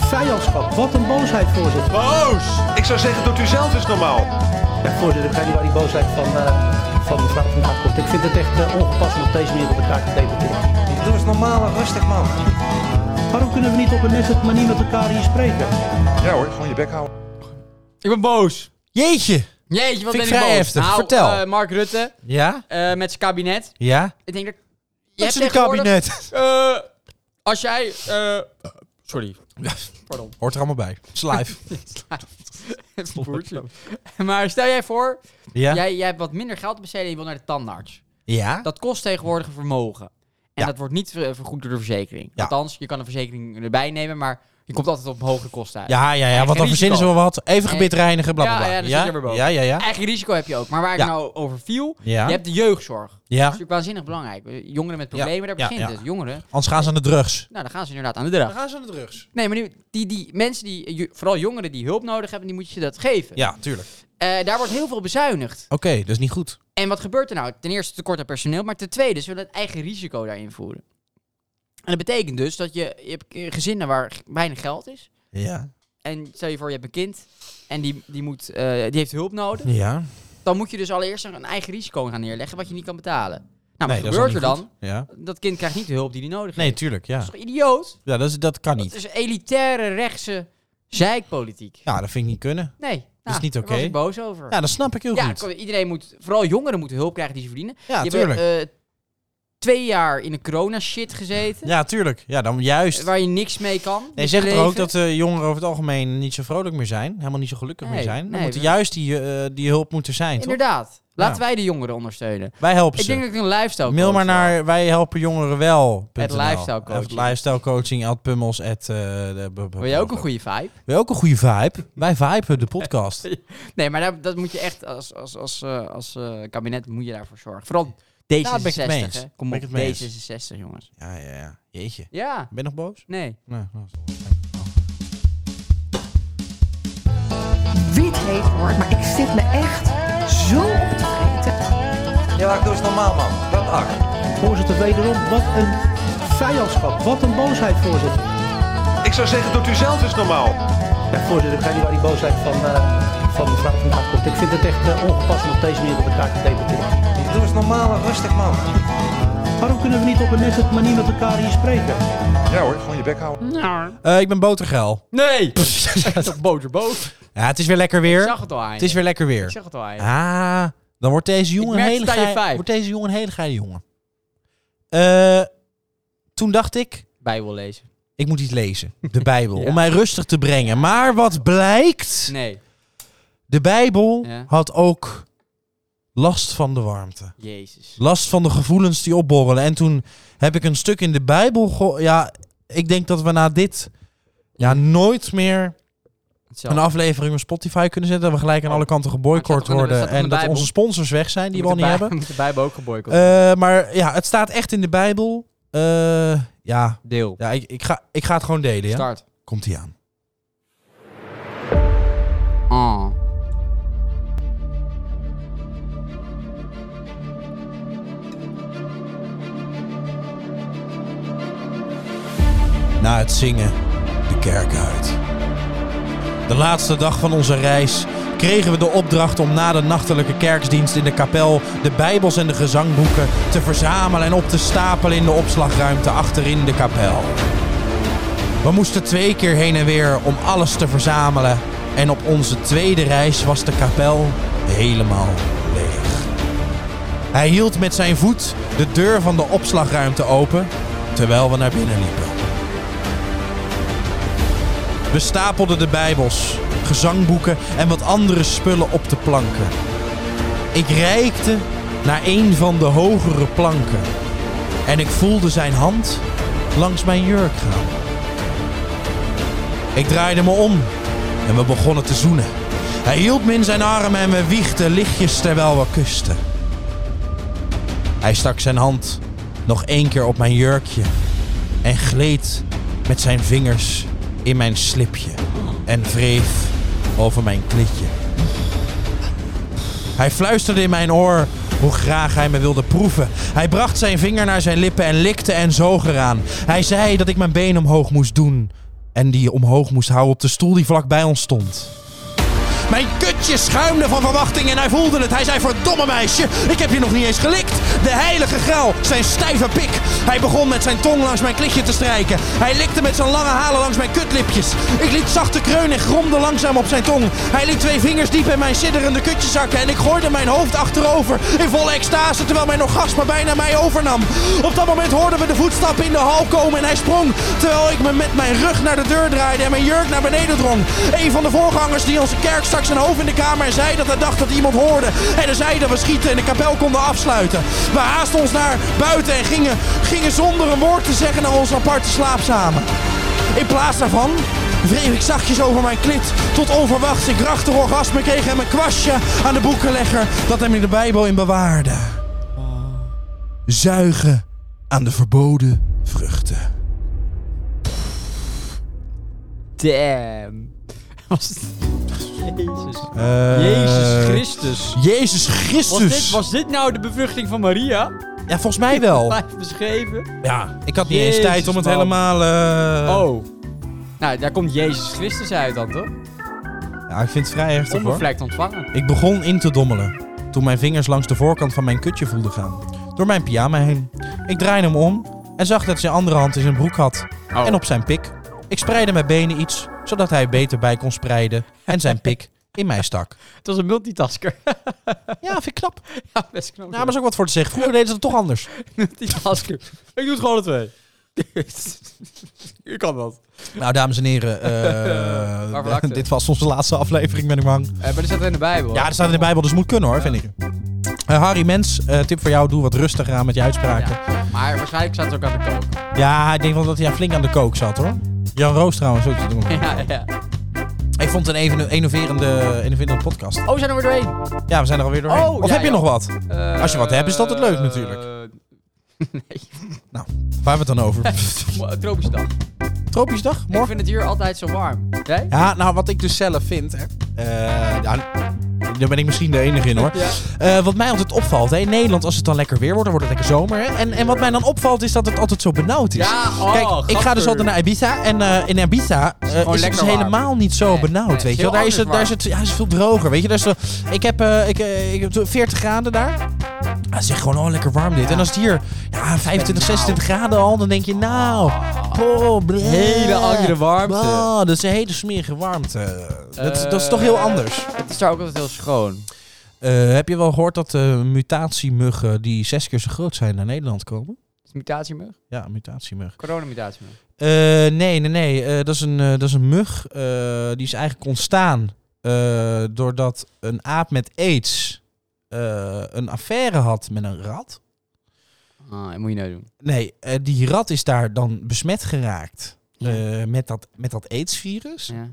Speaker 8: vijandschap. Wat een boosheid, voorzitter.
Speaker 9: Ik zou zeggen, doet u zelf eens normaal.
Speaker 8: Ja, voorzitter, ik ga niet waar die boosheid van, eh, van mevrouw vandaan komt. Ik vind het echt eh, ongepast om op deze manier met elkaar te debatteren.
Speaker 4: Doe eens normaal, rustig, man.
Speaker 8: Waarom kunnen we niet op een nette manier met elkaar hier spreken?
Speaker 3: Ja hoor, gewoon je bek houden.
Speaker 2: Ik ben boos.
Speaker 1: Jeetje.
Speaker 2: Jeetje, wat
Speaker 1: Vind
Speaker 2: ben
Speaker 1: ik
Speaker 2: ik
Speaker 1: vrij
Speaker 2: boos.
Speaker 1: heftig.
Speaker 2: Nou,
Speaker 1: Vertel.
Speaker 2: eh, Mark Rutte
Speaker 1: Ja?
Speaker 2: eh, met zijn kabinet.
Speaker 1: Ja?
Speaker 2: Ik denk dat... je
Speaker 1: Dat
Speaker 2: hebt
Speaker 1: is een
Speaker 2: tegenwoordig,
Speaker 1: kabinet.
Speaker 2: eh, als jij... eh, sorry. Pardon.
Speaker 1: Hoort er allemaal bij. Het is live.
Speaker 2: Boertje. maar stel jij voor,
Speaker 1: Ja?
Speaker 2: jij, jij hebt wat minder geld te besteden en je wil naar de tandarts.
Speaker 1: Ja?
Speaker 2: Dat kost tegenwoordig een vermogen. En
Speaker 1: Ja.
Speaker 2: dat wordt niet ver- eh, vergoed door de verzekering.
Speaker 1: Ja.
Speaker 2: Althans, je kan een verzekering erbij nemen, maar je komt altijd op een hogere kosten uit.
Speaker 1: Ja, ja, ja,
Speaker 2: Eigen
Speaker 1: want dan verzinnen ze wel
Speaker 2: risico.
Speaker 1: wat. Even gebit reinigen, bla bla
Speaker 2: Ja,
Speaker 1: bla.
Speaker 2: ja, dan zit je weer boven.
Speaker 1: ja, ja, ja.
Speaker 2: Eigen risico heb je ook. Maar waar ik
Speaker 1: Ja.
Speaker 2: nou over viel,
Speaker 1: Ja.
Speaker 2: je hebt de jeugdzorg. Dat is
Speaker 1: Ja.
Speaker 2: natuurlijk waanzinnig belangrijk. Jongeren met problemen, daar
Speaker 1: Ja,
Speaker 2: begint
Speaker 1: ja.
Speaker 2: het. Jongeren,
Speaker 1: Anders gaan ze aan de drugs.
Speaker 2: nou dan gaan ze inderdaad aan de dag.
Speaker 1: gaan ze aan de drugs.
Speaker 2: Nee, maar nu, die, die mensen, die, eh, ju- vooral jongeren die hulp nodig hebben, die moet je dat geven.
Speaker 1: Ja, tuurlijk.
Speaker 2: Eh, daar wordt heel veel bezuinigd.
Speaker 1: Oké, dus niet goed.
Speaker 2: En wat gebeurt er nou? Ten eerste tekort aan personeel, maar ten tweede ze willen het eigen risico daarin voeren. En dat betekent dus dat je, je hebt eh, gezinnen waar g- weinig geld is.
Speaker 1: Ja.
Speaker 2: En stel je voor, je hebt een kind en die, die, moet, eh, die heeft hulp nodig.
Speaker 1: Ja.
Speaker 2: Dan moet je dus allereerst een eigen risico gaan neerleggen wat je niet kan betalen. Nou,
Speaker 1: Nee,
Speaker 2: wat
Speaker 1: dat
Speaker 2: gebeurt
Speaker 1: is
Speaker 2: er
Speaker 1: al
Speaker 2: dan?
Speaker 1: niet goed. Ja.
Speaker 2: Dat kind krijgt niet de hulp die hij nodig
Speaker 1: Nee,
Speaker 2: heeft.
Speaker 1: tuurlijk,
Speaker 2: Dat
Speaker 1: ja.
Speaker 2: is toch idioot?
Speaker 1: Ja, dat, is, dat kan
Speaker 2: Het
Speaker 1: niet.
Speaker 2: is elitaire rechtse zeikpolitiek.
Speaker 1: Ja, dat vind ik niet kunnen.
Speaker 2: Nee, Nou,
Speaker 1: Dat is niet
Speaker 2: daar
Speaker 1: oké.
Speaker 2: was ik boos over.
Speaker 1: Ja, dat snap ik heel
Speaker 2: Ja,
Speaker 1: goed.
Speaker 2: kom- iedereen moet, vooral jongeren moeten hulp krijgen die ze verdienen.
Speaker 1: Ja,
Speaker 2: je
Speaker 1: tuurlijk.
Speaker 2: hebt eh, twee jaar in de corona shit gezeten,
Speaker 1: Ja, tuurlijk. Ja, dan juist.
Speaker 2: eh, waar je niks mee kan.
Speaker 1: Nee,
Speaker 2: met
Speaker 1: zegt
Speaker 2: je
Speaker 1: er ook
Speaker 2: leven.
Speaker 1: dat eh, jongeren over het algemeen niet zo vrolijk meer zijn. Helemaal niet zo gelukkig
Speaker 2: Nee,
Speaker 1: meer zijn. Dan
Speaker 2: nee,
Speaker 1: moet er
Speaker 2: we-
Speaker 1: juist die, eh, die hulp moeten zijn, toch?
Speaker 2: Inderdaad. Laten
Speaker 1: Ja.
Speaker 2: wij de jongeren ondersteunen.
Speaker 1: Wij helpen
Speaker 2: Ik
Speaker 1: ze.
Speaker 2: denk dat ik een lifestyle
Speaker 1: Mail maar
Speaker 2: coach wil.
Speaker 1: naar wij helpen jongeren wel.
Speaker 2: Het lifestyle coaching.
Speaker 1: Het lifestyle coaching. Ad Pummels. at, eh, de- b- b-
Speaker 2: Wil je ook een goede vibe?
Speaker 1: Wil je ook een goede vibe? Wij viben de podcast.
Speaker 2: Nee, maar daar, dat moet je echt als, als, als, eh, als eh, kabinet moet je daarvoor zorgen. Vooral D66.
Speaker 1: ben ik het mee eens.
Speaker 2: hè. Kom
Speaker 1: Ben
Speaker 2: op,
Speaker 1: ik het mee eens.
Speaker 2: D66 jongens.
Speaker 1: Ja, ja, ja. Jeetje.
Speaker 2: Ja,
Speaker 1: Ben je nog boos?
Speaker 2: nee.
Speaker 1: Nee. nou, is wel-
Speaker 7: Wie het heeft hoort, maar ik zit me echt zo op te vreten.
Speaker 4: Ja, maar doe eens normaal, man. Dat acht.
Speaker 8: Voorzitter, wederom, wat een vijandschap. Wat een boosheid, voorzitter.
Speaker 9: Ik zou zeggen, doet u zelf eens normaal.
Speaker 8: Ja, voorzitter, ik ga niet waar die boosheid van, eh, van mevrouw vandaan komt. Ik vind het echt eh, ongepast om op deze manier met elkaar te debatteren.
Speaker 4: Doe eens normaal en rustig, man.
Speaker 8: Waarom kunnen we niet op een nette manier met elkaar hier spreken?
Speaker 9: Ja hoor, gewoon je bek houden.
Speaker 1: Eh, ik ben botergeil.
Speaker 2: Nee! Toch boterboot.
Speaker 1: Ja, het is weer lekker
Speaker 2: Ik
Speaker 1: weer.
Speaker 2: zag het al aan
Speaker 1: Het
Speaker 2: je.
Speaker 1: is weer lekker
Speaker 2: Ik
Speaker 1: weer.
Speaker 2: zag het al aan je.
Speaker 1: Ah, dan wordt deze jongen
Speaker 2: merk
Speaker 1: een
Speaker 2: het
Speaker 1: hele
Speaker 2: aan je
Speaker 1: geile-
Speaker 2: vibe.
Speaker 1: wordt deze jongen een hele geile jongen. Eh, toen dacht ik,
Speaker 2: Bijbel lezen.
Speaker 1: ik moet iets lezen. De Bijbel.
Speaker 2: Ja.
Speaker 1: Om mij rustig te brengen. Maar wat blijkt?
Speaker 2: Nee.
Speaker 1: De Bijbel
Speaker 2: Ja.
Speaker 1: had ook last van de warmte.
Speaker 2: Jezus.
Speaker 1: Last van de gevoelens die opborrelen. En toen heb ik een stuk in de Bijbel. ge- Ja, ik denk dat we na dit ja, nooit meer
Speaker 2: Hetzelfde.
Speaker 1: een aflevering op Spotify kunnen zetten. Dat we gelijk aan
Speaker 2: Oh.
Speaker 1: alle kanten
Speaker 2: Maar het
Speaker 1: geboycott
Speaker 2: staat toch in de- het staat toch
Speaker 1: worden.
Speaker 2: in
Speaker 1: En
Speaker 2: de
Speaker 1: dat
Speaker 2: Bijbel?
Speaker 1: onze sponsors weg zijn, die we al
Speaker 2: Moet
Speaker 1: niet
Speaker 2: de bij-
Speaker 1: hebben.
Speaker 2: moet de Bijbel ook geboycott
Speaker 1: Eh, maar ja, het staat echt in de Bijbel. Eh, ja,
Speaker 2: Deel.
Speaker 1: ja ik, ik, ga, ik ga het gewoon delen. Ja?
Speaker 2: Start.
Speaker 1: Komt ie aan.
Speaker 2: Ah.
Speaker 1: Na het zingen de kerk uit. De laatste dag van onze reis kregen we de opdracht om na de nachtelijke kerksdienst in de kapel de Bijbels en de gezangboeken te verzamelen en op te stapelen in de opslagruimte achterin de kapel. We moesten twee keer heen en weer om alles te verzamelen en op onze tweede reis was de kapel helemaal leeg. Hij hield met zijn voet de deur van de opslagruimte open terwijl we naar binnen liepen. We stapelden de Bijbels, gezangboeken en wat andere spullen op de planken. Ik reikte naar een van de hogere planken en ik voelde zijn hand langs mijn jurk gaan. Ik draaide me om en we begonnen te zoenen. Hij hield me in zijn armen en we wiegden lichtjes terwijl we kusten. Hij stak zijn hand nog één keer op mijn jurkje en gleed met zijn vingers in mijn slipje en wreef over mijn klitje. Hij fluisterde in mijn oor hoe graag hij me wilde proeven. Hij bracht zijn vinger naar zijn lippen en likte en zoog eraan. Hij zei dat ik mijn been omhoog moest doen en die omhoog moest houden op de stoel die vlakbij ons stond. Mijn kutje schuimde van verwachting en hij voelde het. Hij zei, verdomme meisje, ik heb je nog niet eens gelikt. De heilige graal, zijn stijve pik. Hij begon met zijn tong langs mijn klitje te strijken. Hij likte met zijn lange halen langs mijn kutlipjes. Ik liet zachte kreunen en gromde langzaam op zijn tong. Hij liet twee vingers diep in mijn sidderende kutje zakken. En ik gooide mijn hoofd achterover in volle extase terwijl mijn orgasme bijna mij overnam. Op dat moment hoorden we de voetstappen in de hal komen en hij sprong. Terwijl ik me met mijn rug naar de deur draaide en mijn jurk naar beneden drong. Een van de voorgangers die onze kerk stak zijn hoofd in de kamer en zei dat hij dacht dat iemand hoorde. En hij zei dat we schieten en de kapel konden afsluiten. We haasten ons naar buiten en gingen, gingen zonder een woord te zeggen naar onze aparte slaapzamen. In plaats daarvan wreef ik zachtjes over mijn klit tot onverwachts ik krachtig orgasme kreeg en mijn kwastje aan de boekenlegger dat hem in de Bijbel in bewaarde. Zuigen aan de verboden vruchten.
Speaker 2: Damn. Was het- Jezus. Jezus Christus.
Speaker 1: Eh, Jezus
Speaker 2: Was,
Speaker 1: Christus.
Speaker 2: dit, was dit nou de bevruchting van Maria?
Speaker 1: Ja, volgens mij wel.
Speaker 2: Blijf beschreven.
Speaker 1: Ja, ik had niet eens
Speaker 2: Jezus,
Speaker 1: tijd om het
Speaker 2: man.
Speaker 1: helemaal... eh,
Speaker 2: Oh. Nou, daar komt Jezus Christus uit dan, toch?
Speaker 1: Ja, ik vind het vrij heftig hoor.
Speaker 2: Onbevlekt ontvangen.
Speaker 1: Ik begon in te dommelen. Toen mijn vingers langs de voorkant van mijn kutje voelden gaan. Door mijn pyjama heen. Ik draaide hem om en zag dat zijn andere hand in zijn broek had.
Speaker 2: Oh.
Speaker 1: En op zijn pik. Ik spreidde mijn benen iets, zodat hij beter bij kon spreiden. En zijn pik in mij stak.
Speaker 2: Het was een multitasker.
Speaker 1: Ja, vind ik knap.
Speaker 2: ja, best knap.
Speaker 1: Nou, maar is ook wat voor te zeggen. Vroeger deden ze het toch anders.
Speaker 2: multitasker. Ik doe het gewoon de twee. U kan dat. Eh,
Speaker 1: Nou, dames en heren.
Speaker 2: Waar we
Speaker 1: eh,
Speaker 2: lachten.
Speaker 1: dit was onze laatste aflevering, ben ik bang.
Speaker 2: Eh, maar er staat er in de Bijbel.
Speaker 1: Ja, dat staat in de Bijbel, dus moet kunnen hoor, vind ik. Eh, Harry Mens, eh, tip voor jou. Doe wat rustiger aan met je uitspraken.
Speaker 2: Maar waarschijnlijk staat het ook aan de kook.
Speaker 1: Ja, ik denk wel dat hij flink aan de kook zat hoor. Jan Roos trouwens ook te doen.
Speaker 2: Ja, ja.
Speaker 1: Ik vond het een even- innoverende, innoverende podcast.
Speaker 2: Oh, we zijn er weer doorheen.
Speaker 1: Ja, we zijn er alweer doorheen.
Speaker 2: Oh,
Speaker 1: of
Speaker 2: ja,
Speaker 1: heb je
Speaker 2: ja.
Speaker 1: nog wat?
Speaker 2: Eh,
Speaker 1: Als je wat hebt, is dat het leuk natuurlijk. Waar hebben we het dan over?
Speaker 2: Nee. eh, Tropische dag.
Speaker 1: Tropisch dag?
Speaker 2: Ik
Speaker 1: Morgen?
Speaker 2: vind het hier altijd zo warm. Jij?
Speaker 1: Ja, nou wat ik dus zelf vind. Hè, eh, ja, daar ben ik misschien de enige in hoor.
Speaker 2: Ja.
Speaker 1: Eh, wat mij altijd opvalt, hè, in Nederland als het dan lekker weer wordt, dan wordt het lekker zomer. Hè, en, en wat mij dan opvalt is dat het altijd zo benauwd is.
Speaker 2: Ja, oh,
Speaker 1: Kijk, ik ga dus
Speaker 2: gadver.
Speaker 1: altijd naar Ibiza en eh, in Ibiza eh, is,
Speaker 2: gewoon
Speaker 1: het dus
Speaker 2: lekker warm.
Speaker 1: helemaal niet zo
Speaker 2: Nee,
Speaker 1: benauwd,
Speaker 2: nee, het is
Speaker 1: weet je wel.
Speaker 2: heel
Speaker 1: Daar is het, daar is
Speaker 2: anders
Speaker 1: het, ja, het is veel droger, weet je. Daar is de, ik, heb, eh, ik, eh, ik heb 40 graden daar. Ah, zeg gewoon, oh, lekker warm dit. En als het hier ja, 25, 26 graden al, dan denk je, nou... Oh, bleh.
Speaker 2: Hele andere warmte.
Speaker 1: Oh, dat is een hele smerige warmte. dat, dat
Speaker 2: Eh.
Speaker 1: is toch heel anders.
Speaker 2: Het is daar ook altijd heel schoon.
Speaker 1: Eh, heb je wel gehoord dat eh, mutatiemuggen die zes keer zo groot zijn naar Nederland komen?
Speaker 2: Is het mutatiemug?
Speaker 1: Ja, mutatiemug.
Speaker 2: Coronamutatiemug.
Speaker 1: Eh, nee, nee, nee. Eh, dat, is een, eh, dat is een mug. eh, die is eigenlijk ontstaan eh, doordat een aap met aids eh, een affaire had met een rat.
Speaker 2: Ah, dat moet je nou doen.
Speaker 1: Nee, eh, die rat is daar dan besmet geraakt eh, met, dat, met dat aidsvirus.
Speaker 2: Ja.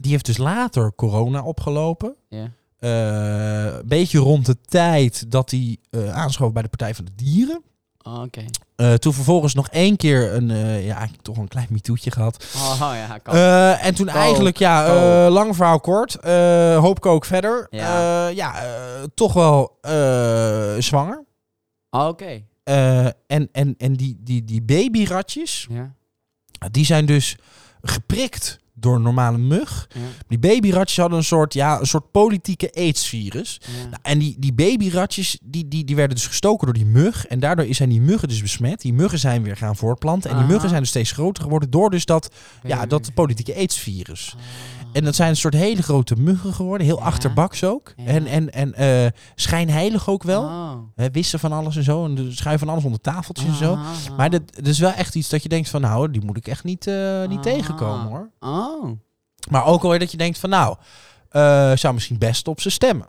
Speaker 1: Die heeft dus later corona opgelopen.
Speaker 2: Ja.
Speaker 1: Eh, Een beetje rond de tijd dat hij eh aanschoof bij de Partij van de Dieren.
Speaker 2: Oh, oké.
Speaker 1: Eh, toen vervolgens nog één keer een, eh, ja, eigenlijk toch een klein mitoetje gehad.
Speaker 2: Oh, ja, kan.
Speaker 1: Eh, en toen
Speaker 2: Kook,
Speaker 1: eigenlijk, ja,
Speaker 2: kook.
Speaker 1: eh, lang verhaal kort, eh, hoop kook verder.
Speaker 2: Ja.
Speaker 1: Ja, ja eh, toch wel eh, zwanger.
Speaker 2: Oh, oké.
Speaker 1: Eh, en en, en die, die, die babyratjes,
Speaker 2: Ja.
Speaker 1: die zijn dus geprikt door een normale mug.
Speaker 2: Ja.
Speaker 1: Die babyratjes hadden een soort, ja, een soort politieke aidsvirus.
Speaker 2: ja.
Speaker 1: Nou, en die, die babyratjes, die, die, die werden dus gestoken door die mug. En daardoor zijn die muggen dus besmet. Die muggen zijn weer gaan voortplanten. En die
Speaker 2: Aha.
Speaker 1: muggen zijn dus steeds groter geworden door dus dat, ja,
Speaker 2: Baby.
Speaker 1: dat politieke aidsvirus. En dat zijn een soort hele grote muggen geworden. Heel
Speaker 2: Ja.
Speaker 1: achterbaks ook.
Speaker 2: Ja.
Speaker 1: En, en, en eh, schijnheilig ook wel.
Speaker 2: Oh.
Speaker 1: Hè, wisten van alles en zo. En de- schuiven van alles onder tafeltjes en zo.
Speaker 2: Ah, ah, ah.
Speaker 1: Maar dat, dat is wel echt iets dat je denkt van... Nou, die moet ik echt niet, eh, niet
Speaker 2: Ah.
Speaker 1: tegenkomen hoor.
Speaker 2: Oh.
Speaker 1: Maar ook alweer dat je denkt van... Nou, eh, zou misschien best op ze stemmen.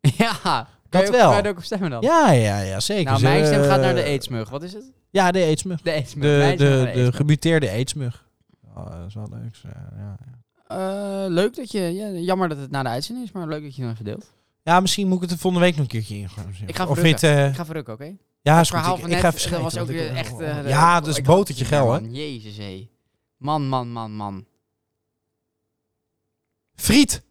Speaker 2: Ja. Kan
Speaker 1: Dat
Speaker 2: je ook-
Speaker 1: wel.
Speaker 2: Kan je er ook op stemmen dan?
Speaker 1: Ja, ja, ja, zeker.
Speaker 2: Nou,
Speaker 1: Ze-
Speaker 2: mijn stem gaat naar de aidsmug. Wat is het?
Speaker 1: Ja, de aidsmug.
Speaker 2: De aidsmug.
Speaker 1: eh, De,
Speaker 2: Mijn stem gaat
Speaker 1: de,
Speaker 2: naar
Speaker 1: de
Speaker 2: aidsmug.
Speaker 1: gemuteerde aidsmug. Oh, dat is wel leuk. Ja, ja.
Speaker 2: Eh, leuk dat je... Ja, jammer dat het na de uitzending is, maar leuk dat je het hebt gedeeld.
Speaker 1: ja, misschien moet ik het er volgende week nog een keertje in gaan zien.
Speaker 2: Ik ga
Speaker 1: of
Speaker 2: verrukken.
Speaker 1: dit, eh,
Speaker 2: Ik ga verrukken, oké?
Speaker 1: Ja, is
Speaker 2: Het
Speaker 1: goed.
Speaker 2: verhaal
Speaker 1: Ik,
Speaker 2: van
Speaker 1: ik
Speaker 2: net,
Speaker 1: ga
Speaker 2: dat
Speaker 1: verschijnen.
Speaker 2: was ook
Speaker 1: want ik- oh,
Speaker 2: weer echt... eh,
Speaker 1: ja,
Speaker 2: ik-
Speaker 1: dat is
Speaker 2: ik-
Speaker 1: botertje
Speaker 2: ja,
Speaker 1: geil, hè?
Speaker 2: man. Jezus, hé. Man, man, man, man.
Speaker 1: Friet!